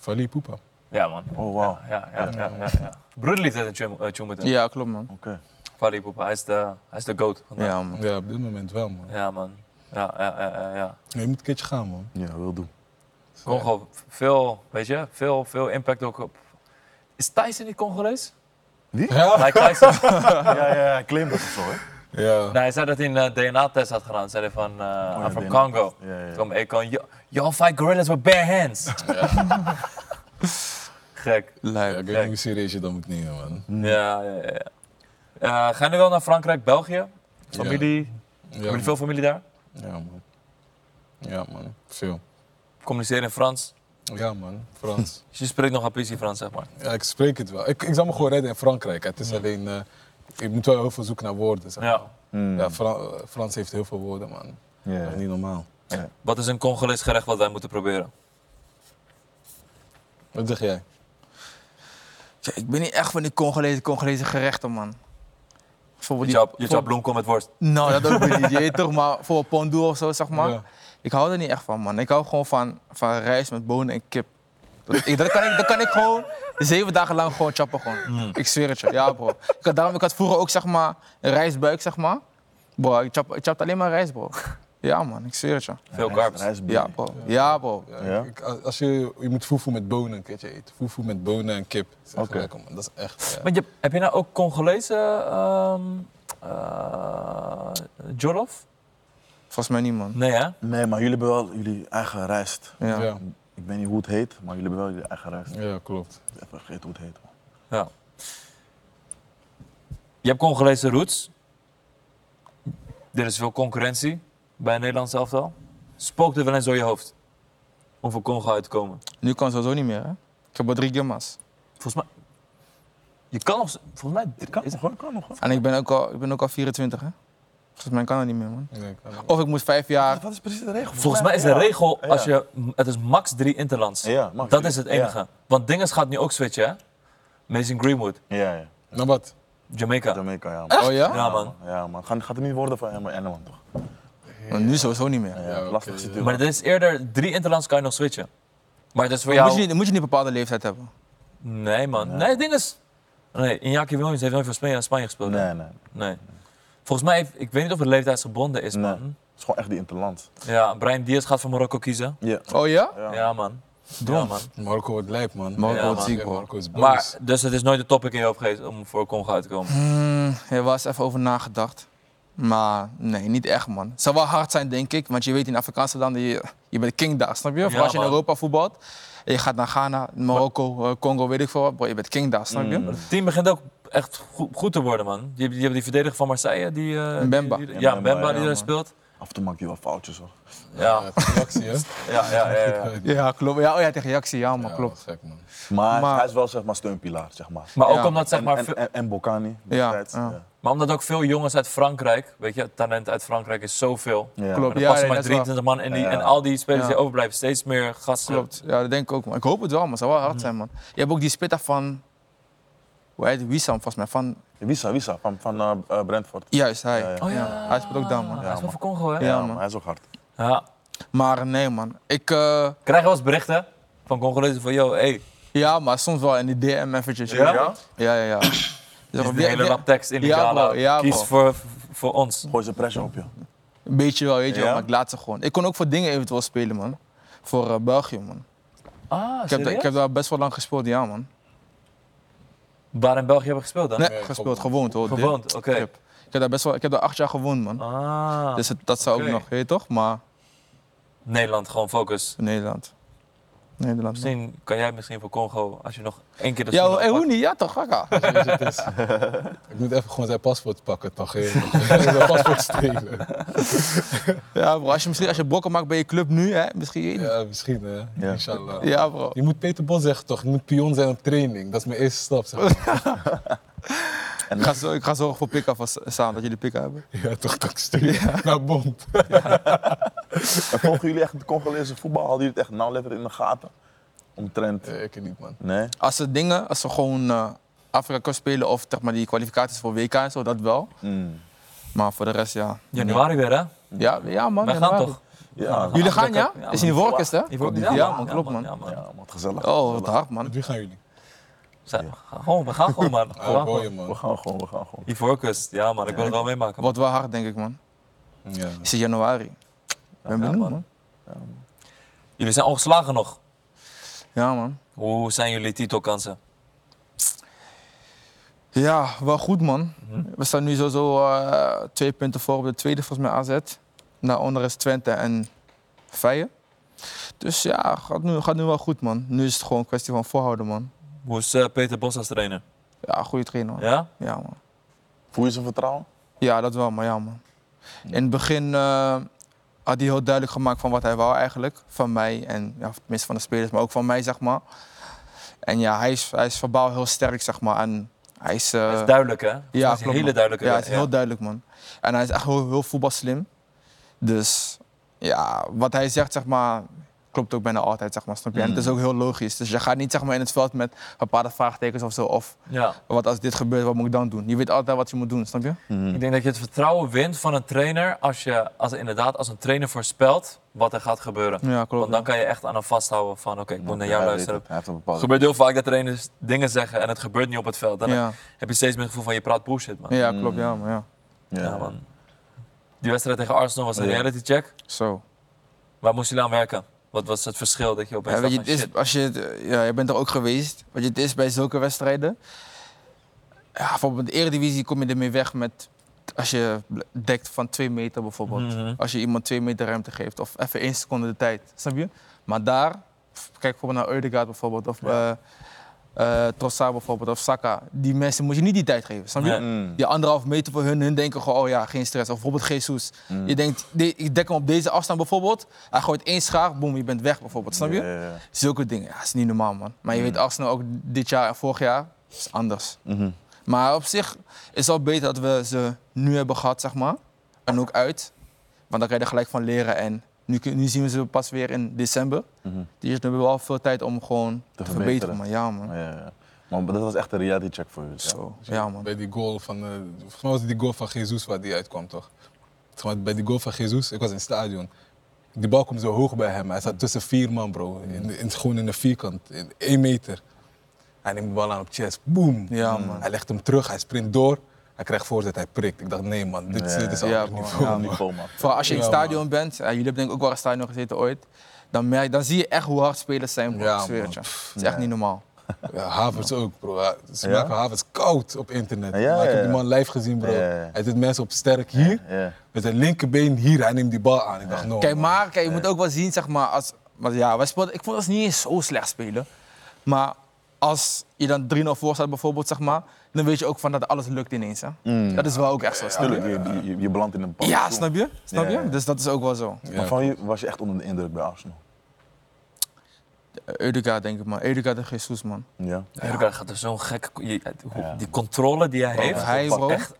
S2: Fali Poepa.
S3: Ja, man.
S4: Oh, wauw. Oké.
S3: Ja, ja, ja. ja, ja. Broederlied heeft een tune- eh, tune met hem.
S1: Ja, klopt, man.
S3: Fally Ipupa, hij is de, hij is de goat. vandaag.
S1: Ja, man.
S2: Ja, op dit moment wel, man.
S3: Ja, man. Ja, ja, ja, ja, ja.
S2: Je moet een keertje gaan, man.
S4: Ja, wil doen.
S3: Congo, v- veel, weet je, veel, veel impact ook op. Is Tyson niet Congolees?
S2: Ja?
S3: Mike Tyson?
S4: Ja, ja, ja. Claimbus of zo, hè?
S2: Ja.
S3: nee, hij zei dat hij een eh, DNA-test had gedaan. Zei hij van, eh I'm from
S4: DNA.
S3: Congo.
S4: Ja, ja, ja.
S3: Toen kwam Econ, "Yo- y'all fight gorillas with bare hands. Gek.
S2: Ja,
S1: Lijp.
S2: ik weet niet hoe serieus je dat moet nemen, man.
S3: Ja, ja, ja. ja. Eh, ga je nu wel naar Frankrijk, België? Familie? Hebben
S2: Ja,
S3: jullie
S2: man.
S3: veel familie daar?
S2: Ja, man. Ja, man. Veel.
S3: Communiceren in Frans?
S2: Ja, man. Frans.
S3: Dus je spreekt nog Apisi Frans, zeg maar.
S2: Ja, ik spreek het wel. Ik, ik zou me gewoon redden in Frankrijk. Het is alleen, eh, je moet wel heel veel zoeken naar woorden. Zeg.
S3: Ja.
S4: Mm.
S2: Ja, Fra- eh, Frans heeft heel veel woorden, man.
S4: Ja,
S2: Dat is
S4: ja.
S2: niet normaal.
S3: Wat is een Congolees gerecht wat wij moeten proberen?
S2: Wat zeg jij?
S1: Ja, ik ben niet echt van die Congolese, Congolese gerechten, man. Bijvoorbeeld die-
S3: Je jouw
S1: bijvoorbeeld-
S3: bloemkool met worst.
S1: Nou, dat ook weer niet. Je weet toch, maar voor pondoe of zo, zeg maar.
S2: Ja.
S1: Ik hou er niet echt van, man. Ik hou gewoon van, van rijst met bonen en kip. Dat, ik, dat, kan ik, dat kan ik gewoon zeven dagen lang gewoon chappen, gewoon. Ik zweer het je, ja, bro. Ik had, daarom, ik had vroeger ook, zeg maar, een rijstbuik, zeg maar. Bro, ik chap, ik chapte alleen maar rijst, bro. Ja, man, ik zweer het je.
S3: Veel carbs.
S1: Ja, bro. Ja, bro.
S2: Ja,
S4: Ja?
S2: ik- als als je, je moet fufu met bonen een keertje eten. Fufu met bonen en kip. Dat is echt
S4: Oké.
S2: lekker, man. Dat is echt... eh, ja.
S3: Maar je, heb je nou ook Congolese ehm eh, jollof?
S1: Volgens mij niet, man.
S3: Nee, hè?
S4: Nee, maar jullie hebben wel jullie eigen rijst.
S1: Ja.
S2: Ja.
S4: Ik weet niet hoe het heet, maar jullie hebben wel jullie eigen rijst.
S2: ja, klopt.
S4: Ik vergeet hoe het heet. man.
S3: Ja. Je hebt Congolese roots. Er is veel concurrentie bij een Nederlands elftal. Spookt er wel eens door je hoofd om voor Congo uit te komen?
S1: Nu kan sowieso niet meer, hè. Ik heb al drie gimmas.
S3: Volgens mij... Je kan nog... Volgens mij... is-
S4: hoor, kan nog.
S1: En ik ben ook al, ik ben ook al 24, hè. Volgens mij kan dat niet meer, man.
S2: Ja, ik-
S1: Of ik moet vijf jaar...
S4: Wat is precies de regel?
S3: Volgens mij is de regel,
S4: ja.
S3: als je, het is max drie interlands.
S4: Ja, max
S3: dat
S4: drie.
S3: is het enige. Want Dinges gaat nu ook switchen, hè? Mason Greenwood,
S4: Ja, ja.
S2: Nou, wat?
S3: Jamaica.
S4: Jamaica, Ah, ja. man.
S1: Oh ja?
S3: Ja, man.
S4: Ja, man. Gaat, gaat er niet worden van Emma Enneman, toch?
S1: Maar nu sowieso niet meer.
S4: Ja,
S2: Ja, oké,
S4: lastige
S2: ja.
S4: situatie.
S3: Maar het is eerder drie interlands kan je nog switchen. Maar dat is voor
S1: Dan
S3: jou...
S1: Moet, je, niet- dan moet je niet een bepaalde leeftijd hebben.
S3: Nee, man. Nee, het ding is... Nee, Iñaki Williams heeft nooit voor Spanje, Spanje gespeeld. hè?
S4: Nee, nee.
S3: Nee. Volgens mij, heeft, ik weet niet of het leeftijdsgebonden is,
S4: Nee.
S3: man.
S4: Het is gewoon echt die interland.
S3: Ja, Brian Diaz gaat voor Marokko kiezen.
S4: Ja.
S1: Oh ja?
S4: Ja.
S3: Ja, man. Ja, man.
S2: Marco wordt lijp, man.
S1: Marco
S3: wordt
S1: ziek,
S2: man.
S1: bro.
S2: Marco is boos.
S3: Maar, dus het is nooit de topic in je hoofd geweest om voor Congo uit te komen.
S4: Hm.
S1: Hmm, er was even over nagedacht. Maar nee, niet echt, man. Het zou wel hard zijn, denk ik. Want je weet in Afrikaanse landen, je, je bent king daar, snap je? Of
S3: Ja,
S1: als je in
S3: man.
S1: Europa voetbalt en je gaat naar Ghana, Marokko, eh, Congo, weet ik veel wat. Bro, je bent king daar, snap je?
S3: Het team begint ook echt goed, goed te worden, man. Je hebt, je hebt die verdediger van Marseille, die... eh,
S1: Mbemba.
S3: die- die- ja,
S4: Mbemba,
S3: Bemba
S4: ja,
S3: die daar
S4: man.
S3: speelt.
S4: Af en toe maakt hij wel foutjes hoor.
S3: Ja,
S2: Reactie, hè?
S3: ja, ja. ja, ja.
S1: Ja, klopt. Ja, oh ja, tegen reactie. Ja, maar
S2: Ja,
S1: klopt.
S2: Gek, man.
S4: Maar,
S1: Maar-
S4: hij is wel zeg maar steunpilaar, zeg maar.
S3: Maar ook
S1: Ja.
S3: omdat, zeg
S4: En-
S3: maar,
S4: en,
S3: veel-
S4: en, en Bocani
S1: Ja,
S4: destijds.
S1: ja.
S4: Ja.
S3: maar omdat ook veel jongens uit Frankrijk, weet je, het talent uit Frankrijk is zoveel.
S4: Ja.
S1: Klopt.
S3: Maar er
S1: Ja,
S3: passen
S1: nee,
S3: maar
S1: dat is waar.
S3: 23 man in die,
S4: Ja.
S3: en al die spelers
S1: Ja.
S3: die overblijven, steeds meer gasten.
S1: Klopt. Ja, dat denk ik ook. Man. Ik hoop het wel, maar het zou wel hard zijn, man. Je hebt ook die splitter van... Hoe heet die? Wissam, volgens mij. Van,
S4: Wissa, Wissa van, van eh, eh, Brentford.
S1: juist, hij.
S4: Ja, ja.
S3: Oh ja.
S1: Ja, hij speelt ook daar, man.
S3: Hij is wel
S4: man.
S3: van Congo, hè?
S1: Ja.
S3: Ja.
S4: Ja,
S1: man.
S4: maar hij is ook hard.
S1: Maar nee, man. Ik... eh,
S3: Krijg je wel eens berichten van Congolezen van, yo, hey,
S1: ja, maar soms wel in die DM eventjes.
S3: Ja?
S1: Ja, ja, ja. Dus
S3: is
S1: op
S3: die
S1: die-
S3: hele
S1: die-
S3: lap tekst in die
S1: Ja,
S3: gala.
S1: bro, ja,
S3: Kies
S1: bro.
S3: voor, voor ons.
S4: Gooi zijn pressure op je.
S1: Een beetje wel, weet je
S4: Ja?
S1: wel. Maar ik laat ze gewoon. Ik kon ook voor dingen eventueel spelen, man. Voor eh, België, man.
S3: Ah,
S1: Ik heb, da- ik heb daar best wel lang gespeeld, ja, man.
S3: Waar in België hebben we gespeeld dan?
S1: Nee,
S2: Nee,
S1: gespeeld, gewoond,
S2: gewoond.
S1: hoor. dit.
S3: Gewoond, oké.
S1: Club. Ik heb daar best wel... Ik heb daar acht jaar gewoond, man.
S3: Ah,
S1: Dus het- dat zou
S3: oké.
S1: ook nog, weet je toch? Maar
S3: Nederland, gewoon focus.
S1: Nederland. Nederland. man.
S3: Misschien kan jij misschien voor Congo, als je nog één keer de
S1: Ja,
S3: schoenen
S1: en hoe
S3: oppakt.
S1: niet? Ja, toch? Gaga.
S2: Weet je wat het is? Ik moet even gewoon zijn paspoort pakken, toch? hè? Zijn paspoort stelen.
S1: Ja, bro. Als je, misschien als je brokken maakt bij je club nu, hè? Misschien. Ja,
S2: Ja, misschien, hè? Inshallah.
S1: bro.
S2: Je moet Peter Bos zeggen, toch? Je moet pion zijn op training. Dat is mijn eerste stap, zeg maar.
S1: Ik ga, zo, ik ga zorgen voor pick-up van Samen, dat jullie pick-up hebben.
S2: Ja, toch, toch, stelen. Naar Bond.
S4: En volgen jullie echt de Congolese voetbal? Hadden jullie het echt nauwlettend in de gaten? Omtrent.
S2: Nee, ik niet, man.
S4: Nee?
S1: Als ze dingen, als ze gewoon eh, Afrika Cup spelen of zeg maar, die kwalificaties voor WK en zo, dat wel.
S4: Mm.
S1: Maar voor de rest, ja.
S3: Januari weer, hè?
S1: Ja, ja man.
S3: Wij gaan
S1: Oh, januari.
S3: toch?
S4: Ja,
S1: Jullie gaan, ja?
S3: Ja,
S1: Is in die workers, hè? Ja, man, klopt, man.
S3: Ja, man.
S4: ja man, gezellig.
S1: Oh, wat hard, man.
S2: Met wie gaan jullie?
S3: Zeg, Gewoon, we gaan gewoon, man. We
S2: Ah,
S3: gaan
S2: boy,
S3: gewoon.
S4: We
S2: man.
S4: gaan gewoon, we gaan gewoon.
S3: Ivoorkust, ja, man. Ik wil het wel meemaken. man.
S1: Wordt wel hard, denk ik, man.
S2: Ja.
S1: Is het januari? Ik ben
S3: Ja,
S1: benieuwd,
S3: man.
S1: man.
S3: Jullie zijn ongeslagen nog.
S1: Ja, man.
S3: Hoe zijn jullie titelkansen?
S1: Ja, wel goed man.
S3: Mhm.
S1: We staan nu sowieso eh twee punten voor op de tweede, volgens mij AZ. Daaronder is Twente en Feyenoord. Dus ja, gaat nu, gaat nu wel goed man. Nu is het gewoon een kwestie van volhouden man.
S3: Hoe is eh, Peter Bos als trainer?
S1: Ja, goede trainer man. Ja,
S3: Ja?
S1: man.
S4: Voel je zijn vertrouwen?
S1: Ja, dat wel, maar ja man. In het begin eh, had hij heel duidelijk gemaakt van wat hij wou eigenlijk. Van mij en ja, tenminste van de spelers, maar ook van mij zeg maar. En ja, hij is, hij is verbaal heel sterk zeg maar. En hij is, eh,
S3: Dat is duidelijk, hè? Volgens mij is hij
S1: klopt,
S3: een hele
S1: man.
S3: duidelijke.
S1: Ja, hij is heel duidelijk, man. En hij is echt heel, heel voetbalslim. Dus ja, wat hij zegt, zeg maar, klopt ook bijna altijd, zeg maar, snap je? En het is ook heel logisch. Dus je gaat niet, zeg maar, in het veld met bepaalde vraagtekens of zo. Of
S3: Ja.
S1: wat als dit gebeurt, wat moet ik dan doen? Je weet altijd wat je moet doen, snap je?
S3: Ik denk dat je het vertrouwen wint van een trainer als je als inderdaad als een trainer voorspelt wat er gaat gebeuren.
S1: Ja, klopt.
S3: Want dan kan je echt aan hem vasthouden van oké, ik moet naar jou
S4: Hij weet
S3: luisteren.
S4: het, Hij heeft een
S3: Het
S4: bepaalde...
S3: gebeurt heel vaak dat trainers dingen zeggen en het gebeurt niet op het veld. Dan
S1: Ja,
S3: heb je steeds meer het gevoel van je praat bullshit, man.
S1: ja klopt, ja, maar ja.
S4: Ja,
S3: Ja, man. Die wedstrijd tegen Arsenal was een
S4: Ja.
S3: reality check.
S1: Zo.
S3: Waar moest jullie aan werken? Wat was het verschil dat je opeens
S1: Ja, weet
S3: dacht
S1: je,
S3: van
S1: het is,
S3: shit?
S1: als je, het, eh, ja, je bent er ook geweest. Weet je, het is bij zulke wedstrijden. Ja, bijvoorbeeld de Eredivisie kom je ermee weg met. Als je dekt van twee meter bijvoorbeeld.
S3: Mhm.
S1: Als je iemand twee meter ruimte geeft. Of even één seconde de tijd. Snap je? Maar daar, pff, kijk bijvoorbeeld naar Eudegaard bijvoorbeeld. Of eh, eh, Trossard bijvoorbeeld. Of Saka. Die mensen moet je niet die tijd geven. Snap je?
S3: Nee.
S4: Mm.
S1: Die anderhalf meter voor hun, hun denken gewoon, oh ja, geen stress. Of bijvoorbeeld Jesus.
S4: Mm.
S1: Je denkt, die- ik dek hem op deze afstand bijvoorbeeld. Hij gooit één schaar, boem, je bent weg bijvoorbeeld. Snap je?
S4: Ja, ja, ja.
S1: Zulke dingen, ja, dat is niet normaal, man. Maar je weet, Arsenal ook dit jaar en vorig jaar is anders.
S4: Mhm.
S1: Maar op zich is het al beter dat we ze nu hebben gehad, zeg maar. En ook uit. Want dan kan je er gelijk van leren. En nu, kun- nu zien we ze pas weer in december.
S4: Mhm.
S1: Dus nu hebben we wel veel tijd om gewoon te, verbeteren.
S4: verbeteren.
S1: Maar ja, man.
S4: Ja, ja, ja. Maar dat was echt een reality check voor jullie. Ja?
S1: Zo. Ja, man.
S2: Bij die goal van... eh, volgens mij was het die goal van Jesus waar die uitkwam, toch? Zeg maar, Bij die goal van Jesus, ik was in het stadion. Die bal kwam zo hoog bij hem. Hij zat tussen vier man, bro. In, in, gewoon in een vierkant. In één meter. Hij neemt de bal aan op chest. Boom.
S1: Ja, man.
S2: Hij legt hem terug. Hij sprint door. Hij krijgt voorzet. Hij prikt. Ik dacht, nee, man. Dit, is-
S4: Ja.
S2: dit is
S1: Ja,
S2: al ja,
S1: man.
S2: niveau.
S1: Ja,
S2: man.
S4: Niveau, man.
S1: Vooral als je in het
S2: Ja,
S1: stadion bent, ja, jullie hebben denk ik ook wel in het stadion gezeten ooit. Dan, merk, dan zie je echt hoe hard spelers zijn, bro.
S2: Ja,
S1: ik zweer het
S2: man.
S1: je. Het is echt niet normaal.
S2: Ja, Havertz ook, bro. Ja, Ze
S4: Ja?
S2: maken Havertz koud op internet.
S4: Ja,
S2: maar ik
S4: ja,
S2: heb die
S4: ja.
S2: man live gezien, bro.
S4: Ja, ja, ja.
S2: Hij doet mensen op sterk hier.
S4: Ja.
S2: Met zijn linkerbeen hier. Hij neemt die bal aan. Ik dacht, no.
S1: Kijk,
S2: man.
S1: maar kijk, je moet ook wel zien, zeg maar, als, maar ja, wij speelden, ik vond ons niet eens zo slecht spelen. Maar als je dan 3-0 voor staat bijvoorbeeld, zeg maar, dan weet je ook van dat alles lukt ineens. Hè? Dat is wel ook echt zo. snap je?
S4: Tuurlijk, je, je, je- je belandt in een
S1: Ja,
S4: bepaalde zone.
S1: snap je? Snap je?
S4: Ja, ja.
S1: Dus dat is ook wel zo.
S4: Maar van wie was je echt onder de indruk bij Arsenal?
S1: Eudegaard denk ik man. Eudegaard en Jesus man.
S4: Ja,
S3: Erdogan gaat er dus zo'n gek... je- eh, hoe-
S4: Ja. Oh,
S3: Die controle die hij heeft.
S1: hij,
S3: dat is
S1: bro.
S3: Echt,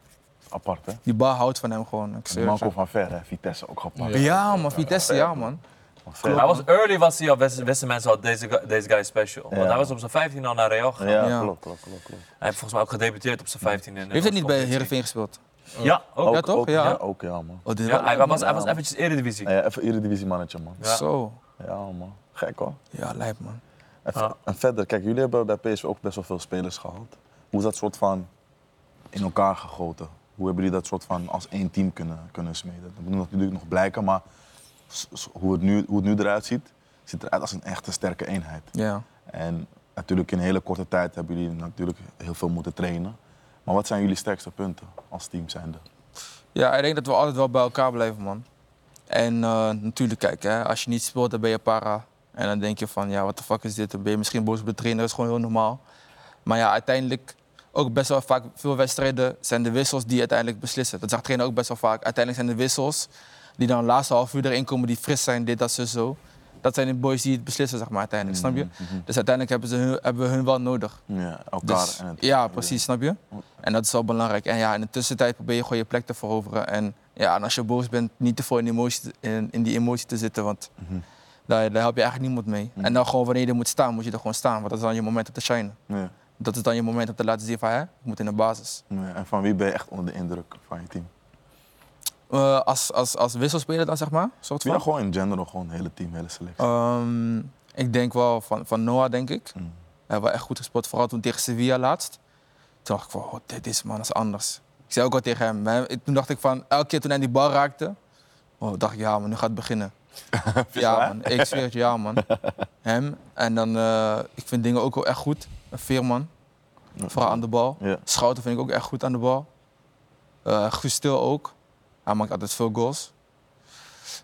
S4: apart hè?
S1: Die bal houdt van hem gewoon. Ik zweer het
S4: Marco
S1: je.
S4: van Ver, hè? Vitesse ook gepakt.
S2: Ja.
S1: ja man, Vitesse, ja man.
S4: Van Ver.
S3: hij was early was hij al, wisten wisten mensen al, deze, guy- deze guy is special. Want
S4: Ja.
S3: hij was op zijn 15 al naar Real gegaan.
S4: Ja,
S1: Ja.
S4: klopt, klopt, klopt. klopt.
S3: Hij heeft volgens mij ook gedebuteerd op zijn 15 in de
S1: Heeft hij niet bij
S3: competitie.
S1: Heerenveen gespeeld?
S3: Ja, ook.
S1: Ja, toch?
S4: Ook,
S1: Ja.
S4: ook, ja, man.
S1: Oh, dit is
S3: Ja,
S1: wel-
S3: hij, was, hij was eventjes eredivisie.
S4: Ja, even Eredivisie mannetje, man.
S3: Ja.
S1: Zo.
S4: Ja, man. Gek hoor.
S1: Ja, lijp man.
S4: Even-
S3: Ja.
S4: En verder, kijk, jullie hebben bij PSV ook best wel veel spelers gehad. Hoe is dat soort van in elkaar gegoten? Hoe hebben jullie dat soort van als één team kunnen, kunnen smeden? Dat moet natuurlijk nog blijken, maar s- s- hoe het, nu, hoe het nu eruit ziet, ziet eruit als een echte sterke eenheid.
S1: Ja.
S4: En natuurlijk in een hele korte tijd hebben jullie natuurlijk heel veel moeten trainen. Maar wat zijn jullie sterkste punten als team zijnde?
S1: Ja, ik denk dat we altijd wel bij elkaar blijven, man. En eh, natuurlijk, kijk, hè, als je niet speelt, dan ben je para. En dan denk je van, ja, wat de fuck is dit? Dan ben je misschien boos op de trainer, dat is gewoon heel normaal. Maar ja, uiteindelijk, ook best wel vaak, veel wedstrijden zijn de wissels die uiteindelijk beslissen. Dat zag de trainer ook best wel vaak. Uiteindelijk zijn de wissels die dan de laatste half uur erin komen, die fris zijn, dit, dat, zo, zo. Dat zijn de boys die het beslissen, zeg maar, uiteindelijk, snap je? Dus uiteindelijk hebben, ze hun- hebben we hun wel nodig.
S4: Ja, elkaar
S1: Dus,
S4: en het...
S1: ja, precies, snap je? En dat is wel belangrijk. En ja, in de tussentijd probeer je gewoon je plek te veroveren. En, ja, en als je boos bent, niet te veel in, die emotie, in, in die emotie te zitten, want
S4: Mhm.
S1: daar, daar help je eigenlijk niemand mee. En dan gewoon wanneer je er moet staan, moet je er gewoon staan, want dat is dan je moment om te shinen.
S4: Ja,
S1: Dat is dan je moment om te laten zien van, hè, ik moet in de basis.
S4: ja. En van wie ben je echt onder de indruk van je team?
S1: Eh, als, als, als wisselspeler dan, zeg maar, soort van?
S4: Ja, gewoon in general, gewoon het hele team, hele selectie.
S1: Ehm, ik denk wel van, van Noah, denk ik.
S4: Mm.
S1: Hij heeft wel echt goed gespeeld, vooral toen tegen Sevilla laatst. Toen dacht ik van, oh, dit is man, dat is anders. Ik zei ook al tegen hem. hè. Ik- Toen dacht ik van, elke keer toen hij die bal raakte, oh, dacht ik, ja man, nu gaat het beginnen. ja man, ik zweer het, ja man. Hem, en dan, eh, ik vind dingen ook wel echt goed. Veerman, vooral aan de bal.
S4: Ja.
S1: Schouten vind ik ook echt goed aan de bal. Eh Gustil ook. Hij maakt altijd veel goals.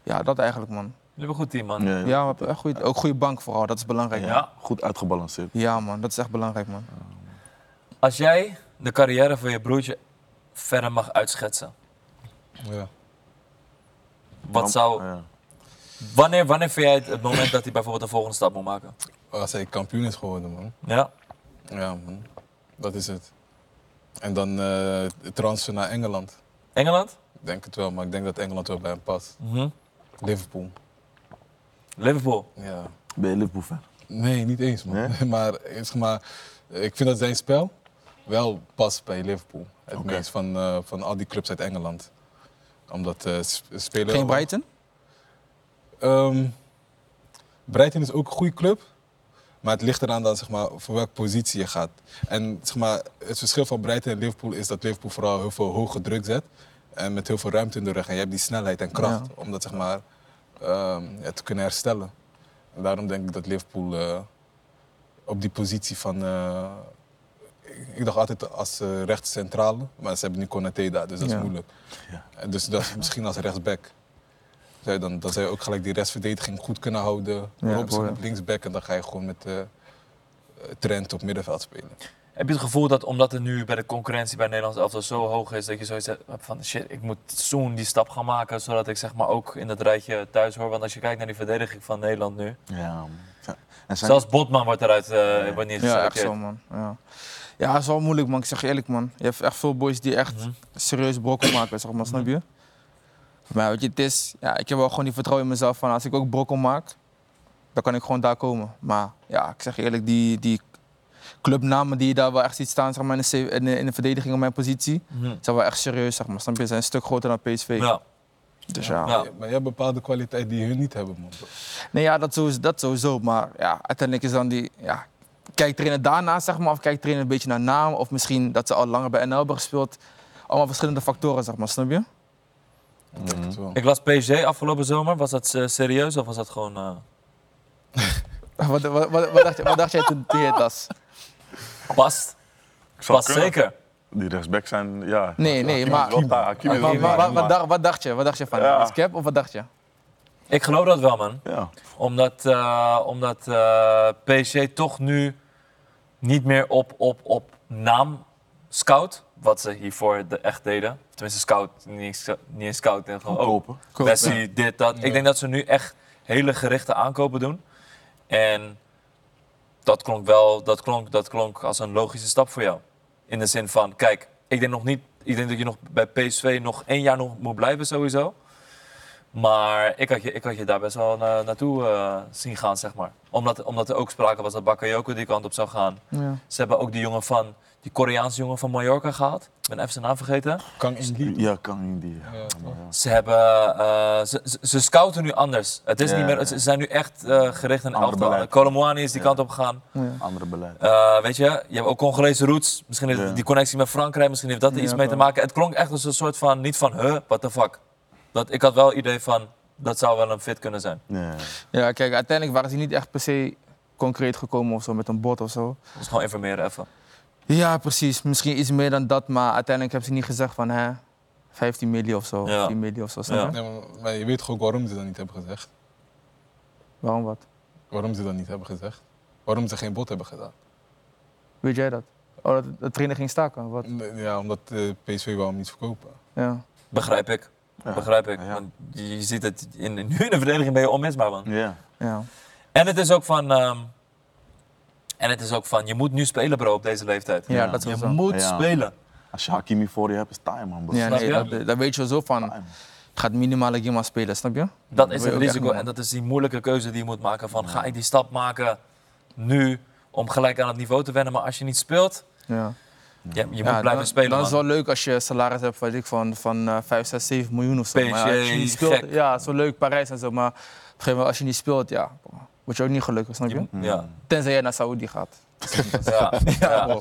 S1: Ja, dat eigenlijk man.
S3: Jullie hebben een goed team, man.
S4: Ja,
S1: Ja, we hebben echt goeie, ook goede bank vooral, dat is belangrijk. Ja.
S3: Ja.
S4: Goed uitgebalanceerd.
S1: man, dat is echt belangrijk man.
S3: Als jij de carrière van je broertje verder mag uitschetsen,
S2: Ja.
S3: wat zou,
S4: Ja.
S3: wanneer, wanneer vind jij het, het moment dat hij bijvoorbeeld een volgende stap moet maken?
S2: Als hij kampioen is geworden, man.
S3: Ja,
S2: Ja, man. Dat is het. En dan eh transfer naar Engeland.
S3: Engeland?
S2: Ik denk het wel, maar ik denk dat Engeland wel bij hem past.
S3: Mhm.
S2: Liverpool.
S3: Liverpool.
S2: Ja.
S4: Ben je Liverpool fan?
S2: Nee, niet eens, man.
S4: Nee?
S2: maar, is, maar ik vind dat zijn spel wel past bij Liverpool. Het
S4: Oké.
S2: meest van, eh, van al die clubs uit Engeland. Omdat eh sp- spelen...
S1: Geen Brighton?
S2: Ehm, Brighton is ook een goede club. Maar het ligt eraan dan, zeg maar, voor welke positie je gaat. En zeg maar, het verschil van Brighton en Liverpool is dat Liverpool vooral heel veel hoge druk zet. En met heel veel ruimte in de rug. En je hebt die snelheid en kracht om dat zeg maar, ehm, ja, te kunnen herstellen. En daarom denk ik dat Liverpool eh, op die positie van... eh, ik, ik dacht altijd als eh rechtscentrale, maar ze hebben nu Konaté daar, dus dat is
S1: Ja.
S2: moeilijk.
S4: Ja.
S2: En Dus dat is misschien als rechtsback. Zou je dan, dan zou je ook gelijk die restverdediging goed kunnen houden.
S1: Ja,
S2: Robson
S1: hoor, ja.
S2: op linksback en dan ga je gewoon met eh Trent op middenveld spelen.
S3: Heb je het gevoel dat omdat er nu bij de concurrentie bij Nederlands elftal zo hoog is, dat je zoiets hebt van shit, ik moet zoen die stap gaan maken, zodat ik zeg maar ook in dat rijtje thuis hoor. Want als je kijkt naar die verdediging van Nederland nu,
S4: Ja, man. Ja. En zijn
S3: zelfs Botman wordt eruit eh wordt niet
S1: Ja, echt zo
S3: geselecteerd.
S1: man. Ja. ja, het is wel moeilijk man, ik zeg je eerlijk man. Je hebt echt veel boys die echt
S3: Mhm.
S1: serieus brokken maken, zeg maar, snap je? Voor mij, weet je, het is, ja, ik heb wel gewoon die vertrouwen in mezelf van als ik ook brokken maak, dan kan ik gewoon daar komen. Maar ja, ik zeg je eerlijk, die, die clubnamen die je daar wel echt ziet staan, zeg maar, in de, C- in de, in de verdediging op mijn positie,
S3: Mhm.
S1: zijn wel echt serieus, zeg maar, snap je? Ze zijn een stuk groter dan PSV.
S3: Ja,
S1: Dus ja.
S3: Ja.
S2: Maar je hebt bepaalde kwaliteit die hun niet hebben, man.
S1: Nee, ja, dat sowieso, dat sowieso. Maar ja, uiteindelijk is dan die... Ja, kijkt trainer daarna, zeg maar, of kijkt trainer een beetje naar naam... of misschien dat ze al langer bij NL hebben gespeeld. Allemaal verschillende factoren, zeg maar, snap je?
S2: Ik denk het wel.
S3: ik las PSG afgelopen zomer. Was dat eh, serieus of was dat gewoon... eh,
S1: Wat, wat, wat, wat, dacht, je- wat dacht jij toen toen je het las?
S3: Past.
S4: zou
S3: Past
S4: kunnen.
S3: zeker.
S4: die rechtsback zijn, ja.
S1: Nee, nee,
S4: Hakim
S1: maar-
S4: is wel daar, Hakim is
S1: Wat,
S4: wel
S1: wat,
S4: daar,
S1: wat,
S4: maar-
S1: dacht, wat dacht je? Wat dacht je van?
S4: Ja.
S1: Is cap of wat dacht je?
S3: Ik geloof dat wel, man.
S4: Ja,
S3: Omdat, eh, omdat eh, PSG toch nu niet meer op, op, op naam scout, wat ze hiervoor de echt deden. Of Tenminste, scout, niet eens, niet eens scout en gewoon oh,
S4: Kopen.
S1: Kopen,
S3: Messi, dit, dat.
S2: Ja.
S3: Ik denk dat ze nu echt hele gerichte aankopen doen. En dat klonk wel, dat klonk, dat klonk als een logische stap voor jou. In de zin van, kijk, ik denk nog niet, ik denk dat je nog bij PSV nog één jaar nog moet blijven sowieso. Maar ik had je, ik had je daar best wel na- naartoe eh, zien gaan, zeg maar. Omdat, omdat er ook sprake was dat Bakayoko die kant op zou gaan.
S1: Ja.
S3: Ze hebben ook die jongen van, die Koreaanse jongen van Mallorca gehaald. Ik ben even zijn naam vergeten.
S2: Kan in die.
S4: Ja, kan in die. Ja.
S2: Ja, toch?
S4: maar ja.
S3: Ze hebben, eh, ze, ze- ze scouten nu anders. Het is
S4: Ja,
S3: niet meer,
S4: ja.
S3: ze ze zijn nu echt eh, gericht aan
S4: Ander
S3: elftal.
S4: beleid.
S3: Kolomoani is die
S4: Ja.
S3: kant op gegaan.
S4: Andere beleid.
S3: Eh, weet je, je hebt ook Congolese roots. Misschien heeft
S4: Ja.
S3: die connectie met Frankrijk, misschien heeft dat er
S1: Ja,
S3: iets mee te
S1: wel.
S3: maken. Het klonk echt als een soort van, niet van, huh, what the fuck. Dat, ik had wel het idee van, dat zou wel een fit kunnen zijn.
S4: Ja.
S1: Ja, kijk, uiteindelijk waren ze niet echt per se concreet gekomen of zo, met een bot of zo.
S3: Dus gewoon informeren even.
S1: Ja, precies. Misschien iets meer dan dat, maar uiteindelijk hebben ze niet gezegd van hè, 15 miljoen of zo,
S3: Ja.
S1: 10 miljoen of zo. snap
S3: Ja.
S1: je?
S2: Nee, maar- maar je weet toch ook waarom ze dat niet hebben gezegd?
S1: Waarom wat?
S2: Waarom ze dat niet hebben gezegd? Waarom ze geen bod hebben gedaan?
S1: Weet jij dat? Oh, dat de trainer ging staken? Wat?
S2: Ja, omdat eh, PSV wou hem niet verkopen.
S1: Ja.
S3: Begrijp ik.
S4: Ja.
S3: Begrijp ik.
S4: Ja, ja.
S3: Want je je ziet het, in, nu in de verdediging ben je onmisbaar, man.
S4: Ja.
S1: ja.
S3: En het is ook van. ehm, en het is ook van, je moet nu spelen, bro, op deze leeftijd.
S1: Ja, dat is wel
S3: je
S1: zo.
S3: moet
S4: Ja.
S3: spelen.
S4: Als je Hakimi voor je hebt, is time, man. bro.
S1: Ja,
S3: Snap
S1: nee,
S3: je?
S1: dat, dat weet je zo van.
S4: Time.
S1: Gaat minimaal een maar spelen, snap je?
S3: Dat
S1: Dat
S3: is
S1: wil je
S3: het
S1: ook echt
S3: risico
S1: niet,
S3: en dat is die moeilijke keuze die je moet maken van, ga ik die stap maken nu om gelijk aan het niveau te wennen, maar als je niet speelt,
S1: Ja.
S3: je, je moet
S1: Ja,
S3: blijven
S1: dan,
S3: spelen,
S1: Dan
S3: man.
S1: is het wel leuk als je salaris hebt weet ik, van, van eh 5, 6, 7 miljoen of zo. maar ja, als je
S3: PSG,
S1: niet speelt,
S3: gek.
S1: ja, zo leuk Parijs en zo. Maar op een gegeven moment, als je niet speelt, ja, word je ook niet gelukkig, snap je?
S3: Je- ja.
S1: Tenzij jij naar Saoedi gaat.
S3: Ja, ja.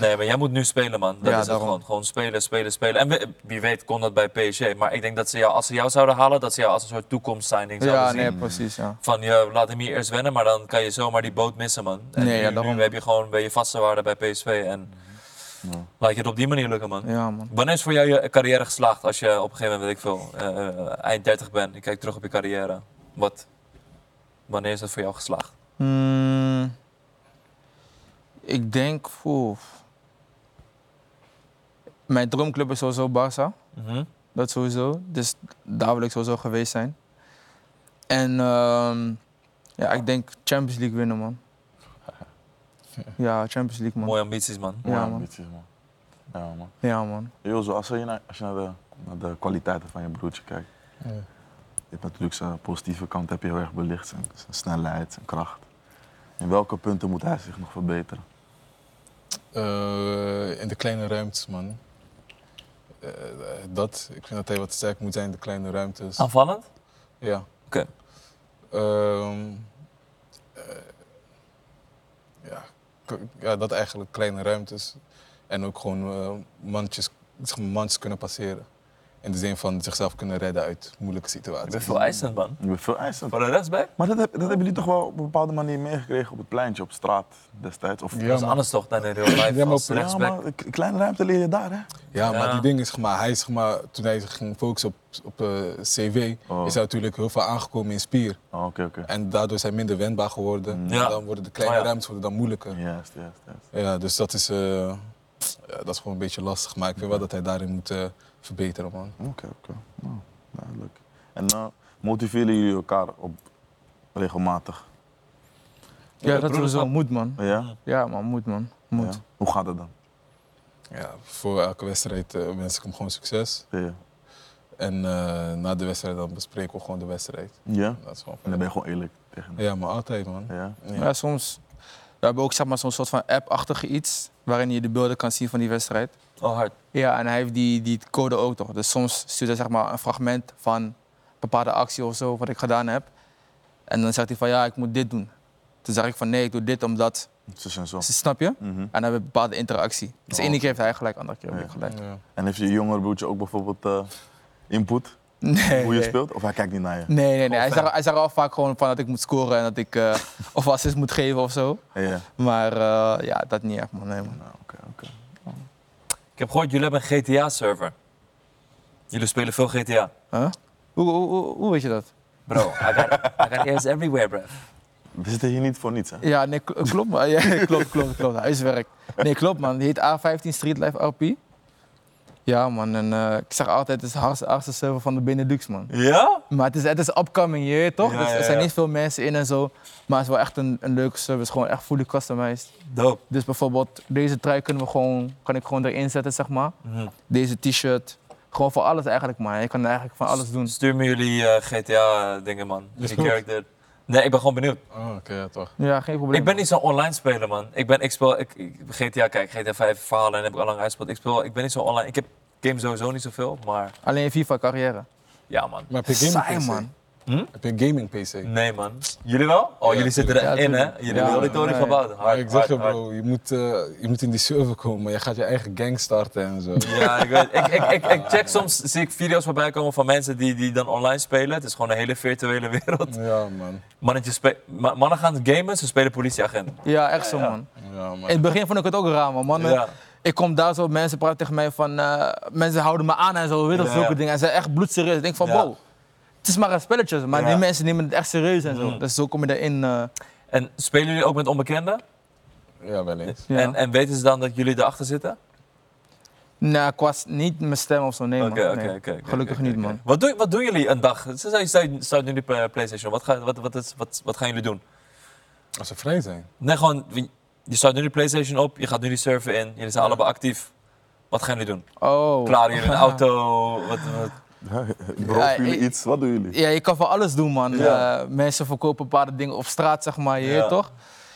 S3: Nee, maar jij moet nu spelen, man. Dat
S1: Ja,
S3: is het
S1: daarom.
S3: gewoon. Gewoon spelen, spelen, spelen. En wie- wie weet kon dat bij PSG. Maar ik denk dat ze jou, als ze jou zouden halen, dat ze jou als een soort toekomstsigning zouden
S1: Ja,
S3: zien.
S1: nee, precies. Ja.
S3: Van, ja, laat hem hier eerst wennen, maar dan kan je zomaar die boot missen, man. En
S1: Nee,
S3: nu,
S1: ja, daarom.
S3: nu heb je gewoon, ben je vaste waarde bij PSV. En laat je het op die manier lukken, man.
S1: ja, man.
S3: Wanneer is voor jou je carrière geslaagd als je op een gegeven moment, weet ik veel, eh, eh, eind 30 bent? Ik kijk terug op je carrière. Wat, wanneer is dat voor jou geslaagd?
S1: Hmm, ik denk, oeh. Mijn droomclub is sowieso Barça.
S2: Mhm.
S1: Dat sowieso. Dus daar wil ik sowieso geweest zijn. En ehm, ja, ik denk Champions League winnen, man. Ja, Champions League, man.
S3: Mooie ambities, man.
S1: Ja,
S4: Mooie
S1: man.
S4: ambities, man. Ja, man.
S1: Ja, man.
S4: Jozo, als je, naar, als je naar, de, naar de kwaliteiten van je broertje kijkt.
S2: Ja.
S4: Je hebt natuurlijk zijn positieve kant heb je heel erg belicht. Zijn, zijn snelheid, zijn kracht. In welke punten moet hij zich nog verbeteren?
S2: Eh, in de kleine ruimtes, man. Eh, dat, ik vind dat hij wat sterk moet zijn in de kleine ruimtes.
S3: Aanvallend?
S2: Ja.
S3: Oké.
S2: Ehm, eh, ja, k- ja, dat eigenlijk kleine ruimtes. En ook gewoon eh mantjes, zeg maar, mans kunnen passeren. In de zin van zichzelf kunnen redden uit moeilijke
S3: Ik ben
S2: situaties.
S3: veel eisend, man.
S4: Je bent veel eisen.
S3: Voor de rechtsback?
S4: Maar dat, heb, dat hebben jullie toch wel op een bepaalde manier meegekregen op het pleintje, op straat destijds? Of,
S2: Ja,
S3: Dat is
S2: maar-
S3: anders toch dan in real life
S2: Ja, maar
S3: als
S2: op-
S4: Ja,
S3: rechtsback.
S4: maar een k- kleine ruimte leer je daar, hè?
S2: Ja, maar
S3: Ja.
S2: die ding is, zeg maar, hij is, zeg maar, toen hij zich ging focussen op, op eh, CV,
S4: Oh.
S2: is hij natuurlijk heel veel aangekomen in spier.
S4: Oh, Oké, oké.
S2: En daardoor zijn minder wendbaar geworden.
S3: Ja.
S2: En Dan worden de kleine
S3: Oh, ja.
S2: ruimtes worden dan moeilijker.
S4: Juist, juist, juist.
S2: Ja, dus dat is, eh, ja, dat is gewoon een beetje lastig. Maar ik vind wel dat hij daarin moet eh, verbeteren, man.
S4: Oké, oké. Nou, duidelijk. En eh, motiveren jullie elkaar op regelmatig?
S1: Ja,
S3: Ja,
S1: dat sowieso
S3: broederschap.
S1: moet, man.
S4: Ja?
S1: Ja, man, moet, man.
S4: ja?
S1: Moet.
S4: Hoe gaat het dan?
S2: Ja, voor elke wedstrijd eh, wens ik hem gewoon succes.
S4: Ja?
S2: En eh, na de wedstrijd dan bespreken we gewoon de wedstrijd.
S4: ja?
S2: Dat is gewoon
S4: En dan ben je gewoon eerlijk tegen hem.
S2: Ja, maar altijd, man.
S4: Ja?
S1: Ja, soms. We hebben ook zeg maar, zo'n soort van app-achtige iets. waarin je de beelden kan zien van die wedstrijd.
S3: Oh, hard.
S1: Ja, en hij heeft die, die code ook toch. Dus soms stuurt hij zeg maar, een fragment van een bepaalde actie of zo, wat ik gedaan heb. En dan zegt hij van ja, ik moet dit doen. Toen zeg ik van nee, ik doe dit omdat.
S4: Ze zijn zo.
S1: Dus, snap je? En
S4: Mhm.
S1: dan hebben we een bepaalde interactie. Dus de ene keer heeft hij gelijk, andere keer heb ik
S4: Ja.
S1: gelijk.
S2: Ja.
S4: En heeft je jongere broertje ook bijvoorbeeld eh, input?
S1: Nee.
S4: Hoe je
S1: nee.
S4: speelt? Of hij kijkt niet naar je?
S1: Nee, nee, nee. Hij zegt, hij zegt al vaak gewoon van dat ik moet scoren en dat ik eh, of assist moet geven of zo.
S4: Ja.
S1: Maar eh, ja, dat niet echt, man. Nee, man.
S4: Nou, oké, oké.
S3: Ik heb gehoord, jullie hebben een GTA-server. Jullie spelen veel GTA.
S1: Huh? Hoe, hoe, hoe, hoe weet je dat?
S3: Bro, I got, I got ears everywhere, bro.
S4: We zitten hier niet voor niets, hè?
S1: Ja, nee, kl- klopt man. Ja, klopt, klopt, klopt. Huiswerk. Nee, klopt man. Die heet A15 Street Life RP. Ja man, en eh, ik zeg altijd, het is de hardste, hardste server van de Benelux man.
S3: Ja?
S1: Maar het is, het is upcoming, je weet toch?
S3: Ja,
S1: dus
S3: ja,
S1: er zijn
S3: ja.
S1: niet veel mensen in en zo. Maar het is wel echt een, een leuke service, gewoon echt fully customized.
S3: Dope.
S1: Dus bijvoorbeeld deze trui kunnen we gewoon, kan ik gewoon erin zetten, zeg maar.
S3: Mhm.
S1: Deze t-shirt. Gewoon voor alles eigenlijk man. Je kan eigenlijk van alles doen.
S3: Stuur me jullie eh, GTA-dingen, man.
S2: Is
S3: Die
S2: goed.
S3: character. Nee, ik ben gewoon benieuwd.
S2: Oh, oké, ja, toch.
S1: Ja, geen probleem.
S3: Ik ben niet zo'n online speler, man. Ik ben, ik speel, ik, ik- GTA, kijk, GTA 5 verhalen en heb ik al lang uitgespeeld. Ik speel, ik ben niet zo online. Ik heb game sowieso niet zoveel, maar
S1: Alleen FIFA carrière.
S3: ja, man.
S2: Maar heb je
S1: Saai
S2: gaming PC?
S1: man.
S2: Heb je gaming PC?
S3: Nee, man. Jullie wel? Oh,
S2: Ja,
S3: jullie zitten
S1: tuurlijk.
S3: erin,
S1: Ja,
S3: hè?
S1: tuurlijk.
S3: Jullie
S1: Ja,
S3: hebben die toren
S1: nee.
S3: gebouwd. Hard,
S2: Maar ik zeg
S3: hard,
S2: je
S3: hard.
S2: bro, je moet, eh, je moet in die server komen. Je gaat je eigen gang starten en zo.
S3: Ja, ik weet. Ik, ik, ik, ik check soms, zie ik video's voorbij komen van mensen die, die dan online spelen. Het is gewoon een hele virtuele wereld.
S2: ja man.
S3: Mannetjes spe- ma- mannen gaan gamen, ze spelen politieagent.
S1: Ja, echt zo man.
S2: Ja man.
S1: In het begin vond ik het ook raar man. Mannen,
S3: Ja.
S1: Ik kom daar zo, mensen praten tegen mij van, eh, mensen houden me aan en zo, weet je,
S3: Ja,
S1: zulke
S3: ja.
S1: dingen. En ze zijn echt bloedserieus. Ik denk van,
S3: Ja.
S1: wow, het is maar een spelletje, maar
S3: Ja.
S1: die mensen nemen het echt serieus en zo.
S3: Mm.
S1: Dus zo kom je daarin. eh,
S3: En spelen jullie ook met onbekenden?
S2: Ja, wel eens.
S1: ja.
S3: En, en weten ze dan dat jullie erachter zitten?
S1: nou, ik was niet mijn stem of zo, nee man.
S3: Oké,
S1: nee.
S3: oké, oké. oké,
S1: Gelukkig
S3: oké,
S1: niet,
S3: oké.
S1: man.
S3: Wat, doe, wat doen jullie een dag? Stel stel je staat nu op eh, PlayStation. Wat, ga, wat, wat, is- wat, wat gaan jullie doen?
S2: Als ze vrij zijn.
S3: Nee, gewoon, wie- je staat nu de PlayStation op, je gaat nu die server in, jullie zijn allebei actief. Wat gaan jullie doen?
S1: Oh.
S3: Klaren jullie een auto? Wat, wat-
S4: Beroven
S1: Ja,
S4: jullie
S1: ik-
S4: iets? Wat doen jullie?
S1: Ja, je kan van alles doen, man.
S4: Ja.
S1: Eh, mensen verkopen bepaalde dingen op straat, zeg maar, je
S3: Ja.
S1: weet toch?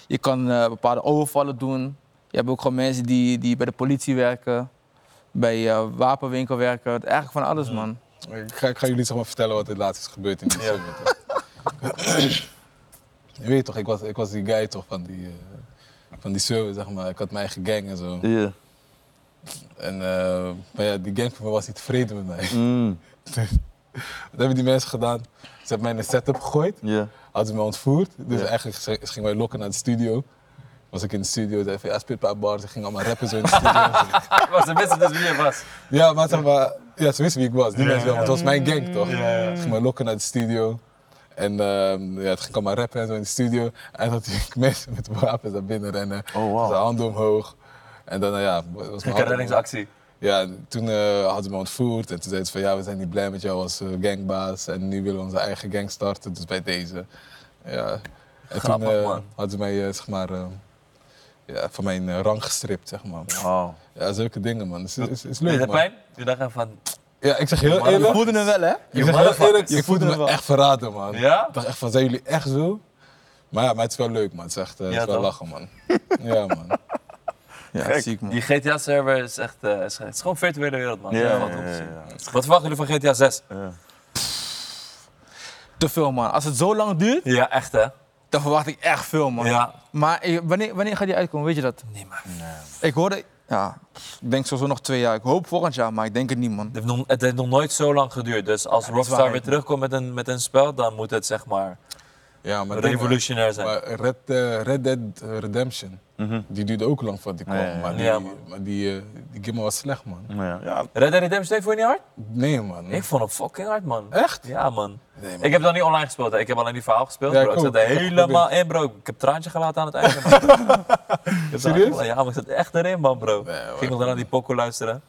S1: Je kan eh, bepaalde overvallen doen. Je hebt ook gewoon mensen die, die bij de politie werken, bij eh, wapenwinkel werken. Eigenlijk van alles, man.
S2: Ik ga, ik ga jullie zeg maar vertellen wat er laatst is gebeurd in die server. toch. je weet toch, ik was, ik was die guy toch van die, eh, van die server zeg maar. Ik had mijn eigen gang en zo.
S4: Ja.
S2: En, eh, maar ja, die gang van me was niet tevreden met mij.
S4: Mm,
S2: Wat hebben die mensen gedaan? Ze hebben mij in een setup gegooid.
S4: ja.
S2: Hadden ze me ontvoerd. Dus
S4: Ja.
S2: eigenlijk ze, ze gingen mij lokken naar de studio. Was ik in de studio, zei van ja, speel een paar bars. Ze gingen allemaal rappen zo in de studio.
S3: was de beste dus wie je was.
S2: ja, maar zeg maar, ja, ze wisten wie ik was. Die mensen wel, want het was mijn
S3: mm.
S2: gang toch? Ze gingen mij lokken naar de studio. En ehm, ja, het ging allemaal rappen en zo in de studio. En dat ik mensen met wapens naar binnen rennen.
S4: Oh, wauw.
S2: Ze handen omhoog. En dan, nou ja, was mijn
S3: Gekke
S2: handen-
S3: reddingsactie.
S2: ja, en toen eh, hadden ze me ontvoerd en toen zeiden ze van ja, we zijn niet blij met jou als eh, gangbaas en nu willen we onze eigen gang starten, dus bij deze. Ja. En
S3: Grappig,
S2: toen eh,
S3: man.
S2: hadden ze mij eh, zeg maar, eh, ja, van mijn eh, rang gestript, zeg maar.
S4: Wauw.
S2: Ja, zulke dingen, man. Het is, is, is
S3: Deed
S2: leuk,
S3: dat
S2: man.
S3: pijn? Je dacht even van,
S2: Ja, ik zeg heel
S3: Maar je
S1: Je
S2: eerlijk,
S1: voelde hem wel, hè?
S2: ik zeg
S3: je
S2: heel
S3: motherfuckers.
S2: eerlijk, ik voelde
S1: voelde
S2: me
S1: hem wel.
S2: echt verraden, man.
S3: Ja?
S2: Ik dacht echt van, zijn jullie echt zo? Maar ja, maar het is wel leuk, man. Het is echt eh, het
S3: Ja,
S2: is wel
S3: toch?
S2: lachen, man. Ja, man.
S1: Ja,
S4: Gek.
S1: ziek, man.
S3: die GTA-server is echt, eh, is, het is gewoon een virtuele wereld, man.
S4: Ja,
S3: Dat is
S4: ja,
S3: wel wat om te
S4: ja,
S3: zien.
S4: ja, ja.
S3: Wat verwachten jullie van GTA 6?
S4: Ja.
S1: Te veel, man. Als het zo lang duurt,
S3: Ja, echt hè?
S1: dan verwacht ik echt veel, man.
S3: Ja.
S1: Maar eh, wanneer, wanneer gaat die uitkomen? Weet je dat?
S3: Nee, maar
S1: Ik hoorde. Ja, ik denk sowieso nog twee jaar. Ik hoop volgend jaar, maar ik denk het niet, man.
S3: het heeft, nog, het heeft nog nooit zo lang geduurd. Dus als
S1: dat is
S3: Rockstar
S1: waar,
S3: weer
S1: hè.
S3: terugkomt met een, met een spel, dan moet het zeg maar
S2: Ja, maar denk-
S3: revolutionair zijn.
S2: Maar Red, eh, Red Dead Redemption, die duurde ook lang voordat die kwam.
S4: Ja, ja, ja.
S2: Maar die,
S3: Mhm. Ja, man.
S2: maar die, eh, die game was slecht, man.
S4: Ja. Ja.
S3: Red Dead Redemption 2 vond je niet hard?
S2: Nee, man.
S3: Ik vond hem fucking hard, man.
S2: Echt?
S3: Ja, man.
S2: Nee, man.
S3: Ik heb dan niet online gespeeld, hè. ik heb alleen die verhaal gespeeld.
S2: Ja,
S3: bro.
S2: ik
S3: Ik zat
S2: ook.
S3: er
S2: Ik heb het
S3: helemaal in, bro. Ik heb traantje gelaten aan het einde. man. Ik heb het
S2: Serieus?
S3: aan- Ja, maar ik zat echt erin, man, bro.
S2: Nee, man.
S3: ik ging nog daarna die pokoe luisteren.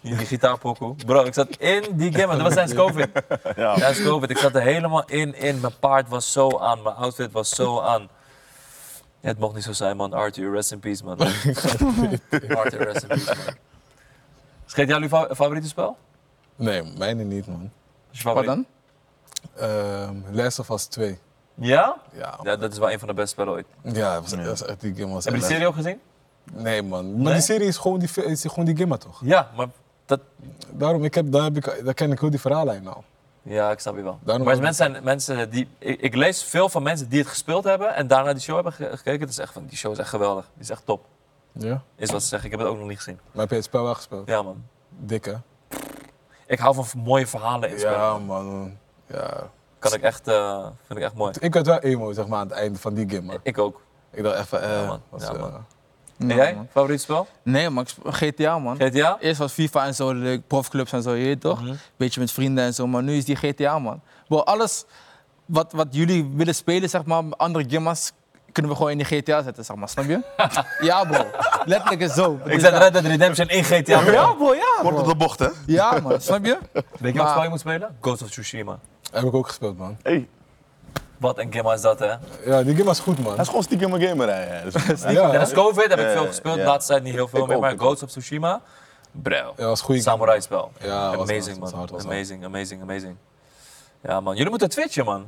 S3: Die, die gitaarpokoe. Bro, ik zat in die game, man. dat was tijdens COVID.
S4: Ja.
S3: Tijdens COVID, ik zat er helemaal in, in. Mijn paard was zo aan, mijn outfit was zo aan. Ja, het mocht niet zo zijn, man. Arthur, rest in peace, man. Arthur, rest in peace, man. Scheet jij jouw fa- favoriete spel?
S2: Nee, mijne niet, man.
S3: Wat is je
S1: Wat
S3: favoriet?
S1: dan?
S2: Ehm Last of Us 2.
S3: Ja?
S2: Ja, man.
S3: ja? Dat is wel een van de beste spellen ooit.
S2: ja dat was, dat was echt die game was
S3: Heb je
S2: echt-
S3: de serie ook gezien?
S2: Nee, man. Maar
S3: Nee?
S2: die serie is gewoon die, fi- is gewoon die game, toch?
S3: Ja, maar dat...
S2: Daarom, ik heb, daar, heb ik, daar ken ik heel die verhaallijn al.
S3: Ja, ik snap je wel.
S2: Daarom
S3: maar
S2: ook-
S3: mensen zijn mensen die... Ik, ik lees veel van mensen die het gespeeld hebben en daarna die show hebben ge- gekeken. Het is echt van, die show is echt geweldig. Die is echt top.
S2: Ja?
S3: Is wat ze zeggen. Ik heb het ook nog niet gezien.
S2: Maar heb je het spel wel gespeeld?
S3: Ja, man.
S2: Dik, hè?
S3: Ik hou van v- mooie verhalen in spelen.
S2: Ja, man. Ja.
S3: Kan ik echt... eh, vind ik echt mooi.
S2: Ik werd wel emo, zeg maar, aan het einde van die game, man.
S3: Ik ook.
S2: Ik dacht echt van, eh,
S3: Ja, man.
S2: was,
S3: Ja,
S2: eh,
S3: man.
S1: Ja,
S3: en jij?
S1: Nou, man.
S3: Favoriet spel?
S1: Nee, man. ik sp- GTA, man.
S3: GTA?
S1: Eerst was FIFA en zo leuk, profclubs en zo, je weet toch?
S3: Mhm.
S1: Beetje met vrienden en zo, maar nu is die GTA, man. Bro, alles wat, wat jullie willen spelen, zeg maar, andere gimmas, kunnen we gewoon in de GTA zetten, zeg maar. Snap je? ja, bro. Letterlijk is zo.
S3: Ik zet Red Dead Redemption in GTA.
S1: Ja, bro, ja.
S4: Wordt
S1: Bro.
S4: het de bocht, hè?
S1: Ja, man. Snap je?
S3: Weet je wat spel je moet spelen? Ghost of Tsushima.
S2: Heb ik ook gespeeld, man.
S4: Hey,
S3: Wat een gimma is dat, hè?
S2: Ja, die game was goed, man.
S4: hij is gewoon stiekem een gamer, hè? Dus-
S2: Ja,
S3: Tijdens
S2: ja,
S3: COVID heb ik
S4: Ja,
S3: veel
S4: ja,
S3: gespeeld.
S4: ja.
S3: Laatste tijd niet heel veel
S4: Ik
S3: meer,
S4: ook,
S3: maar
S4: ik
S3: Ghost of Tsushima. Bro.
S2: was goed.
S3: Samurai spel.
S2: Ja, was
S3: amazing,
S2: hard, was
S3: man.
S2: hard, was hard.
S3: amazing, amazing, amazing. Ja, man. Jullie moeten twitchen, man.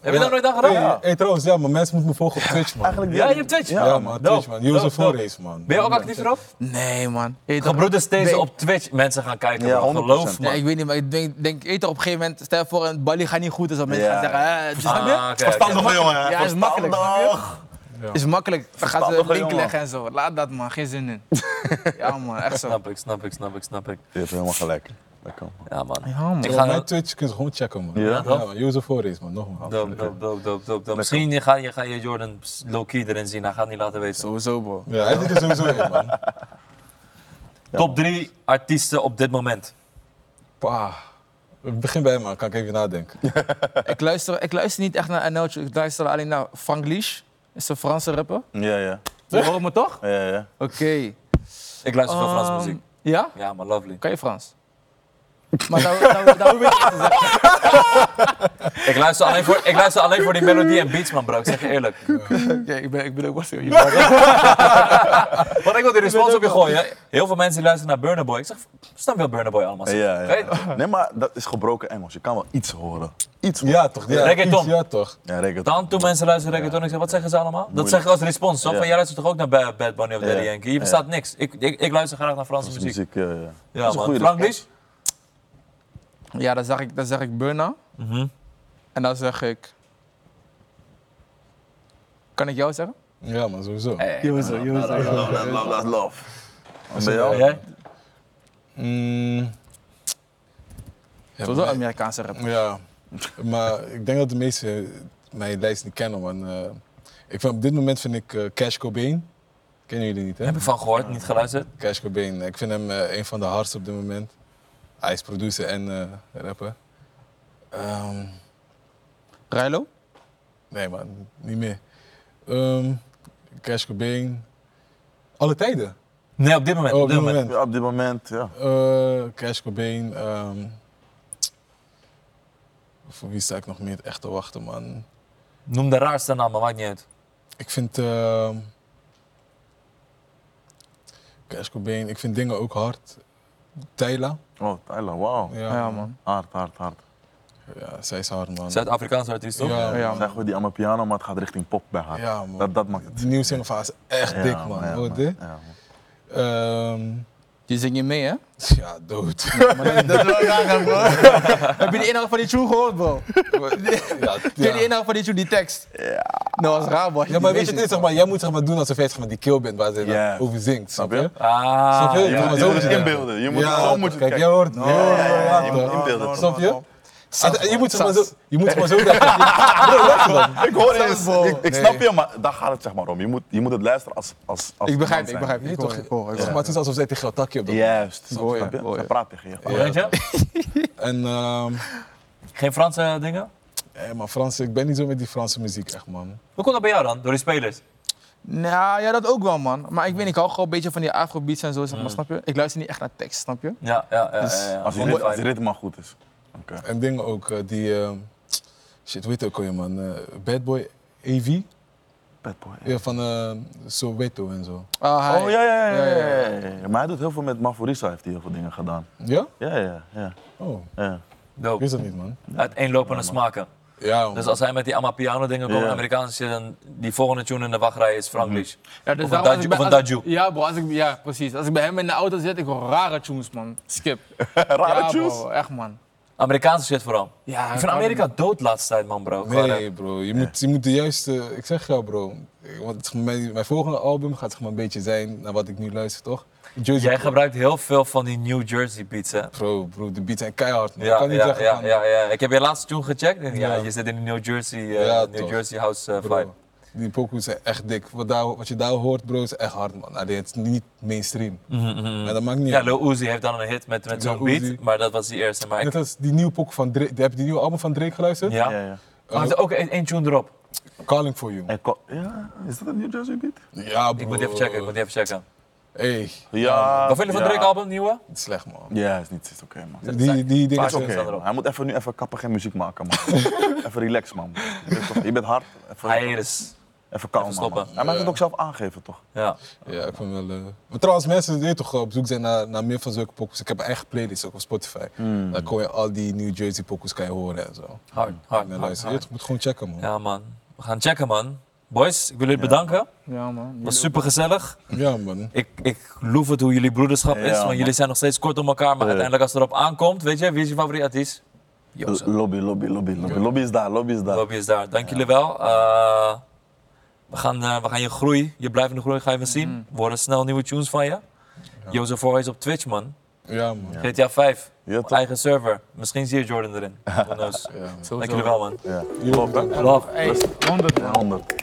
S3: Heb je
S2: Ja.
S3: dat nooit aan gedaan?
S2: Hey, hey, trouwens, ja, maar mensen moeten me volgen op Twitch, man.
S4: Eigenlijk
S3: Ja, je hebt Twitch.
S2: Ja,
S4: Ja,
S2: man,
S3: man.
S2: Twitch,
S3: Dope,
S2: man. Jozef
S3: dope, dope.
S2: Voorrace, man.
S3: Ben je ook actief erop?
S1: Nee, man. Weet je toch-
S3: Gebroeders deze
S1: Nee.
S3: op Twitch. Mensen gaan kijken,
S4: Ja,
S3: man.
S4: 100%.
S3: geloof me.
S1: Nee, ik weet niet, maar ik denk, denk eten op een gegeven moment, stel je voor een Bali gaat niet goed, is dat mensen
S4: Ja.
S1: gaan zeggen, hè, dus snap je?
S3: Ah, oké, oké.
S4: Verstandige jongen, hè?
S1: Ja, is makkelijk.
S4: Verstandig.
S1: Is makkelijk. Dan gaan ze
S4: Verstandige
S1: linken
S4: jongen.
S1: leggen en zo. Laat dat man, geen zin in. ja man, echt zo.
S3: Snap ik, snap ik, snap ik, snap ik.
S4: Je hebt helemaal gelijk. Dat kan.
S3: Ja, man.
S1: Ja man.
S3: Ik
S2: Op
S3: ga
S2: mijn Twitch kun je gewoon checken, man.
S4: Ja?
S2: man. Jozef Voorrace, man. Nogmaals.
S3: Doop, doop, doop, doop, doop. Misschien je ga, je ga je Jordan low-key erin zien. Hij gaat niet laten weten.
S1: Sowieso bro.
S2: Ja, hij zit er sowieso in, man.
S3: Top 3 artiesten op dit moment.
S2: Pa. Begin bij hem, man. Kan ik even nadenken.
S1: Ik luister, ik luister niet echt naar NL, ik luister alleen naar Frank Lish. Is een Franse rapper.
S4: Ja, ja.
S1: Je hoort me toch?
S4: Ja, ja.
S1: Oké.
S3: Ik luister veel Franse
S1: Ehm,
S3: muziek.
S1: Ja?
S3: Ja, maar lovely.
S1: Kan je Frans? maar daar, daar, daar hoef ik niet te zeggen.
S3: Ik luister alleen voor, ik luister alleen voor die melodie en beats, man, bro. Ik zeg je eerlijk.
S1: Oké, ik, ben, ik ben ook wel serieus.
S3: Want ik wil die respons op je gooien. Heel veel mensen die luisteren naar Burner Boy. Ik zeg, snap je wel Burner Boy allemaal? zegt?
S4: Ja,
S3: Oké?
S4: ja. Nee, maar dat is gebroken Engels. Je kan wel iets horen. Iets horen.
S2: Ja, toch? Ja,
S3: Reggaeton.
S2: iets, Ja, toch?
S4: Ja, reggaeton.
S3: Dan toen mensen luisteren reggaeton, ik zeg, wat zeggen ze allemaal? Dat zeg ik als respons. Zo van,
S4: Ja.
S3: jij luistert toch ook naar Bad, Bad Bunny of Daddy
S4: Ja.
S3: Yankee? Hier bestaat niks. Ik, ik, ik luister graag naar Franse
S4: Muziek.
S3: muziek.
S4: muziek ja, ja. Dat
S3: Ja,
S4: is een
S3: man.
S4: goede
S3: Frank
S4: respons.
S3: Lies?
S1: Ja, dan zeg ik, dan zeg ik Burna.
S3: Mhm.
S1: En dan zeg ik... Kan ik jou zeggen?
S2: Ja, man, sowieso.
S3: Hey.
S1: Jozo, jozo.
S4: Love, love, love, love. En bij
S3: En
S4: jou?
S3: jij?
S2: Mm. Ja,
S1: Sowieso
S2: maar-
S1: Amerikaanse rapper.
S2: Ja, maar ik denk dat de meesten mijn lijst niet kennen, man. Eh, ik vind, op dit moment vind ik eh, Cash Cobain. Kennen jullie niet, hè?
S3: Heb ik van gehoord, niet geluisterd.
S2: Cash Cobain. Ik vind hem eh, een van de hardste op dit moment. Hij is producer en eh, rapper. Ehm,
S1: Rilo?
S2: nee, man, niet meer. Ehm Cash Cobain. Alle tijden.
S3: Nee, op dit moment.
S2: Oh,
S3: op dit moment.
S4: Ja, op dit moment, ja.
S2: Eh, Cash Cobain. ehm, voor wie sta ik nog meer echt te wachten, man?
S3: Noem de raarste naam, maar maakt niet uit.
S2: Ik vind. ehm Cash Cobain, ik vind dingen ook hard. Tayla,
S4: Oh, Tyler, wauw.
S2: ja,
S1: Ja man.
S4: Hard, hard, hard.
S2: Ja, zij is hard, man.
S3: Zuid-Afrikaanse artiest, toch?
S2: Ja,
S1: Ja,
S4: Ja, zeg goed, die allemaal piano, maar het gaat richting pop bij haar.
S2: Ja, man.
S4: Dat, dat maakt het.
S2: Die nieuwe singelfase is echt
S4: Ja,
S2: dik, man.
S4: ja,
S2: Hoor je dit?
S4: Ja, man.
S2: Ehm,
S1: Je zingt je mee, hè?
S2: ja, dood.
S1: Dat wil ik aangaan, bro. Heb je de inhoud van die tune gehoord, bro?
S2: ja,
S1: Ken je de
S2: ja.
S1: inhoud van die tune, die tekst? Ja. Nou, dat is raar, bro.
S2: Ja, maar weet je, dit, zeg maar, jij moet zeg maar, doen alsof jij zeg maar, die kill bent waar ze
S4: Ja.
S2: dan over zingt, snap je?
S4: Snap
S3: Ah,
S2: Snap je?
S4: Ja,
S2: maar
S4: je
S2: zo
S4: moet
S2: moet
S4: het
S2: je-
S4: inbeelden. Je moet,
S2: Ja,
S4: zo moet je het
S2: kijk, jij
S4: kijken.
S2: hoort. Ja, ja, ja, ja,
S4: Je moet het
S2: toch?
S4: inbeelden.
S2: Snap je? Ah, Je moet zeg maar zo,
S1: Sans.
S2: je moet zeg maar zo denken.
S4: Ik hoor eens.
S1: Snap je?
S4: Ik, ik snap je, maar daar gaat het zeg maar om. Je moet, je moet het luisteren als. als, als
S1: Ik begrijp,
S4: man
S1: ik
S4: zijn.
S1: begrijp.
S2: Nee,
S1: Ik
S2: toch?
S1: hoor, ik hoor, ik
S2: Zeg
S1: hoor.
S2: maar, het is alsof zij tegen jou takje op dat
S4: Juist.
S1: Hoor je,
S4: Snap je?
S1: hoor je.
S4: Ze praat tegen je.
S2: Ja.
S3: weet je?
S2: En ehm
S3: Geen Franse dingen?
S2: hé, maar Frans, ik ben niet zo met die Franse muziek echt, man.
S3: Hoe komt dat bij jou dan? Door die spelers?
S1: Nou, ja, dat ook wel, man. Maar ik weet, ik hou gewoon een beetje van die afrobeats en zo, zeg maar, snap je? Ik luister niet echt naar tekst, snap je?
S3: Ja, ja, ja. ja, ja.
S4: Dus Als die
S3: Mooi.
S4: rit- als die ritme maar goed is. Oké.
S2: En dingen ook eh, die. ehm, shit, weet ook alweer, man. eh, Bad Boy AV.
S4: Bad boy.
S2: Ja, van eh Soweto en zo.
S1: Ah, hij-
S4: Oh ja ja ja, ja, ja, ja, ja. Maar hij doet heel veel met Mavorisa, heeft hij heel veel dingen gedaan.
S2: Ja?
S4: Ja, ja, ja.
S2: Oh,
S4: ja.
S2: ik
S3: Dope.
S2: wist dat niet, man.
S3: Uiteenlopende smaken.
S2: Dus- Ja, man.
S3: Dus als hij met die Amapiano dingen komt,
S4: Ja.
S3: Amerikaanse, dan die volgende tune in de wachtrij
S2: Mhm.
S3: is Franklish.
S1: Ja, dus
S3: Of een
S1: daarom als
S3: Daju-
S1: ik bij-
S3: of een
S1: als-
S3: Daju.
S1: Ja, bro, als ik, ja, precies. Als ik bij hem in de auto zit, ik hoor rare tunes, man. Skip.
S4: Rare
S1: ja,
S4: tunes.
S1: bro, echt, man.
S3: Amerikaanse shit vooral.
S1: Ja,
S3: ik
S1: ik
S3: vind
S1: hou
S3: Amerika dood laatste tijd, man, bro. Gewoon, eh,
S2: Nee, bro. Je moet, je moet de juiste. Ik zeg jou, bro. Want zeg maar, mijn, mijn volgende album gaat zeg maar, een beetje zijn naar wat ik nu luister, toch? Jersey
S3: Jij gebruikt heel veel van die New Jersey beats, hè?
S2: Bro, bro, de beats zijn keihard, man. ik
S3: Ja,
S2: kan niet
S3: ja,
S2: zeggen.
S3: ja,
S2: van-
S3: ja, ja. Ik heb je laatste tune gecheckt. en Ja,
S2: Ja.
S3: je zit in de New Jersey, eh,
S2: Ja,
S3: New
S2: toch.
S3: Jersey house eh,
S2: Bro,
S3: vibe.
S2: Die pokoes zijn echt dik. Wat, daar, wat je daar hoort, bro, is echt hard, man. Allee, het is niet mainstream. Maar dat maakt niet
S3: Mhm, Ja,
S2: uit.
S3: Lil Uzi heeft dan een hit met, met
S2: Lil
S3: zo'n beat,
S2: Uzi.
S3: maar dat was die eerste. Maar ik-
S2: Net als die nieuwe pokoe van Drake. Heb je die nieuwe album van Drake geluisterd?
S3: ja.
S4: Ja, ja.
S3: Oh, er ook één één tune erop.
S2: Calling for you.
S4: En ko- ja, is dat een New Jersey beat?
S2: Ja, bro.
S3: Ik moet even checken, ik moet even checken.
S2: Hey,
S4: Ja.
S3: Wat vind je van Drake album, nieuwe?
S2: het is slecht, man.
S4: Ja, is niet, is oké man.
S2: Die, die, die dingen
S4: Is
S2: zijn-
S4: oké,
S3: staat
S4: bro.
S3: erop.
S4: Hij moet even nu even kappen, geen muziek maken man. even relax man. Je bent, toch- je bent hard. Even,
S3: Hiatus.
S4: even kalm
S3: even
S4: man.
S3: stoppen.
S4: man. Hij mag het ook zelf aangeven toch?
S3: Ja.
S2: Ja, ik vind wel. eh, Maar trouwens, mensen die toch op zoek zijn naar, naar meer van zulke pokus. Ik heb een eigen playlist ook op Spotify. Daar kon je al die New Jersey pokus kan je horen en zo.
S3: Hard, hard,
S2: En dan
S3: hard,
S2: luister je,
S3: hard.
S2: je moet gewoon checken, man. Ja,
S3: Ah, Ja, man. We gaan checken, man. Boys, ik wil jullie bedanken. Het
S1: Ja, man. Jullie ook.
S3: was super gezellig.
S2: man.
S3: Ik, ik loef het hoe jullie broederschap
S4: Ja,
S3: is, want
S4: man.
S3: jullie zijn nog steeds kort om elkaar. Maar uiteindelijk als het erop aankomt, weet je, wie is je favoriet artiest? Jozef.
S4: Lobby, lobby, lobby, lobby. Lobby is daar, lobby is daar.
S3: Robbie is daar. Dank jullie wel. Eh, we, gaan, eh, we gaan je groei, je blijvende groei, ga je wel zien. We horen snel nieuwe tunes van je. Jozef Voorhees op Twitch, man.
S2: Ja, man.
S3: GTA 5.
S4: Ja, toch?
S3: eigen server. Misschien zie je Jordan erin. Who knows.
S2: Ja, man.
S3: Dank
S1: Sowieso.
S3: jullie wel, man.
S4: Ja.
S2: Jullie ook, hè?
S4: Love.
S1: Hey, 100 man.
S4: 100.